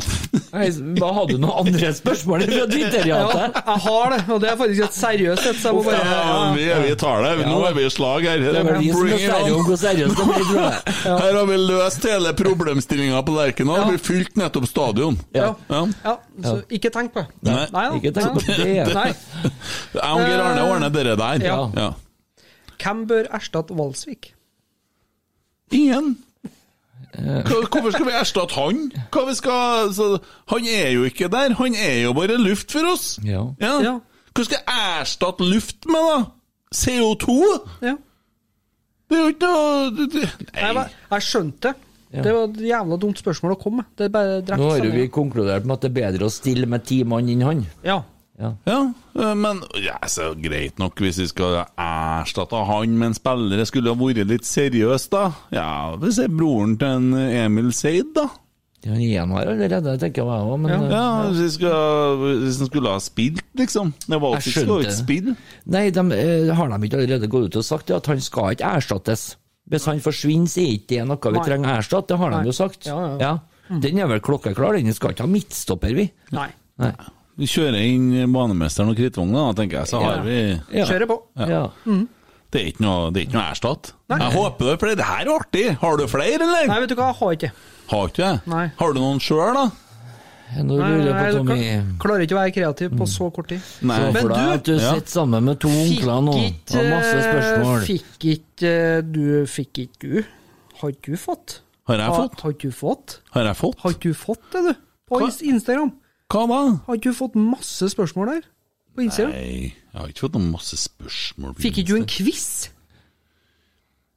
S5: Nei, Da hadde du noen andre spørsmål fra
S3: Ja,
S5: Twitter-jatet.
S3: jeg har det, og det er faktisk et seriøst et. Så jeg må bare
S2: Ja, vi, vi tar det. Nå er vi i slag her.
S5: Det er vel vi som
S2: Bring it
S5: bestemmer
S2: on.
S5: om hvor seriøst det blir, tror jeg.
S2: Her har vi løst hele problemstillinga på Lerkendal. Vi fylte nettopp stadion. Ja.
S3: Ja, så ikke tenk på det.
S2: Nei.
S3: da.
S2: Ikke tenk på det.
S3: Nei.
S2: Jeg og Geir Arne ordner dere der.
S3: Ja.
S2: Ja.
S3: Hvem bør erstatte Valsvik?
S2: Ingen.
S5: Eh.
S2: Hva- Hvorfor skal vi erstatte han? Hva vi skal, så, han er jo ikke der, han er jo bare luft for oss.
S5: Ja.
S2: Ja. Hva skal jeg erstatte luft med, da? CO2?
S3: Ja.
S2: Det er jo ikke noe det- det-
S3: Jeg, var- jeg skjønte det. Det var et jævla dumt spørsmål å komme med. Det er bare drept
S5: Nå har jo vi
S3: stemningen.
S5: konkludert med at det er bedre å stille med ti mann enn han.
S3: Ja.
S2: Ja, eh, men ja, så greit nok hvis vi skal erstatte han med en spiller. Jeg skulle ha vært litt seriøs, da. Ja, vi ser broren til en Emil Seid, da.
S5: Ja, han har allerede, tenker jeg meg òg, men
S2: Ja,
S5: eh, ja.
S2: hvis, vi skal, hvis han skulle ha spilt, liksom. Det var jo
S5: Jeg
S2: ikke skal jo
S5: skjønte
S2: ikke spille.
S5: Nei, de, eh, har de ikke allerede gått ut og sagt det, at han skal ikke erstattes? Hvis han forsvinner, så er ikke det noe vi
S3: Nei.
S5: trenger å erstatte, det har
S3: Nei.
S5: de jo sagt.
S3: Ja, Mm. ja, ja.
S5: Den er vel klokkeklar, den skal ikke ha midtstopper, vi.
S3: Nei.
S5: Nei.
S2: Vi kjører inn banemesteren og Krittvogn, da, tenker jeg, så har vi
S5: Ja.
S3: Kjører på.
S2: Ja. Det er ikke noe, det er ikke noe erstatt.
S3: Nei.
S2: Jeg håper det, for det her er artig. Har du flere, eller?
S3: Nei, vet du hva, jeg har ikke det.
S2: Har ikke jeg.
S3: Nei.
S2: Har du noen sjøl, da?
S5: Nå
S3: Nei,
S5: lurer jeg
S3: nei,
S5: på,
S3: du
S5: Tommy
S3: kla- klarer ikke å være kreativ på så kort tid.
S2: Nei.
S5: Så
S3: Men
S5: for deg
S3: du-
S5: at du
S2: Ja.
S5: sitter sammen med to onkler nå,
S3: Fikk eh,
S5: og masse spørsmål.
S3: Fikk ikke eh, du Fikk ikke du? Har ikke du fått?
S2: Har jeg fått?
S3: Har ikke du fått?
S2: Har jeg fått?
S3: Har ikke du fått det, du? På
S2: Hva?
S3: Inst- Instagram.
S2: Hva da?
S3: Har ikke du fått masse spørsmål der? På Instagram.
S2: Nei, jeg har ikke fått noen masse spørsmål.
S3: Fikk ikke du en quiz?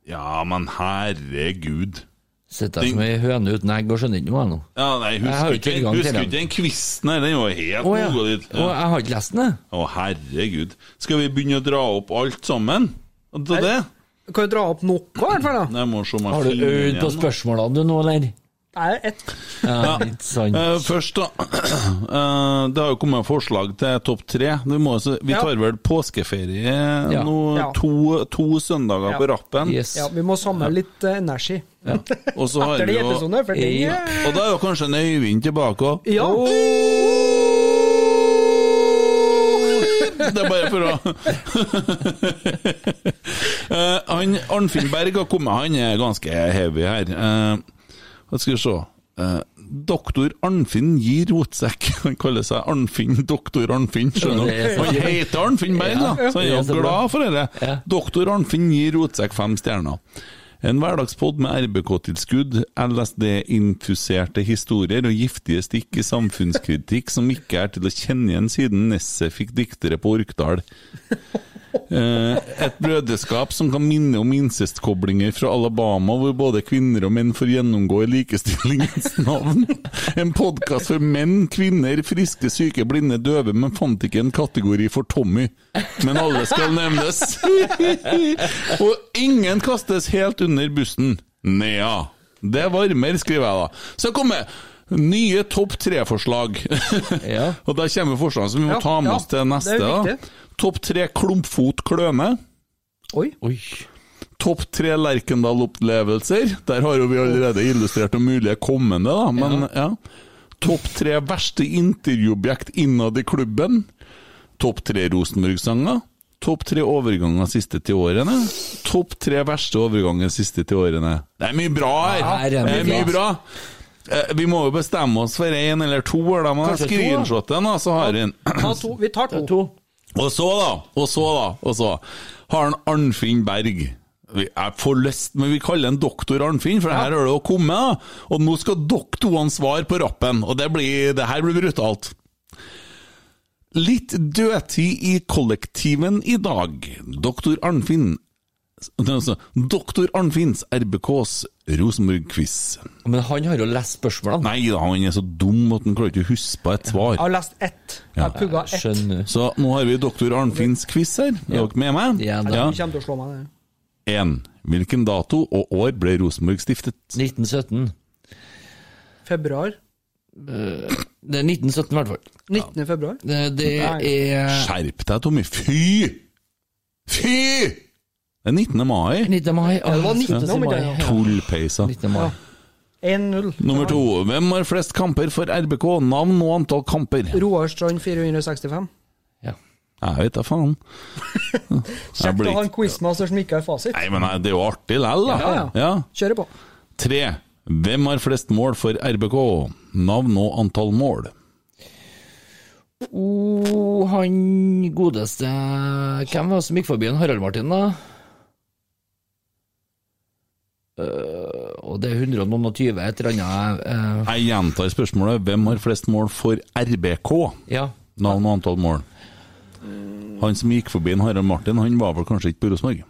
S2: Ja, men herregud.
S5: Sitter jeg som ei høne uten egg og skjønner ikke noe, jeg nå.
S2: Ja, nei,
S5: Jeg har
S2: husker
S5: jo ikke
S2: ikke,
S5: tilgang til
S2: husker
S5: den.
S2: ikke den quizen her, den var helt
S5: Å ja.
S2: noe dit.
S5: Å,
S2: Ja.
S5: jeg har ikke lest den, jeg.
S2: Å, herregud. Skal vi begynne å dra opp alt sammen? Og Til det?
S3: Du kan jo dra opp noe, i hvert fall. da.
S2: Jeg må se om jeg
S5: Har du
S2: finner den
S5: øvd på
S2: igjen.
S5: spørsmålene du nå, eller?
S3: Nei, ett.
S5: Ja, litt sånn.
S2: Eh, først, da. eh, det har jo kommet forslag til topp tre. Vi, må, også- vi
S3: Ja.
S2: tar vel påskeferie
S5: Ja.
S2: nå,
S3: Ja.
S2: to, to søndager på rappen.
S5: Yes.
S3: Ja, vi må samle litt eh, energi.
S2: Og så har
S3: Etter
S2: vi
S3: de
S2: jo
S3: episodene, for den
S5: Ja.
S3: eh,
S2: Og da er jo kanskje en Øyvind tilbake òg.
S3: Ja.
S2: Det er bare for å Eh, han, Arnfinn Berg har kommet, han er ganske heavy her. Eh, hva skal vi se Eh, Doktor Arnfinn gir rotsekk. Han kaller seg Arnfinn Doktor Arnfinn. Skjønner
S5: Ja, det
S2: du?
S5: er så
S2: Han
S5: bra.
S2: heter Arnfinn Berg, da,
S5: Ja,
S2: så han
S5: det
S2: er
S5: er så
S2: jo
S5: bra.
S2: glad for dette.
S5: Ja.
S2: Doktor Arnfinn gir rotsekk fem stjerner. En hverdagspod med RBK-tilskudd, LSD-infuserte historier og giftige stikk i samfunnskritikk som ikke er til å kjenne igjen siden Nesset fikk diktere på Orkdal. Eh, Et brødreskap som kan minne om incestkoblinger fra Alabama, hvor både kvinner og menn får gjennomgå i likestillingens navn. En podkast for menn, kvinner, friske, syke, blinde, døve, men fant ikke en kategori for Tommy. Men alle skal nevnes. Og ingen kastes helt under bussen. Nea. Det varmer, skriver jeg da. Så kommer nye topp tre-forslag.
S5: Ja.
S2: Og da kommer forslagene som vi må
S3: Ja,
S2: ta med
S3: ja,
S2: oss til neste.
S3: det er
S2: da.
S3: viktig.
S2: Topp tre klumpfot kløne.
S3: Oi.
S5: Oi.
S2: Topp tre Lerkendal-opplevelser. Der har jo vi allerede illustrert noen mulige kommende, da. Men, ja. Topp tre verste intervjuobjekt innad i klubben. Topp tre Rosenborg-sanger. Topp tre overganger siste ti årene. Topp tre verste overganger siste ti årene. Det er mye bra her!
S5: Her er
S2: Det
S5: mye
S2: er mye bra! Eh, Vi må jo bestemme oss for én eller to. Da må jeg
S5: Kanskje to, da.
S2: screenshotte den, da, så har jeg en.
S3: Ta to. Vi tar to.
S5: To.
S2: Og så, da, og så, da, og så har han Arnfinn Berg. Vi- Jeg får lyst, men vi kaller han doktor Arnfinn, for her har det jo kommet. da. Og nå skal dere to han svare på rappen, og det, blir, det her blir brutalt. Litt dødtid i kollektiven i dag. Doktor Arnfinn altså, Doktor Arnfinns RBKs Rosenborg-quiz.
S5: Men han har jo lest spørsmålene.
S2: Nei da, han er så dum at han klarer ikke å huske på et svar.
S3: Jeg har lest ett. Jeg har pugga ett.
S5: Skjønner.
S2: Så nå har vi doktor Arnfinns quiz her. Er dere med meg?
S5: Ja, da.
S3: Du kommer til å slå meg. det.
S2: 1. Hvilken dato og år ble Rosenborg stiftet?
S5: 1917.
S3: Februar.
S5: Eh, Det er 1917 i hvert fall.
S3: 19. februar.
S5: Det, det er
S2: Skjerp deg, Tommy. Fy! Fy! Det er 19. mai.
S5: 19. mai. Ah,
S3: det var 19. mai, ja.
S2: Tullpeisa.
S5: 19. mai.
S3: 1-0.
S2: Nummer to. Hvem har flest kamper for RBK? Navn og antall kamper?
S3: Roar Strand 465.
S2: Jeg vet da faen. Jeg
S3: Kjekt
S2: blir
S3: å ha en
S2: ikke-
S3: quizmaster som ikke har fasit.
S2: Nei, men nei, det er jo artig lell, da.
S3: Ja, ja. Kjører på.
S2: Tre. Hvem har flest mål for RBK? Navn og antall mål?
S5: Oh, han godeste Hvem var det som gikk forbi en Harald Martin, da? Eh, og det er 120 et eller annet eh,
S2: Jeg gjentar spørsmålet. Hvem har flest mål for RBK?
S5: Ja.
S2: Navn og antall mål. Han som gikk forbi en Harald Martin, han var vel kanskje ikke på Rosenborg?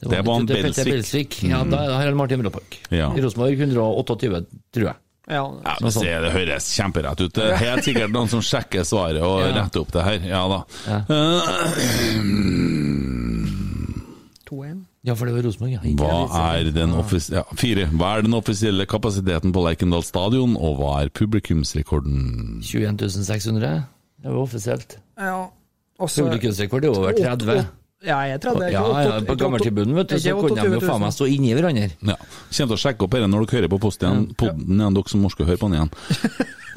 S2: Det var, han
S5: det er Petter
S2: Belsvik. Mm.
S5: Belsvik. Ja, da er det Harald Martin Bråpark.
S2: Ja.
S5: I Rosenborg 128, tror jeg.
S2: Ja, det, ser- det høres kjemperett ut. Det er helt sikkert noen som sjekker svaret og
S5: Ja.
S2: retter opp det her. Ja da.
S3: Eh,
S5: Ja, for det var Rosenborg, ja.
S2: Hva er den offis ja, fire. Hva er den offisielle kapasiteten på Lerkendal stadion, og hva er publikumsrekorden?
S5: 21 600. Det var offisielt.
S3: Ja. Også-
S5: Publikumsrekord er over 30.
S3: Åtte- Ja, jeg er 30.
S5: Ja, ja, på gammeltribunen, vet du, så kunne de jo
S3: liksom.
S5: faen meg stå inni hverandre.
S2: Ja. Kjem til å sjekke opp dette når dere hører på posten igjen, podden igjen, dere som morske hører på den igjen.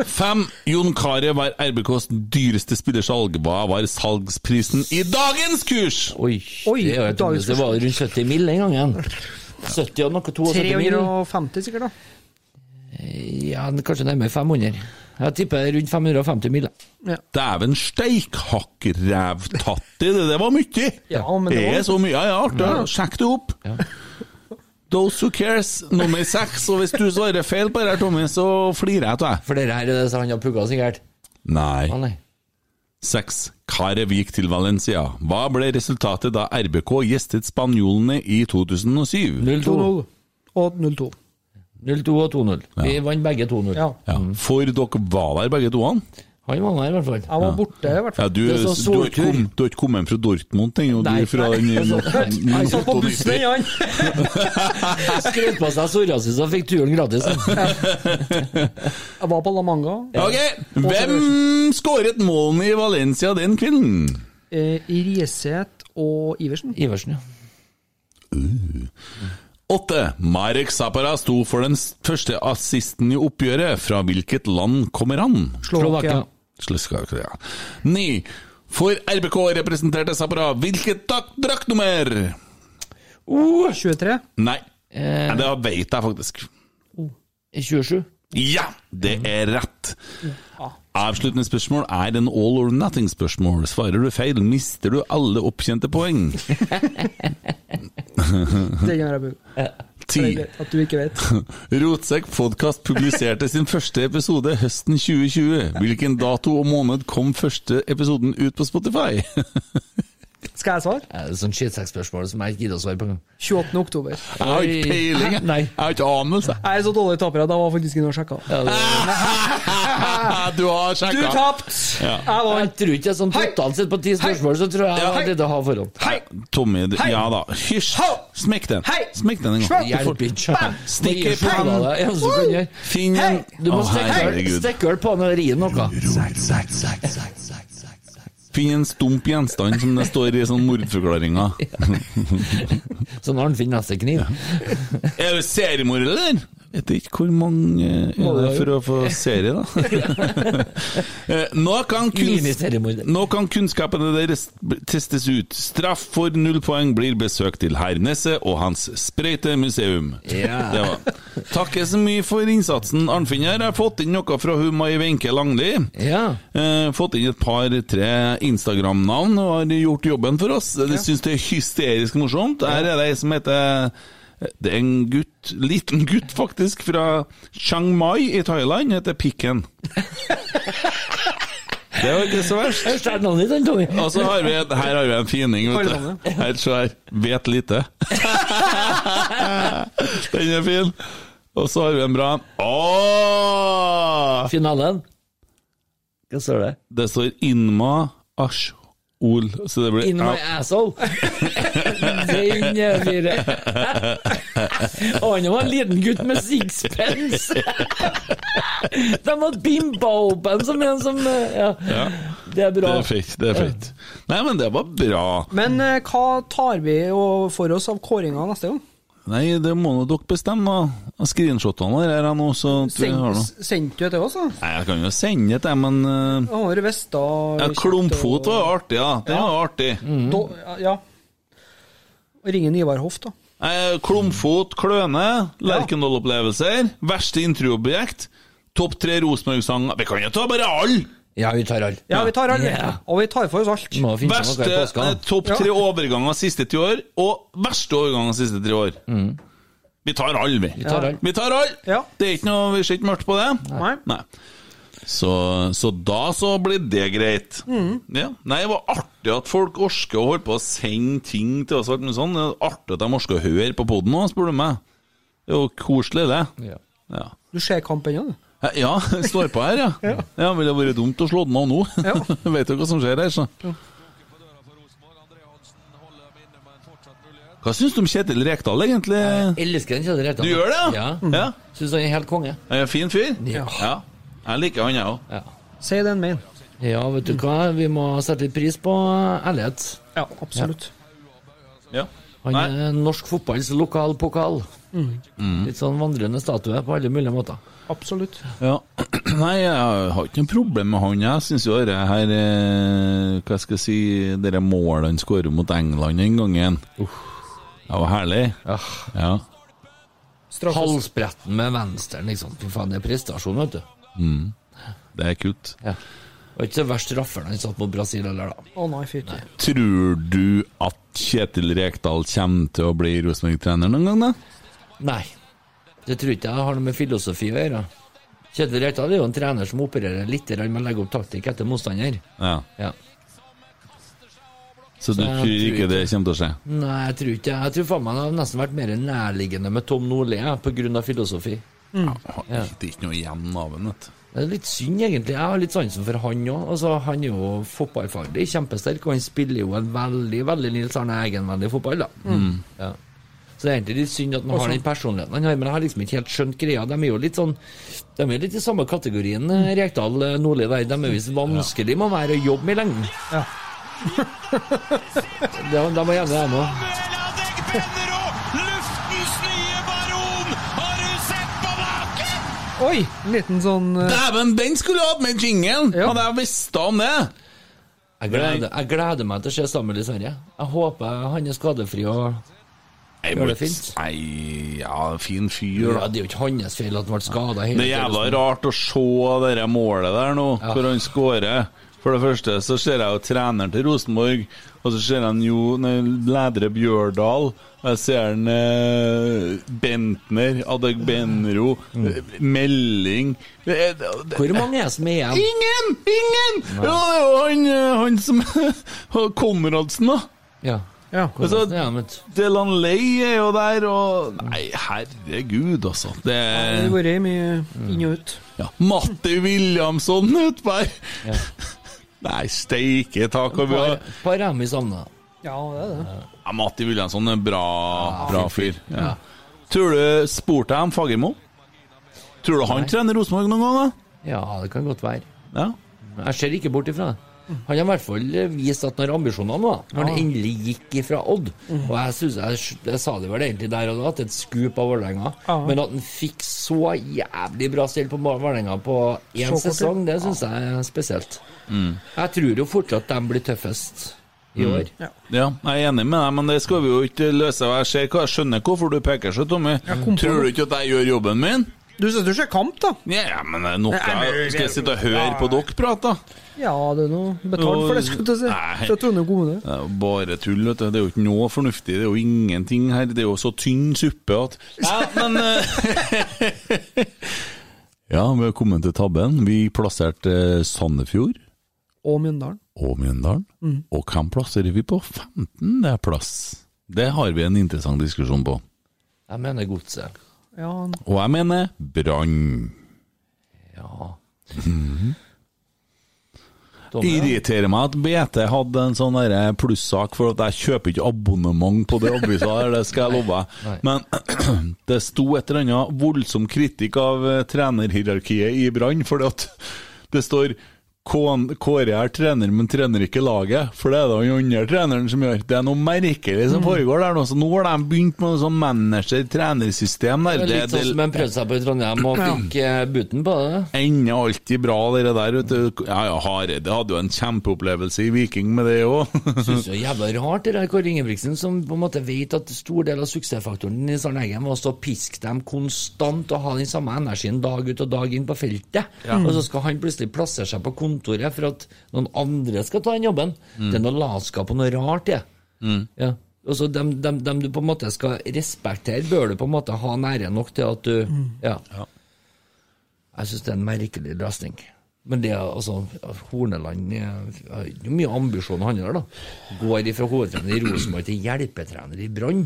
S2: Fem. Jon Carew var RBKs dyreste spillersalg. Hva var salgsprisen i dagens kurs?
S5: Oi, det, er jo et
S3: dagens
S5: det var rundt 70 mil den gangen. 70 og noe 72 mil.
S3: 350 sikkert, da.
S5: Ja, kanskje nærmere 500. Jeg tipper rundt 550 mil. da.
S2: Dæven steikhakkrævtatti, det der var mye!
S5: Ja, men det
S2: det
S5: var-
S2: er så mye. Ja, ja, artig.
S5: Ja.
S2: Sjekk det opp. Those who cares, nummer seks. Og hvis du svarer feil på det her, Tommy, så flirer jeg av deg.
S5: For dere her er det så han har pugga sikkert.
S2: Nei.
S5: Å, nei.
S2: Seks. Karev gikk til Valencia. Hva ble resultatet da RBK gjestet spanjolene i 2007?
S3: 2-0 og 0-2.
S5: 0-2 og 2-0. Vi vant begge 2-0.
S3: Ja.
S2: Ja.
S5: Mm.
S2: For dere var der begge to? Han
S5: Han var der i hvert fall.
S3: Jeg var borte, i hvert
S2: Ja,
S3: fall.
S2: du,
S5: Det er
S2: du,
S5: sånn
S2: har ikke
S5: soltur.
S2: kom, du har ikke kommet fra Dortmund, tenker jeg. Du
S5: Nei.
S2: er fra den
S5: Nei. Jeg satt på bussen, ja.
S3: Jan.
S5: Skrøt på seg psoriasis og fikk turen gratis.
S3: Jeg var på La Manga
S2: Ok, Hvem skåret målene i Valencia den kvelden?
S3: eh, i Rieseth og Iversen.
S5: Iversen, ja.
S2: Åtte. Marek Zapara sto for den første assisten i oppgjøret. Fra hvilket land kommer han?
S3: Slovakia.
S2: Slovakia. Ni. For RBK representerte Zapara hvilket dak- draktnummer?
S3: Oh, 23.
S2: Nei, Nei, det veit jeg faktisk.
S5: 27.
S2: Ja, det er rett. Avsluttende spørsmål er en all or nothing-spørsmål. Svarer du feil, mister du alle opptjente poeng.
S3: Det kan være bug. Det er
S2: Ti.
S3: greit At du ikke vet.
S2: Rotsekk podcast publiserte sin første episode høsten 2020. Hvilken dato og måned kom første episoden ut på Spotify?
S3: Skal jeg svare?
S5: Er det sånn skitsekkspørsmål som jeg ikke gidder å svare på engang?
S3: 28. oktober.
S2: Jeg har ikke peiling, jeg.
S5: Nei.
S2: Jeg har ikke anelse.
S3: Jeg er så dårlig taper at jeg var faktisk inne og sjekka.
S2: Du har
S3: Du
S2: sjekka.
S3: tapte! Jeg
S5: Jeg
S3: vant!
S5: tror ikke jeg sånn
S3: Hei!
S5: totalt sett på ti spørsmål, så tror jeg
S3: Hei!
S5: at dette har forhånd.
S3: Hei!
S2: Tommy, du-
S3: Hei!
S2: ja da. Hysj!
S3: Ho!
S2: Smekk den.
S3: Hei!
S2: Smekk den en gang.
S3: Slå!
S5: Hjelp ikke.
S2: Stikk i
S5: Må gi slutta
S2: pannen.
S5: deg, eneste du kan gjøre.
S2: Finn en
S5: Du må
S2: Å,
S5: stikke-
S2: herregud.
S5: stikke øl på han og ri noe.
S2: Finn en stump gjenstand som det står i sånn mordforklaringa.
S5: Sånn har han finner neste kniv.
S2: Er du seriemor, eller? Jeg vet ikke hvor mange eh, er det for å få serie, da. Eh, nå, kan kunst,
S5: Mini-seriemorder.
S2: nå kan kunnskapene deres b- testes ut. Straff for null poeng blir besøk til herr Nesse og hans sprøyte museum.
S5: Ja.
S2: Det var. Takker så mye for innsatsen, Arnfinn her. Jeg har fått inn noe fra hun Mai Wenche Langli.
S5: Ja.
S2: Eh, fått inn et par-tre Instagram-navn og har gjort jobben for oss. De syns det er hysterisk morsomt. Her er det ei som heter Det er en gutt, liten gutt faktisk, fra Chiang Mai i Thailand, heter Pikken. Det var ikke så verst.
S5: Jeg stjal navnet ditt, han, Tommy.
S2: Og så har vi en, her har vi en fining, vet du. Her, se her. Vet lite. Den er fin. Og så har vi en bra en. Åh!
S5: Finalen. Hva står det?
S2: Det står Inma Ashol, så det blir
S5: In my
S2: ja,
S5: asshole. Den er fire. Og han var en liten gutt med sixpence. De har bimbaopen som en som eh, Ja, det er
S2: Det
S5: bra.
S2: er fint. Det er fint. Nei, men det var bra.
S3: Men eh, hva tar vi og- for oss av kåringa neste gang?
S2: Nei, det må nå dere bestemme, da. Jeg har Screenshotene der er jeg nå, så at vi har noe.
S3: Send- Sendte du det til oss, da?
S2: Nei, jeg kan jo sende det til dem, men eh,
S3: Han har vest og
S2: ja, Klumpfot var jo artig, ja. Det var artig.
S3: Da- Ja. Ringe Ivar Hoff, da.
S2: Eh, Klumfot, Kløne, Lerkendal-opplevelser, verste intervjuobjekt, topp tre Rosenborg-sanger Vi kan jo ta bare alle!
S5: Ja, vi tar alle.
S3: Ja, vi tar alle. Og vi tar for oss alt.
S2: Verste eh, topp tre overganger siste ti år, og verste overganger siste tre år. Vi tar alle, vi.
S5: Vi tar alle.
S2: Vi tar alle. Det er ikke noe, vi ser ikke mørkt på det.
S3: Nei.
S2: Så, så da så blir det greit.
S3: Mm.
S2: Ja. Nei, det var artig at folk orsker å holde på å sende ting til oss. alt mulig Sånn. Det er artig at de orsker å høre på poden òg, spør du meg. Det er jo koselig, det.
S5: Ja.
S2: Ja.
S3: Du ser kamp ennå, du.
S2: Eh, Ja, det står på her, ja. ja. Ville vært dumt å slå den av nå. Vet jo hva som skjer her, så. Hva syns du om Kjetil Rekdal, egentlig?
S5: Elsker den Kjetil Rekdal.
S2: Du gjør det?
S5: Ja.
S2: ja.
S5: Syns han er helt konge.
S2: Er det en fin fyr?
S5: Ja.
S2: ja. Jeg liker han, jeg òg.
S5: Ja.
S3: Si den mail.
S5: Ja, vet du hva, vi må sette litt pris på eh, ærlighet.
S3: Ja, absolutt.
S2: Ja.
S5: Han er norsk fotballs lokalpokal. Litt sånn vandrende statue på alle mulige måter.
S3: Absolutt.
S2: Ja. Nei, jeg har ikke noe problem med han. Jeg syns jo det her eh, Hva skal jeg si Det der målet han skårer mot England den gangen Det var herlig.
S5: Ah.
S2: Ja.
S5: Halsbretten med venstren, liksom. Fy faen, det er prestasjon, vet du.
S2: Mm. Det er kult.
S5: Ja. Det var ikke så verst rafferen han satt mot Brasil heller, da.
S3: Å nei, fy til.
S2: Tror du at Kjetil Rekdal kommer til å bli Rosenborg-trener noen gang, da?
S5: Nei. Det tror ikke jeg har noe med filosofi å gjøre. Kjetil Rekdal er jo en trener som opererer litt grann med å legge opp taktikk etter motstander.
S2: Ja.
S5: Ja.
S2: Så du
S5: Så jeg
S2: tror
S5: tror
S2: ikke det kommer til å skje?
S5: Nei, jeg tror ikke Jeg tror faen meg det har nesten vært mer nærliggende med Tom Nordli jeg, på grunn av filosofi.
S2: Ja. Det er ikke noe igjen av ham, vet du.
S5: Det er litt synd, egentlig. Jeg har litt sansen for han òg. Altså, han er jo fotballfaglig kjempesterk, og han spiller jo en veldig veldig Nils Arne Eggen-vennlig fotball, da.
S2: Mm.
S5: Ja. Så det er egentlig litt synd at man
S2: Og
S5: har
S2: så-
S5: den personligheten han har, men jeg har liksom ikke helt skjønt greia. De er jo litt sånn De er litt i samme kategorien,
S2: Mm.
S5: eh, Rekdal, eh, Nordli der. De er visst vanskelig med å være å jobbe med i lengden.
S3: Ja.
S5: de, de er gjerne dem òg.
S4: Luftens nye baron! Har du sett på maken?!
S3: Oi! En liten sånn eh,
S2: Dæven, den skulle jeg hatt med i jinglen! Hadde jeg visst om det!
S5: Jeg gleder, jeg gleder meg til å se Samuel i Sverige. Jeg håper han er skadefri og
S2: Nei,
S5: gjør det
S2: men-
S5: fint.
S2: Nei, ja, fin fyr,
S5: Ja,
S2: da.
S5: det er jo ikke hans feil at han ble skada.
S2: Det er jævla rart å se det der målet der nå,
S5: Ja.
S2: hvor han skårer. For det første så ser jeg jo treneren til Rosenborg, og så ser jeg jo nei, ledere Bjørdal. Jeg ser han eh, Bentner, Adegbenro, eh, Melding det, er- det,
S5: Mm. Hvor mange er det som er igjen?
S2: Ingen! Ingen! Ja, det er jo han, eh, han som Konradsen, da.
S5: Ja.
S2: Altså,
S5: Konradsen er igjen, vet du.
S2: Delan Ley er jo der, og Nei, herregud, altså. Det
S3: Det har vært mye inn og ut.
S2: ja, Matti Williamson Utberg!
S5: Ja.
S2: Nei, steike tak og vi har
S5: Parami savna.
S3: Ja, det er det.
S2: ja, Matti Williamson er en bra, bra fyr. Ja. Tror du spurte jeg om Fagermo? Tror du han
S5: Nei.
S2: trener Rosenborg noen gang,
S5: Ja, det kan godt være.
S2: da? Ja.
S5: Jeg ser ikke bort ifra det. Han har i hvert fall eh, vist at han har ambisjoner nå, når han
S2: Ja.
S5: endelig gikk ifra Odd.
S3: Mhm.
S5: Og jeg, synes, jeg, jeg sa det vel egentlig der og da, at det er et skup av Vålerenga.
S3: Ja.
S5: Men at han fikk så jævlig bra stell på Vålerenga på
S3: Så
S5: én
S3: kort tid.
S5: sesong, det syns jeg er spesielt.
S2: Mm.
S5: Jeg tror jo fortsatt de blir tøffest i
S2: Mm.
S5: år.
S2: Ja, jeg er enig med deg, men det skal vi jo ikke løse. Jeg, ser, hva- jeg skjønner hvorfor du peker seg, Tommy.
S3: kom på
S2: Tror du ikke at jeg gjør jobben min?
S3: Du syns du ser kamp, da?
S2: Ja, ja, men det er noe
S3: Nei, men-
S2: Skal jeg sitte og høre på dere prate, da?
S3: Ja, det er noe betalt for det, skulle du si.
S2: Nei.
S3: Fra Trondheim kommune.
S2: Det er jo Eh, bare tull, vet du. Det er jo ikke noe fornuftig. Det er jo ingenting her. Det er jo så tynn suppe at Ja, men eh, Ja, vi har kommet til tabben. Vi plasserte eh, Sandefjord
S3: Og Mjøndalen.
S2: og Mjøndalen.
S3: Mm.
S2: Og hvem plasserer vi på 15. det er plass? Det har vi en interessant diskusjon på.
S5: Jeg mener Godset.
S3: Ja,
S2: Og jeg mener Brann.
S5: Ja.
S2: Mhm. Irriterer meg at BT hadde en sånn derre plussak, for at jeg kjøper ikke abonnement på det avisa der, det skal jeg love.
S5: Nei.
S2: Men det sto et eller annet voldsom kritikk av eh, trenerhierarkiet i Brann, fordi at det står Kån- Kåre er trener, men trener ikke laget, for det er det han andre treneren som gjør. Det er noe merkelig som
S5: Mm.
S2: foregår der nå. Så nå har de begynt med noe sånn manager-trenersystem der.
S5: Det er litt sånn som en prøvde seg på i Trondheim og fikk eh, buten på det.
S2: Ender alltid bra, det der. Vet du. Ja, ja, Hareide hadde jo en kjempeopplevelse i Viking med det òg.
S5: Synes det er jævla rart det der Kåre Ingebrigtsen, som på en måte vet at stor del av suksessfaktoren i Sarneggen var å stå og piske dem konstant og ha den samme energien dag ut og dag inn på feltet.
S2: Ja.
S5: Og så skal han plutselig plassere seg på kontoret for at noen andre skal ta den jobben.
S2: Mm.
S5: Det er noe latskap og noe rart, det.
S2: Mm.
S5: Ja. Altså, dem, dem, dem du på en måte skal respektere, bør du på en måte ha nære nok til at du
S2: Mm.
S5: ja. Jeg syns det er en merkelig løsning. Men det er altså Horneland eh, har ikke mye ambisjoner han har, da. Går ifra hovedtrener i Rosenborg til hjelpetrener i Brann.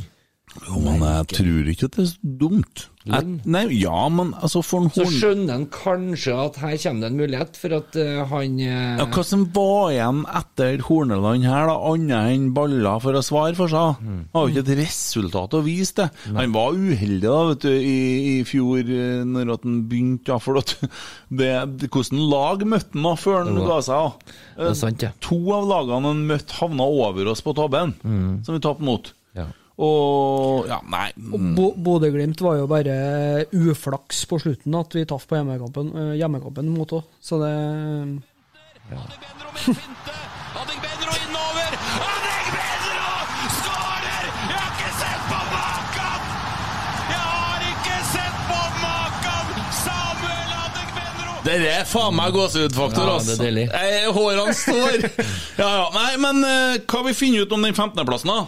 S2: Jo, men jeg tror ikke at det er så dumt. Jeg, nei, ja, men altså, for en
S5: Så
S2: horn...
S5: skjønner han kanskje at her kommer det en mulighet for at eh, han eh,
S2: Ja, hva som var igjen etter Horneland her, da, annet enn baller for å svare for seg?
S5: Mm.
S2: Han har jo ikke et resultat å vise til. Han var uheldig da, vet du, i, i fjor, eh, når at han begynte, da, for at det, det, hvordan lag møtte han da, før han
S5: Jo da.
S2: ga seg? da?
S5: Det er sant, ja.
S2: To av lagene han møtte havna over oss på tabben,
S5: Mm.
S2: som vi tapte mot.
S5: Ja.
S2: Og ja, nei
S3: Og
S5: Mm.
S3: Bo Bodø-Glimt var jo bare uflaks på slutten, at vi traff på hjemmekampen, eh, hjemmekampen mot òg, så det mm.
S2: Det er faen meg gåsehudfaktor,
S5: Ja,
S2: ass.
S5: det er deilig.
S2: Eh, Hårene står. Ja, ja. Nei, men eh, hva vi finner ut om den 15.-plassen, da?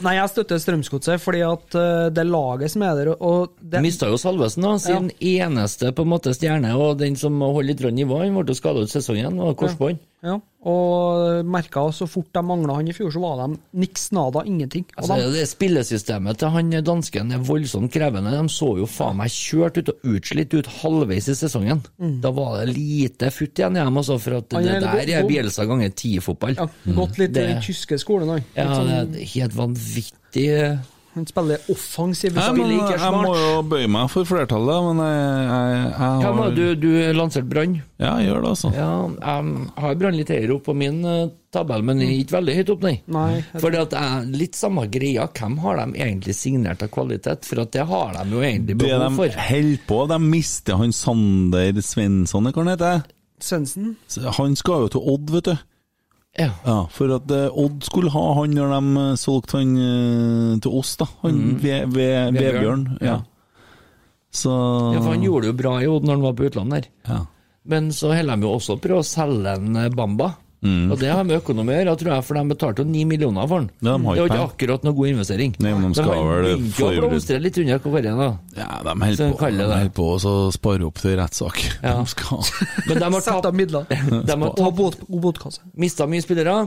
S3: Nei, jeg støtter Strømsgodset, fordi at eh, det er laget som er der, og det
S5: Mista jo Salvesen, da, sin eneste på en måte stjerne, og den som holder litt nivå. Han ble jo skada ut sesongen, og korsbånd.
S3: Ja, og merka så fort de mangla han i fjor, så var de niks nada, ingenting. Og
S5: Altså,
S3: de,
S5: det Spillesystemet til han dansken er voldsomt krevende. De så jo faen meg kjørt ut og utslitt ut halvveis i sesongen. Da var det lite futt igjen i dem, altså, for at
S3: Mm. Han
S5: det
S3: er
S5: der
S3: god-
S5: er Bjelsa ganger ti-fotball.
S3: gått litt i den
S5: det,
S3: tyske skolen, han.
S5: Mm. ja,
S3: Litt
S5: det
S3: sånn-
S5: er helt vanvittig Jeg
S3: Han spiller offensiv.
S5: Nei, men
S3: Spiller ikke
S5: jeg må
S3: smart.
S2: eh, Jeg må bøye meg for flertallet, men jeg, jeg, jeg
S5: Ja, men
S2: har
S5: du, du lanserte Brann.
S2: Ja, jeg gjør det, altså.
S5: Ja, jeg har Brann litt høyere opp på min eh, tabell, men ikke veldig høyt opp, nei.
S3: Mm. nei
S5: Fordi at jeg, Litt samme greia, hvem har de egentlig signert av kvalitet? For at det har de jo egentlig
S2: Det
S5: behov
S2: de
S5: for.
S2: holder på, de mister han Sander Svensson, eller hva han heter?
S3: Svendsen?
S2: Han skal jo til Odd, vet du.
S5: Ja.
S2: For at eh, Odd skulle ha han når de eh, solgte han eh, til oss, da. Han
S5: Mm.
S2: ved, ved, Vebjørn.
S5: Vebjørn,
S2: Ja.
S5: ja.
S2: Så
S5: Ja, for han gjorde det jo bra i Odd når han var på utlandet der.
S2: Ja.
S5: Men så holder de jo også på å selge en eh, Bamba.
S2: Mm.
S5: Og det har med økonomi å gjøre, tror jeg, for de betalte jo 9 millioner for den.
S2: Ja, de har
S5: det var
S2: ikke
S5: ikke akkurat noe god investering.
S2: Nei, men de skal
S5: han
S2: vel
S5: begynte jo å
S2: få-
S5: blomstre litt under karrieren, da.
S2: Ja, de holder
S5: Så
S2: på,
S5: kaller
S2: de
S5: det.
S2: holder på å spare opp til rettssak. De skal
S5: Men de har
S3: Sett av midler.
S5: De har
S3: Og
S5: tapt,
S3: bot, og botkasse.
S5: mista mye spillere,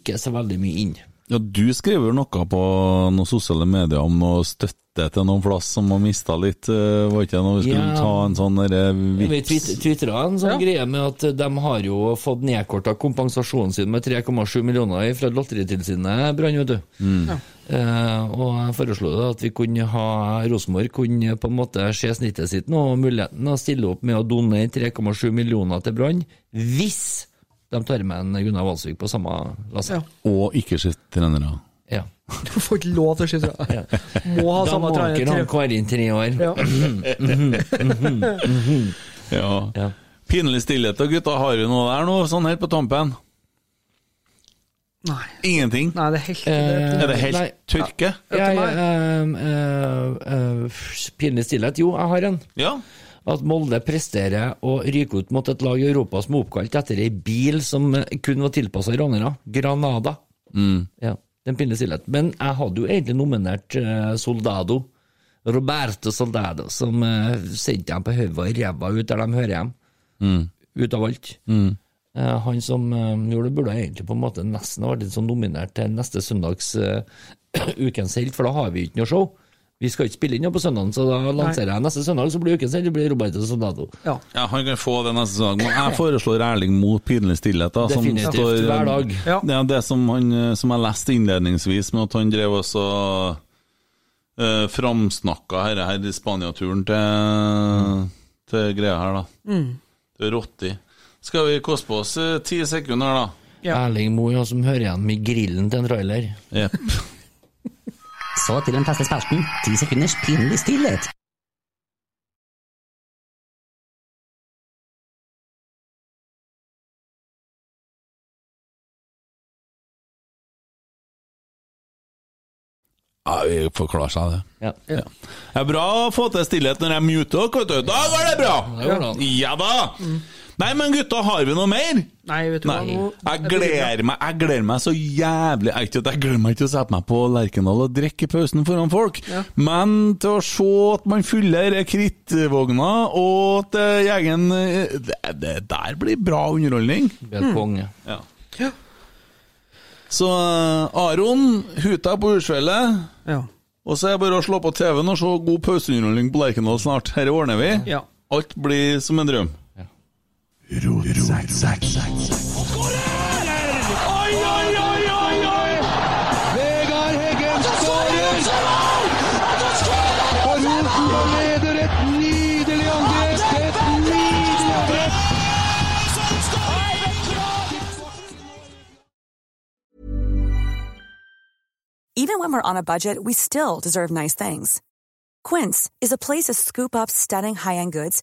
S5: ikke så veldig mye inn.
S2: Ja, du skrev jo noe på noen sosiale medier om noe støtte til noen plass som har mista litt, eh, var ikke det noe vi skulle
S5: Ja.
S2: ta en sånn derre
S5: Vi
S2: vips?
S5: twit- twitra en sånn greie med at de har jo fått nedkorta kompensasjonen sin med 3,7 millioner fra Lotteritilsynet, Brann, vet du.
S2: Mm.
S5: Ja. Eh, og jeg foreslo da at vi kunne ha Rosenborg kunne på en måte se snittet sitt nå, og muligheten å stille opp med å donere 3,7 millioner til Brann, hvis de tar med en Gunnar Valsvik på samme lasset.
S2: Og ikke skift trenere.
S5: Ja.
S3: Du får ikke lov til å skyte. Må ha
S5: Da
S3: samme
S5: må
S3: tre-
S5: ikke han
S3: tre-
S5: Karin tre år.
S3: Ja.
S2: Ja. Pinlig stillhet da, gutta. Har du noe der nå, sånn helt på tampen?
S3: Nei.
S2: Ingenting?
S3: Nei, det er helt
S2: Er det helt
S5: nei.
S2: tørke?
S5: Jeg, ehm, eh, eh, pinlig stillhet. Jo, jeg har en. At Molde presterer å ryke ut mot et lag i Europa som er oppkalt etter ei bil som eh, kun var tilpassa ranere. Granada.
S2: Mm.
S5: Ja, den pinlige stillhet. Men jeg hadde jo egentlig nominert eh, Soldado. Roberto Soldado, som eh, sendte dem på hodet og ræva ut der de hører hjem.
S2: Mm.
S5: Ut av alt.
S2: Mm.
S5: Eh, han som eh, gjorde det, burde egentlig på en måte nesten ha vært litt sånn nominert til neste søndags eh, Ukens helt, for da har vi ikke noe show. Vi skal ikke spille inn noe på søndagen, så da lanserer jeg neste søndag, så blir Ukens helt det blir Roberto Soldado.
S3: Ja.
S2: han kan få det neste sesong. Men jeg foreslår Erling mot pinlig stillhet. Da, som eh,
S5: Definitivt, hver dag.
S2: Ja. Det er det som, han, eh, som jeg leste innledningsvis, med at han drev også uh, framsnakka dette her i Spania-turen til, til greia her, da.
S3: Mm.
S2: Det er rotti. Skal vi koste på oss eh, ti sekunder, da?
S5: Erling Moe, han som hører igjen med grillen til en trailer.
S10: Så til den faste spalten, ti sekunders pinlig stillhet.
S2: Ja, vi får klare seg det.
S5: Ja.
S2: Det er bra å få til stillhet når jeg muter dere, vet du. Da går det bra!
S5: Ja, det går bra.
S2: Ja da! Nei, men gutta, har vi noe mer?
S3: Nei, vet du hva, nå-
S2: Jeg gleder meg jeg gleder meg så jævlig Jeg, jeg gleder meg ikke til å sette meg på Lerkendal og drikke i pausen foran folk,
S3: Ja.
S2: men til å se at man fyller krittvogna, og at eh, egen eh, det, det der blir bra underholdning.
S5: Helt konge.
S2: Ja. Så eh, Aron, huta på Ursfjellet. Og så er det bare å slå på TV-en og se god pauseunderholdning på Lerkendal snart. Dette ordner vi.
S3: Ja.
S2: Alt blir som en drøm.
S4: Oi, oi, oi, oi, oi! Vegard Heggen skårer! Og Rosenborg leder et nydelig angrep! Et nydelig angrep!
S1: Even when we're on a budget, we still deserve nice things. Quince is a place to scoop up stunning high-end goods